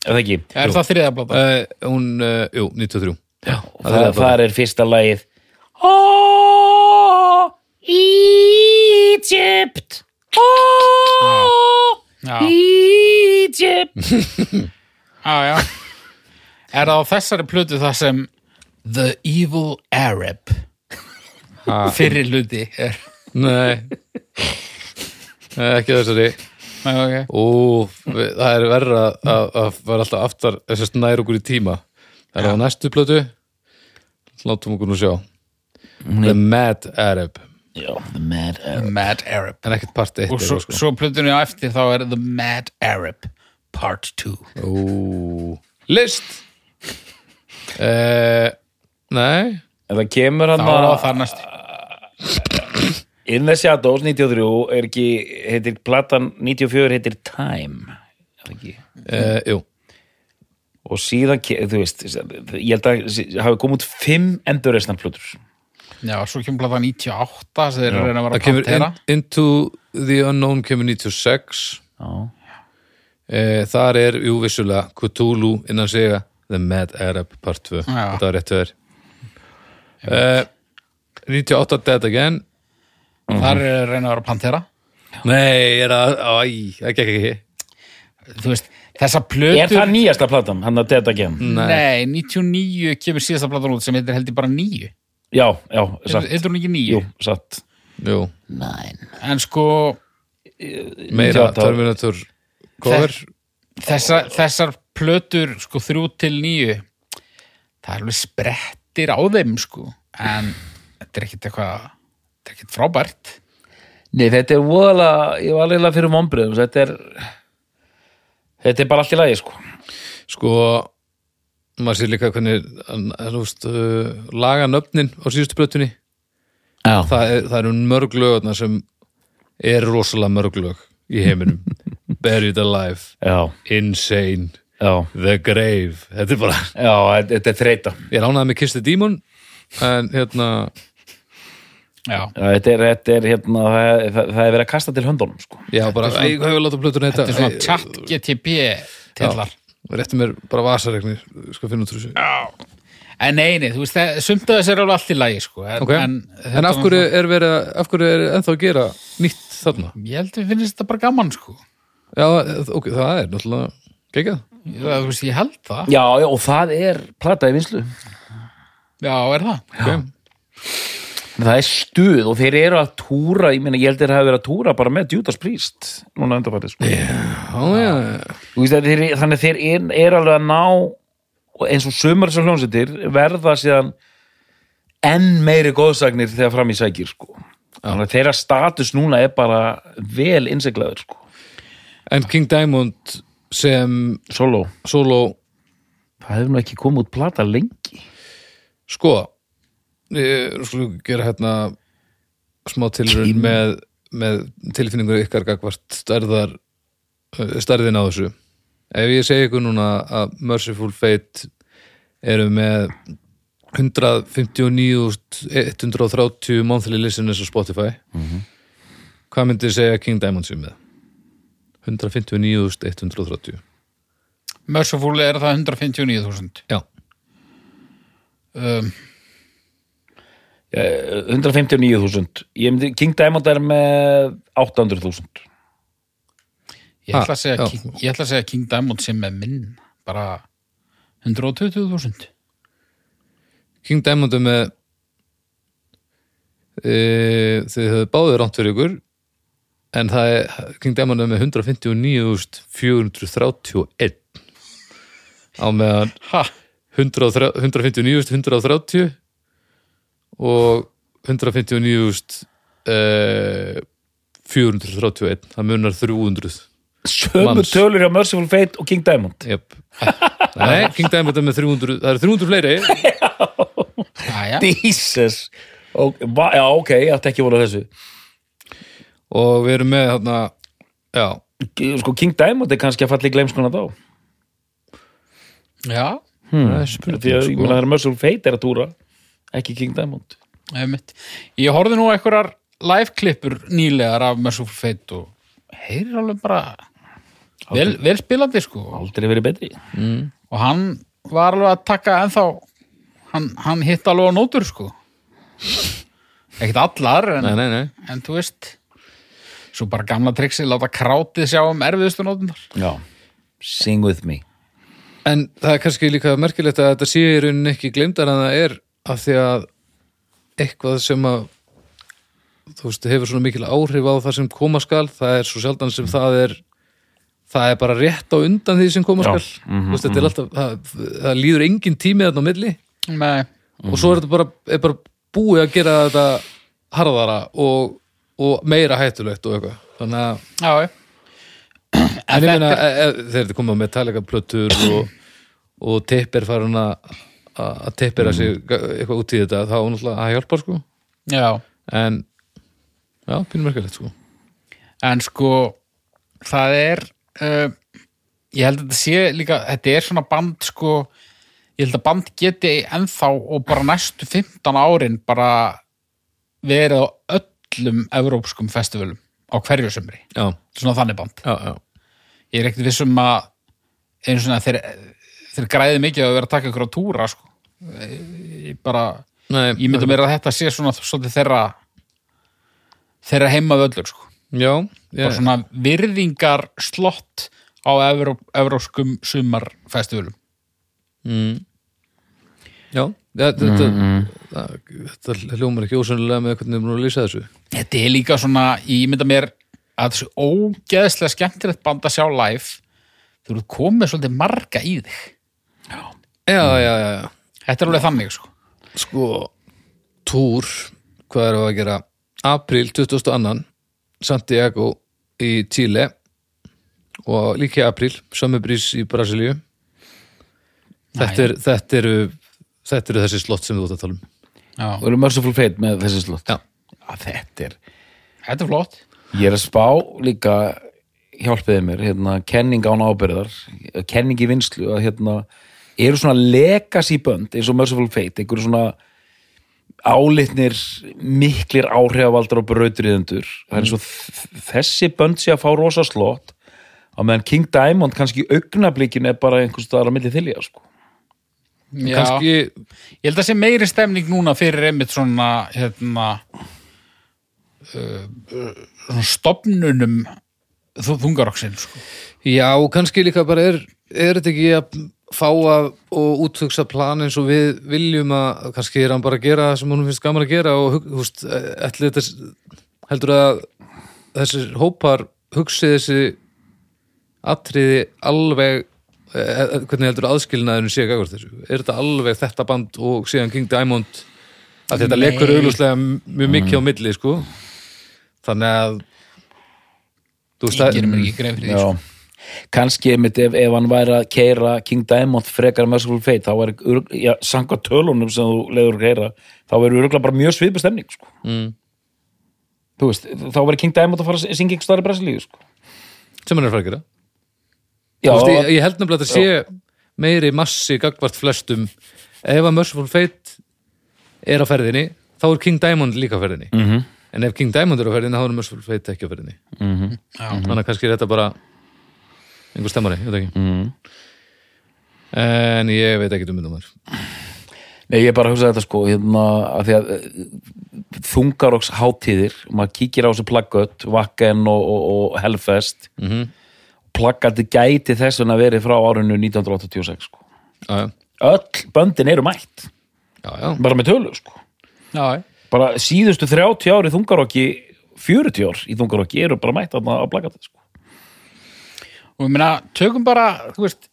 Speaker 2: er það ekki?
Speaker 3: er það þriða plata
Speaker 1: Uh, hún, uh, jú, 93 já,
Speaker 2: Það, það, er fyrsta lagið
Speaker 5: Oh, Egypt. Oh,
Speaker 3: já,
Speaker 5: Egypt.
Speaker 3: já, Ah, já. er það á þessari plötu það sem The Evil Arab fyrir hluti er
Speaker 1: nei Nei, ekki þessari
Speaker 3: Nei, ok.
Speaker 1: Ó, við- það er verra að, að vera alltaf aftar þessast nær okkur í tíma það er á næstu plötu látum okkur nú sjá The Mad Arab
Speaker 2: Já, The Mad Arab
Speaker 3: Mad Arab
Speaker 1: en ekkert part 1
Speaker 3: og svo, svo plötunni á eftir þá er The Mad Arab Part 2
Speaker 1: Ó, list eh, Nei
Speaker 2: En það kemur hann
Speaker 3: þá er það
Speaker 2: að
Speaker 3: þar næst
Speaker 2: In the Shadows 93 er ekki, heitir platan 94 heitir Time er það ekki?
Speaker 1: eh, Jú,
Speaker 2: Og síðan, ke- þú veist, ég held að hafi komið út fimm endurreisnarplötur
Speaker 3: já, svo kemur plata 98 sem þeir eru að reyna að
Speaker 1: það
Speaker 3: vera
Speaker 1: kemur in,
Speaker 3: Pantera
Speaker 1: Into the Unknown kemur 96
Speaker 2: Já
Speaker 1: eh, Þar er, jú, vissulega Cthulhu innan segja The Mad Arab part 2
Speaker 3: Já.
Speaker 1: Þetta var rétt verið eh, 98 Dead Again
Speaker 3: þar eru að reyna að vera Pantera
Speaker 1: Nei, er að, æ, það gekk ekki
Speaker 3: þú veist, þessa
Speaker 2: Er
Speaker 3: plötur
Speaker 2: það nýjasta platan, hann að Dead Again?
Speaker 3: nei, 99 kemur síðasta platan út sem heitir heldur bara 9
Speaker 2: Já, já, satt
Speaker 3: heitir hún ekki 9
Speaker 2: Jú, satt
Speaker 1: Jú,
Speaker 3: en sko
Speaker 1: meira
Speaker 2: 98.
Speaker 1: Terminator cover
Speaker 3: þessa, þessar plötur sko þrjú til nýju það er alveg sprettir á þeim sko en þetta er ekkit eitthvað þetta er ekkit frábært
Speaker 2: Nei, þetta er voðalega, ég var alveg fyrir mombriðum, þetta er þetta er bara allt í lagi, sko
Speaker 1: Sko, maður sér líka hvernig hann- hann, þú veist, uh, laga nöfnin á síðustu plötunni
Speaker 2: Já.
Speaker 1: það, er, það eru mörg lögurnar sem er rosalega mörg lög í heiminum Buried Alive,
Speaker 2: já,
Speaker 1: Insane,
Speaker 2: já,
Speaker 1: The Grave Þetta er bara,
Speaker 2: já, þetta er þreita
Speaker 1: ég ránaði með Kiss the Demon en hérna,
Speaker 3: já,
Speaker 2: Já, þetta er, þetta er hérna, það, það, það er verið að kasta til höndunum sko.
Speaker 1: já bara æ, ég hefur látað plötun
Speaker 3: þetta
Speaker 1: þetta
Speaker 3: er svona chat GTP tillar
Speaker 1: Rétti mér bara vasaregnir, sko finna út úr þessu
Speaker 3: en neini, þú veist, það- sumt af þessu er alveg allt í lagi sko, en,
Speaker 1: Ok, en,
Speaker 3: þetta
Speaker 1: af
Speaker 3: var
Speaker 1: hverju er verið að- af hverju er ennþá að gera nýtt þarna?
Speaker 3: svona- ég held að við finnst þetta bara gaman sko
Speaker 1: Já, ok, það er náttúrulega geggjað.
Speaker 3: ég, þú veist, ég held það,
Speaker 2: Já, já, og það er plata í vinslu
Speaker 3: já, er það
Speaker 1: Okay.
Speaker 2: það er stuð og þeir eru að túra ég, meina, ég held þeir hafa verið að túra bara með Judas Priest núna undanfætti sko. yeah.
Speaker 1: Já, já,
Speaker 2: veist, að þeir, þannig að þeir er, er alveg að ná og eins og sumar sem hljónsettir verða síðan enn meiri góðsagnir þegar fram í sækir sko. þannig að þeirra status núna er bara vel innseglaður sko.
Speaker 1: En King Diamond sem
Speaker 2: solo,
Speaker 1: solo,
Speaker 2: það hefur nú ekki komið út plata lengi
Speaker 1: sko, ég skulle gera hérna smá tilrun með, með tilfinningur ykkar gagvart stærðar, eh, stærðin á þessu. Ef ég segi ykkur núna að Merciful Fate eru með 159.130 monthly listeners á Spotify hvað myndið segja King Diamond sér með? 159.130
Speaker 3: Merciful er það 159.000
Speaker 1: Já,
Speaker 3: um,
Speaker 2: Eh, 159.000 Ég myndi- King Diamond er með 800.000
Speaker 3: ég, ætla
Speaker 1: Ah,
Speaker 3: að segja
Speaker 1: já.
Speaker 3: King, ég ætla að segja King Diamond sem er minn bara 120.000
Speaker 1: King Diamond er með e, þið höfðu báðið ránt fyrir ykkur en það er King Diamond er með 159.431 á meðan
Speaker 3: ha,
Speaker 1: 130 159.130 og e, 159.431 það munar 300
Speaker 2: Sömu
Speaker 1: Manns.
Speaker 2: tölur hjá Merciful Fate og King Diamond
Speaker 1: Jöp. Nei, King Diamond er með 300 það eru 300 fleiri
Speaker 3: aðja
Speaker 2: Jesus og, va, Já, ok, ég ætti ekki vola þessu
Speaker 1: og við erum með þarna, já,
Speaker 2: K- Sko, King Diamond er kannski að falla í gleimskona þá
Speaker 3: Já,
Speaker 1: það er
Speaker 2: Því
Speaker 1: spurning
Speaker 2: að ég sko- meina það er Merciful Fate er að túra ekki King Diamond
Speaker 3: einmitt. Ég horfði nú á einhverjar live-klippur nýlegar af Merciful Fate og heyrir alveg bara vel, vel spilandi sko
Speaker 2: Aldrei verið betri
Speaker 3: og hann var alveg að taka ennþá hann, hann hitt alveg á nótur sko ekkert allar en,
Speaker 1: Nei, nei, nei.
Speaker 3: en þú veist svo bara gamla triksi láta krátið sjá um erfiðustu nótunar
Speaker 2: Já Sing with me
Speaker 1: En það er kannski líka merkilegt að þetta sé í rauninni ekki glemdar en það er af því að eitthvað sem að þú veist, hefur svona mikil áhrif á það sem koma skal, það er svo sjaldan sem það er það er bara rétt á undan því sem koma
Speaker 2: Já.
Speaker 1: skal þú veist, þetta er alltaf, það, það líður engin tími þarna á milli
Speaker 3: Nei,
Speaker 1: og svo er þetta bara, er bara búið að gera þetta harðara og, og meira hættulegt og eitthvað þannig að
Speaker 3: já, já
Speaker 1: En ég meina, e- e- þegar þetta komið með Metallica plötur og, og tippir farin að að tippera sig
Speaker 3: Mm.
Speaker 1: ga- eitthvað út í þetta þá er náttúrulega að hjálpa sko
Speaker 3: já
Speaker 1: en já, pínum merkilegt sko
Speaker 3: en sko það er uh, ég held að þetta sé líka þetta er svona band sko ég held að band geti ennþá og bara næstu 15 árin bara verið á öllum evrópskum festivalum á hverju sömri,
Speaker 1: já,
Speaker 3: svona þannig band
Speaker 1: já, já,
Speaker 3: ég er ekkert vissum að einu svona þeir, þeir græði mikið að vera að taka ykkur á túra sko ég ég bara,
Speaker 1: Nei,
Speaker 3: ég myndi mér að þetta sé svona svolítið þeirra þeirra heima völlur sko
Speaker 1: já, já,
Speaker 3: bara svona virðingar slott á evró, evróskum sumarfestivalum
Speaker 1: já ja, þetta,
Speaker 3: Mm-hmm.
Speaker 1: það- þetta hljómar ekki ósönlega með hvernig við erum að lýsa þessu
Speaker 3: þetta er líka svona, ég mynda mér að þessu ógeðslega skemmtilegt band að sjá live þú eru komið svolítið marga í þig
Speaker 1: já, já, já, já
Speaker 3: þetta er alveg þannig sko
Speaker 1: sko, túr hvað erum við að gera april 2002 Santiago í Chile og líka í april Sömmerbrís í Brasilíu þetta, er, þetta eru þetta eru þessi slott sem þú ert að tala um
Speaker 3: Já.
Speaker 2: Og eru Merciful Fate með þessi slott
Speaker 1: Já.
Speaker 2: Þetta er
Speaker 3: þetta er flott
Speaker 2: Ég er að spá líka hjálpiði mér, hérna, kenning án ábyrðar kenning í vinslu að hérna, eru svona legacy bönd eins og Merciful Fate, einhverju svona álitnir miklir áhrifavaldar og brautriðendur það er svo þessi bönd sé að fá rosa slott á meðan King Diamond kannski í augnablikinu er bara einhvers staðar á milli þilja sko.
Speaker 3: Já.
Speaker 1: kannski,
Speaker 3: Ég held að sé meiri stemning núna fyrir einmitt svona hérna uh, svona stopnunum þungaroksin sko.
Speaker 1: já, kannski líka bara er, er þetta ekki að fá að og útfugsa plan eins og við viljum að, kannski er hann bara að gera það sem honum finnst gaman að gera og hug- þú veist, ætli þetta heldur að þessir hópar hugsi þessi atriði alveg eh, eh, hvernig heldur aðskilnaðurinn sé gagvart þessu, er þetta alveg þetta band og síðan King Diamond að þetta
Speaker 3: Nei.
Speaker 1: lekur auglúslega mjög mikið á milli sko þannig að þú veist
Speaker 3: Ég
Speaker 1: að
Speaker 3: gerir mér ekki greið fyrir því sko.
Speaker 2: Já. kannski einmitt ef, ef hann væri að keira King Diamond frekar Merciful Fate þá væri, örugg- já, sanga tölunum sem þú leiður að keira, þá væri öruglega bara mjög svipu stemning sko. mm. þú veist, þá væri King Diamond að fara að syngja einhvers staðar í Brasilíu sko.
Speaker 1: sem hann er að fara að gera
Speaker 2: já,
Speaker 1: Þú veist, ég, ég held nefnilega að þetta sé meiri massi gagvart flestum ef að Merciful Fate er á ferðinni, þá er King Diamond líka á ferðinni -hmm. en ef King Diamond er á ferðinni, þá er Merciful Fate ekki á ferðinni mm -hmm. þannig að kannski er þetta bara einhver stemmari, ég veit ekki mm -hmm. en ég veit ekki um þetta maður
Speaker 2: Nei, ég er bara að hugsa þetta sko hérna, að því að eh, þungaroks hátíðir, maður kíkir á þessu plaggött, Vakken og, og, og Hellfest mm -hmm. plaggatti gæti þess vegna verið frá árinu 1986 sko.
Speaker 1: já, já,
Speaker 2: Öll böndin eru mætt,
Speaker 1: já, já.
Speaker 2: bara með tölu sko.
Speaker 3: Já,
Speaker 2: bara síðustu 30 ári þungarokki 40 ár í þungarokki eru bara mætt þarna á plaggatti sko.
Speaker 3: og ég meina, tökum bara þú veist,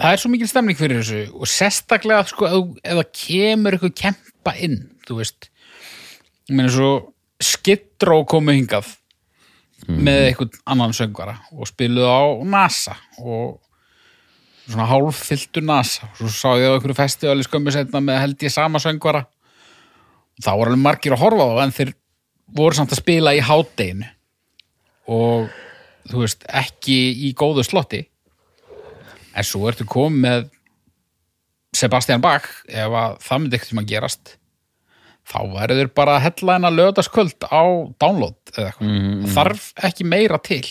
Speaker 3: það er svo mikil stemning fyrir þessu og sérstaklega sko, ef þú- ef það kemur eitthvað kempa inn þú veist ég meina svo skittró komu hingað með eitthvað annan söngvara og spiluðu á NASA og svona hálffylltu NASA og svo sá ég á einhverju festivali skömmu setna með held ég sama söngvara og þá voru alveg margir að horfa á það en þeir voru samt að spila í hádeginu og þú veist, ekki í góðu slotti en svo ertu komið með Sebastian Bach ef að það myndi ekkert sem að gerast þá væri þurr bara að hella henn að lögðast á download eða eitthvað, þarf ekki meira til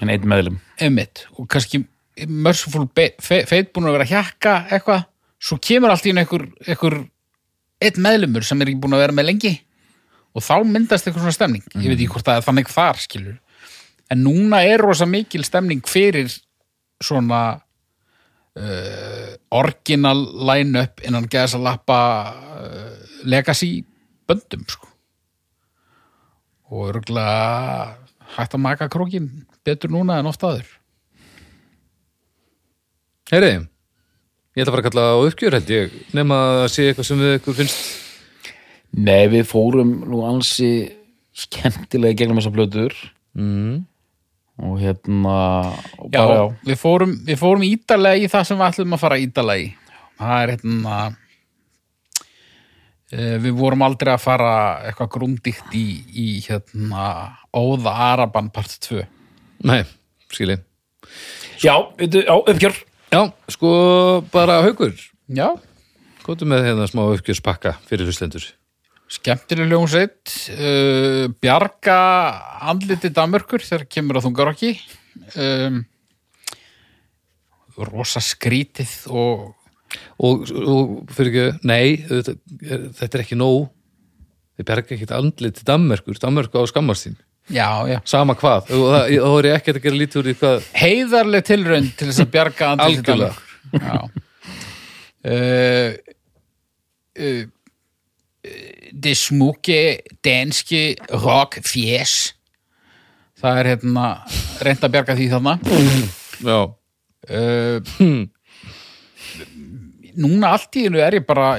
Speaker 2: en einn meðlum
Speaker 3: einmitt og kannski Merciful Be- Fe- Fate búin að vera að hjakka eitthvað, svo kemur allt í einu einhver, einhver einn meðlumur sem er ekki búin að vera með lengi og þá myndast eitthvað svona stemning ég veit ekki hvort það er þannig þar skilur en núna er rosa mikil stemning fyrir svona uh, orginal line-up innan gæðis að lappa uh, legacy böndum sko og örgulega hægt að maka krókin betur núna en oft aður
Speaker 1: heyri, ég ætla bara að kalla á uppgjör held ég, nema að sé eitthvað sem við ykkur finnst
Speaker 2: Nei, við fórum nú ansi skemmtilega í gegnum þessar blöður mm. og hérna og
Speaker 3: já,
Speaker 2: bara,
Speaker 3: Við, fórum, við fórum ítalega í það sem við ætlum að fara ítalega í það er hérna eh, við vorum aldrei að fara eitthvað grúndíkt í, í hérna Óða Araban part 2
Speaker 1: nei, skilji
Speaker 2: já, veitu, já, uppgjör
Speaker 1: já, sko bara haukur
Speaker 3: Já,
Speaker 1: Kóttu með hérna smá uppgjörspakka fyrir hlustendur.
Speaker 3: skemmtileg ljónsveit uh, Bjarga andliti Danmörkur þegar kemur að þungar okki um, rosa skrítið og
Speaker 1: Og, og fyrir ekki, nei, þetta, þetta er ekki nóg. Þið berga ekkert andlit til Danmerkur, Danmerku á skammast þín.
Speaker 3: já, já
Speaker 1: Sama hvað, og það þá er ég ekkert að gera lítið úr í hvað.
Speaker 3: heiðarleg tilraun til þess að bjarga andliti
Speaker 1: Algjörlega.
Speaker 3: Danmörkur. Já. uh, uh, det smukke danske rock fjes það er hérna reynd að bjarga því þarna
Speaker 1: Já,
Speaker 3: uh, núna allt í hennu er ég bara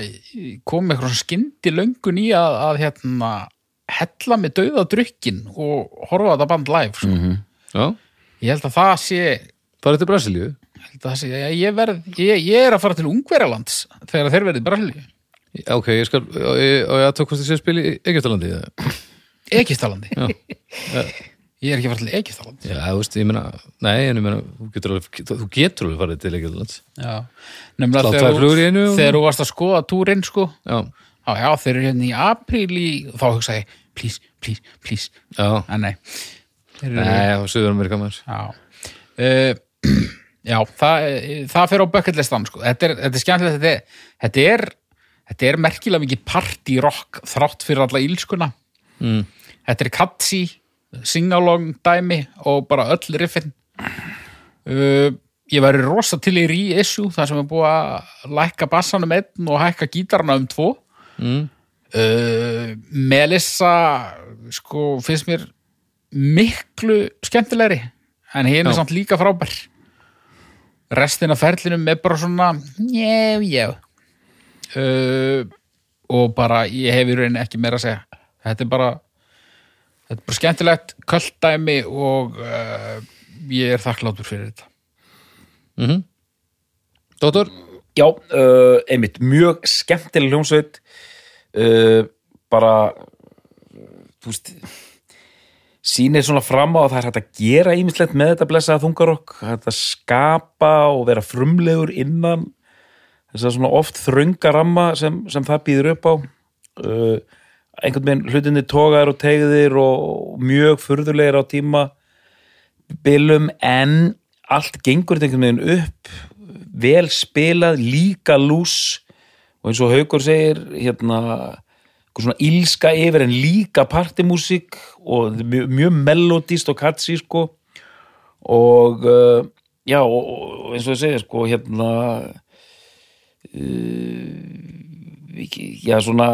Speaker 3: komið eitthvað skyndi löngun í að, að hérna hella með dauða drukkin og horfa á þetta band live sko.
Speaker 1: já,
Speaker 3: ég held að það sé
Speaker 1: farið til Brasilíu.
Speaker 3: held að það sé, ég, ég, verð, ég, ég er að fara til Ungverjalands þegar þeir verði Brasilíu
Speaker 1: Já, Ok, ég skal, og ég, og ég aðtók hvort þið sé að spila í Egyptalandi. eða?
Speaker 3: Egiptalandi
Speaker 1: Já.
Speaker 3: ég Ég er ekki að fara til Egyptaland.
Speaker 1: Já, þú veist, ég meina, nei, en ég meina, þú getur alveg, þú getur alveg farið til Egyptalands.
Speaker 3: Já. Nefnilega
Speaker 1: Slá
Speaker 3: þegar
Speaker 1: tvær
Speaker 3: þú-
Speaker 1: flugur í einu og-
Speaker 3: þegar þú varst að skoða túrin, sko,
Speaker 1: Já,
Speaker 3: já, já, þeir eru hérna í apríl í, þá hugsa ég, please, please, please,
Speaker 1: já,
Speaker 3: en nei. Þeir eru,
Speaker 1: nei, á Suður-Amerika maður.
Speaker 3: Já. Uh, já, það, það fer á bucketlistan, sko. Þetta er, þetta er skemmtilegt, þetta er, þetta er, þetta er merkilega mikið partyrokk þrátt fyrir alla ílskuna.
Speaker 1: Mm.
Speaker 3: Þetta er katsi, singalong dæmi og bara öll riffin. Uh, ég væri rosa til í reissue, þar sem er búið að lækka bassanum einn og hækka gítarana um tvo.
Speaker 1: Mm.
Speaker 3: Uh, Melissa sko finnst mér miklu skemmtilegri en hérna
Speaker 1: Já.
Speaker 3: samt líka frábær restin af ferlinum er bara svona njá, njá uh, og bara ég hef í rauninni ekki meira að segja þetta er bara þetta er bara skemmtilegt kvölddæmi og uh, ég er þakklátur fyrir þetta
Speaker 2: Mhm.
Speaker 1: Dóttor?
Speaker 2: Já, uh, einmitt, mjög skemmtileg hljómsveit uh, bara uh, þú veist sýnir svona fram á að það er hægt að gera ímislegt með þetta blessaða þungarokk hægt að skapa og vera frumlegur innan þess að svona oft þrönga ramma sem, sem það býður upp á uh, einhvern veginn hlutinni togaðir og tegðir og mjög furðulegir á tíma bylum en allt gengur þetta einhvern veginn upp vel spilað, líka lús og eins og Haukur segir hérna einhver svona ílska yfir en líka partimúsík og þetta er mjög, mjög melodíst og katsi sko og uh, já og, og eins og ég segir sko hérna uh, ekki- já svona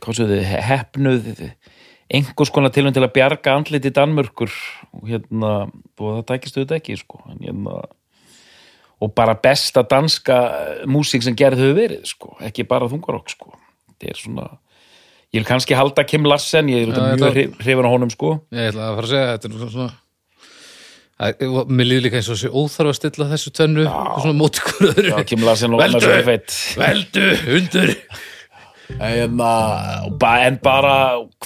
Speaker 2: hvað svo þið, hefnuð einhvers konar tilum til að bjarga andliti Danmörkur og hérna og það tækist auðvitað ekki sko en hérna og bara besta danska músík sem gerð hefur verið sko. ekki bara þungarokk sko. þetta er svona ég vil kannski halda Kim Larsen ég
Speaker 1: Já,
Speaker 2: er ja,
Speaker 1: ég
Speaker 2: mjög
Speaker 1: ætla-
Speaker 2: hrif- hrifin á honum sko.
Speaker 1: Ég ætla að fara að segja, þetta er nú svona, svona Æ, mér líður líka eins og sé óþarf að stilla þessu tönnu svona móti hver öðru
Speaker 2: Já, Kim Larsen og
Speaker 1: Veldu!
Speaker 2: annars er feitt
Speaker 1: veldu, undur
Speaker 2: en, hérna, en bara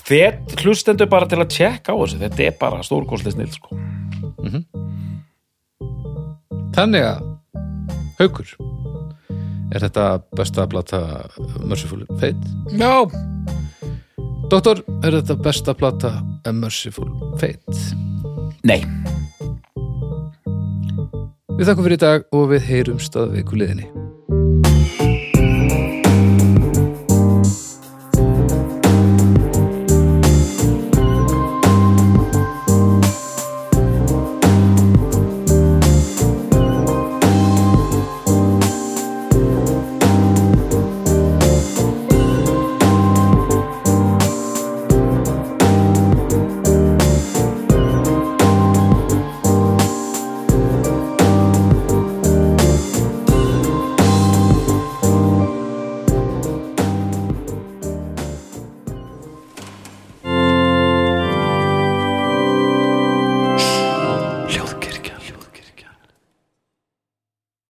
Speaker 2: hvet hlustendur bara til að tjekka á þessu þetta er bara stórkostlega snill sko.
Speaker 1: þannig að, haukur er þetta besta plata Merciful Fate?
Speaker 3: Já,
Speaker 1: Dóttor, er þetta besta plata Merciful Fate?
Speaker 2: nei,
Speaker 1: Við þakkum fyrir í dag og við heyrumst að viku liðinni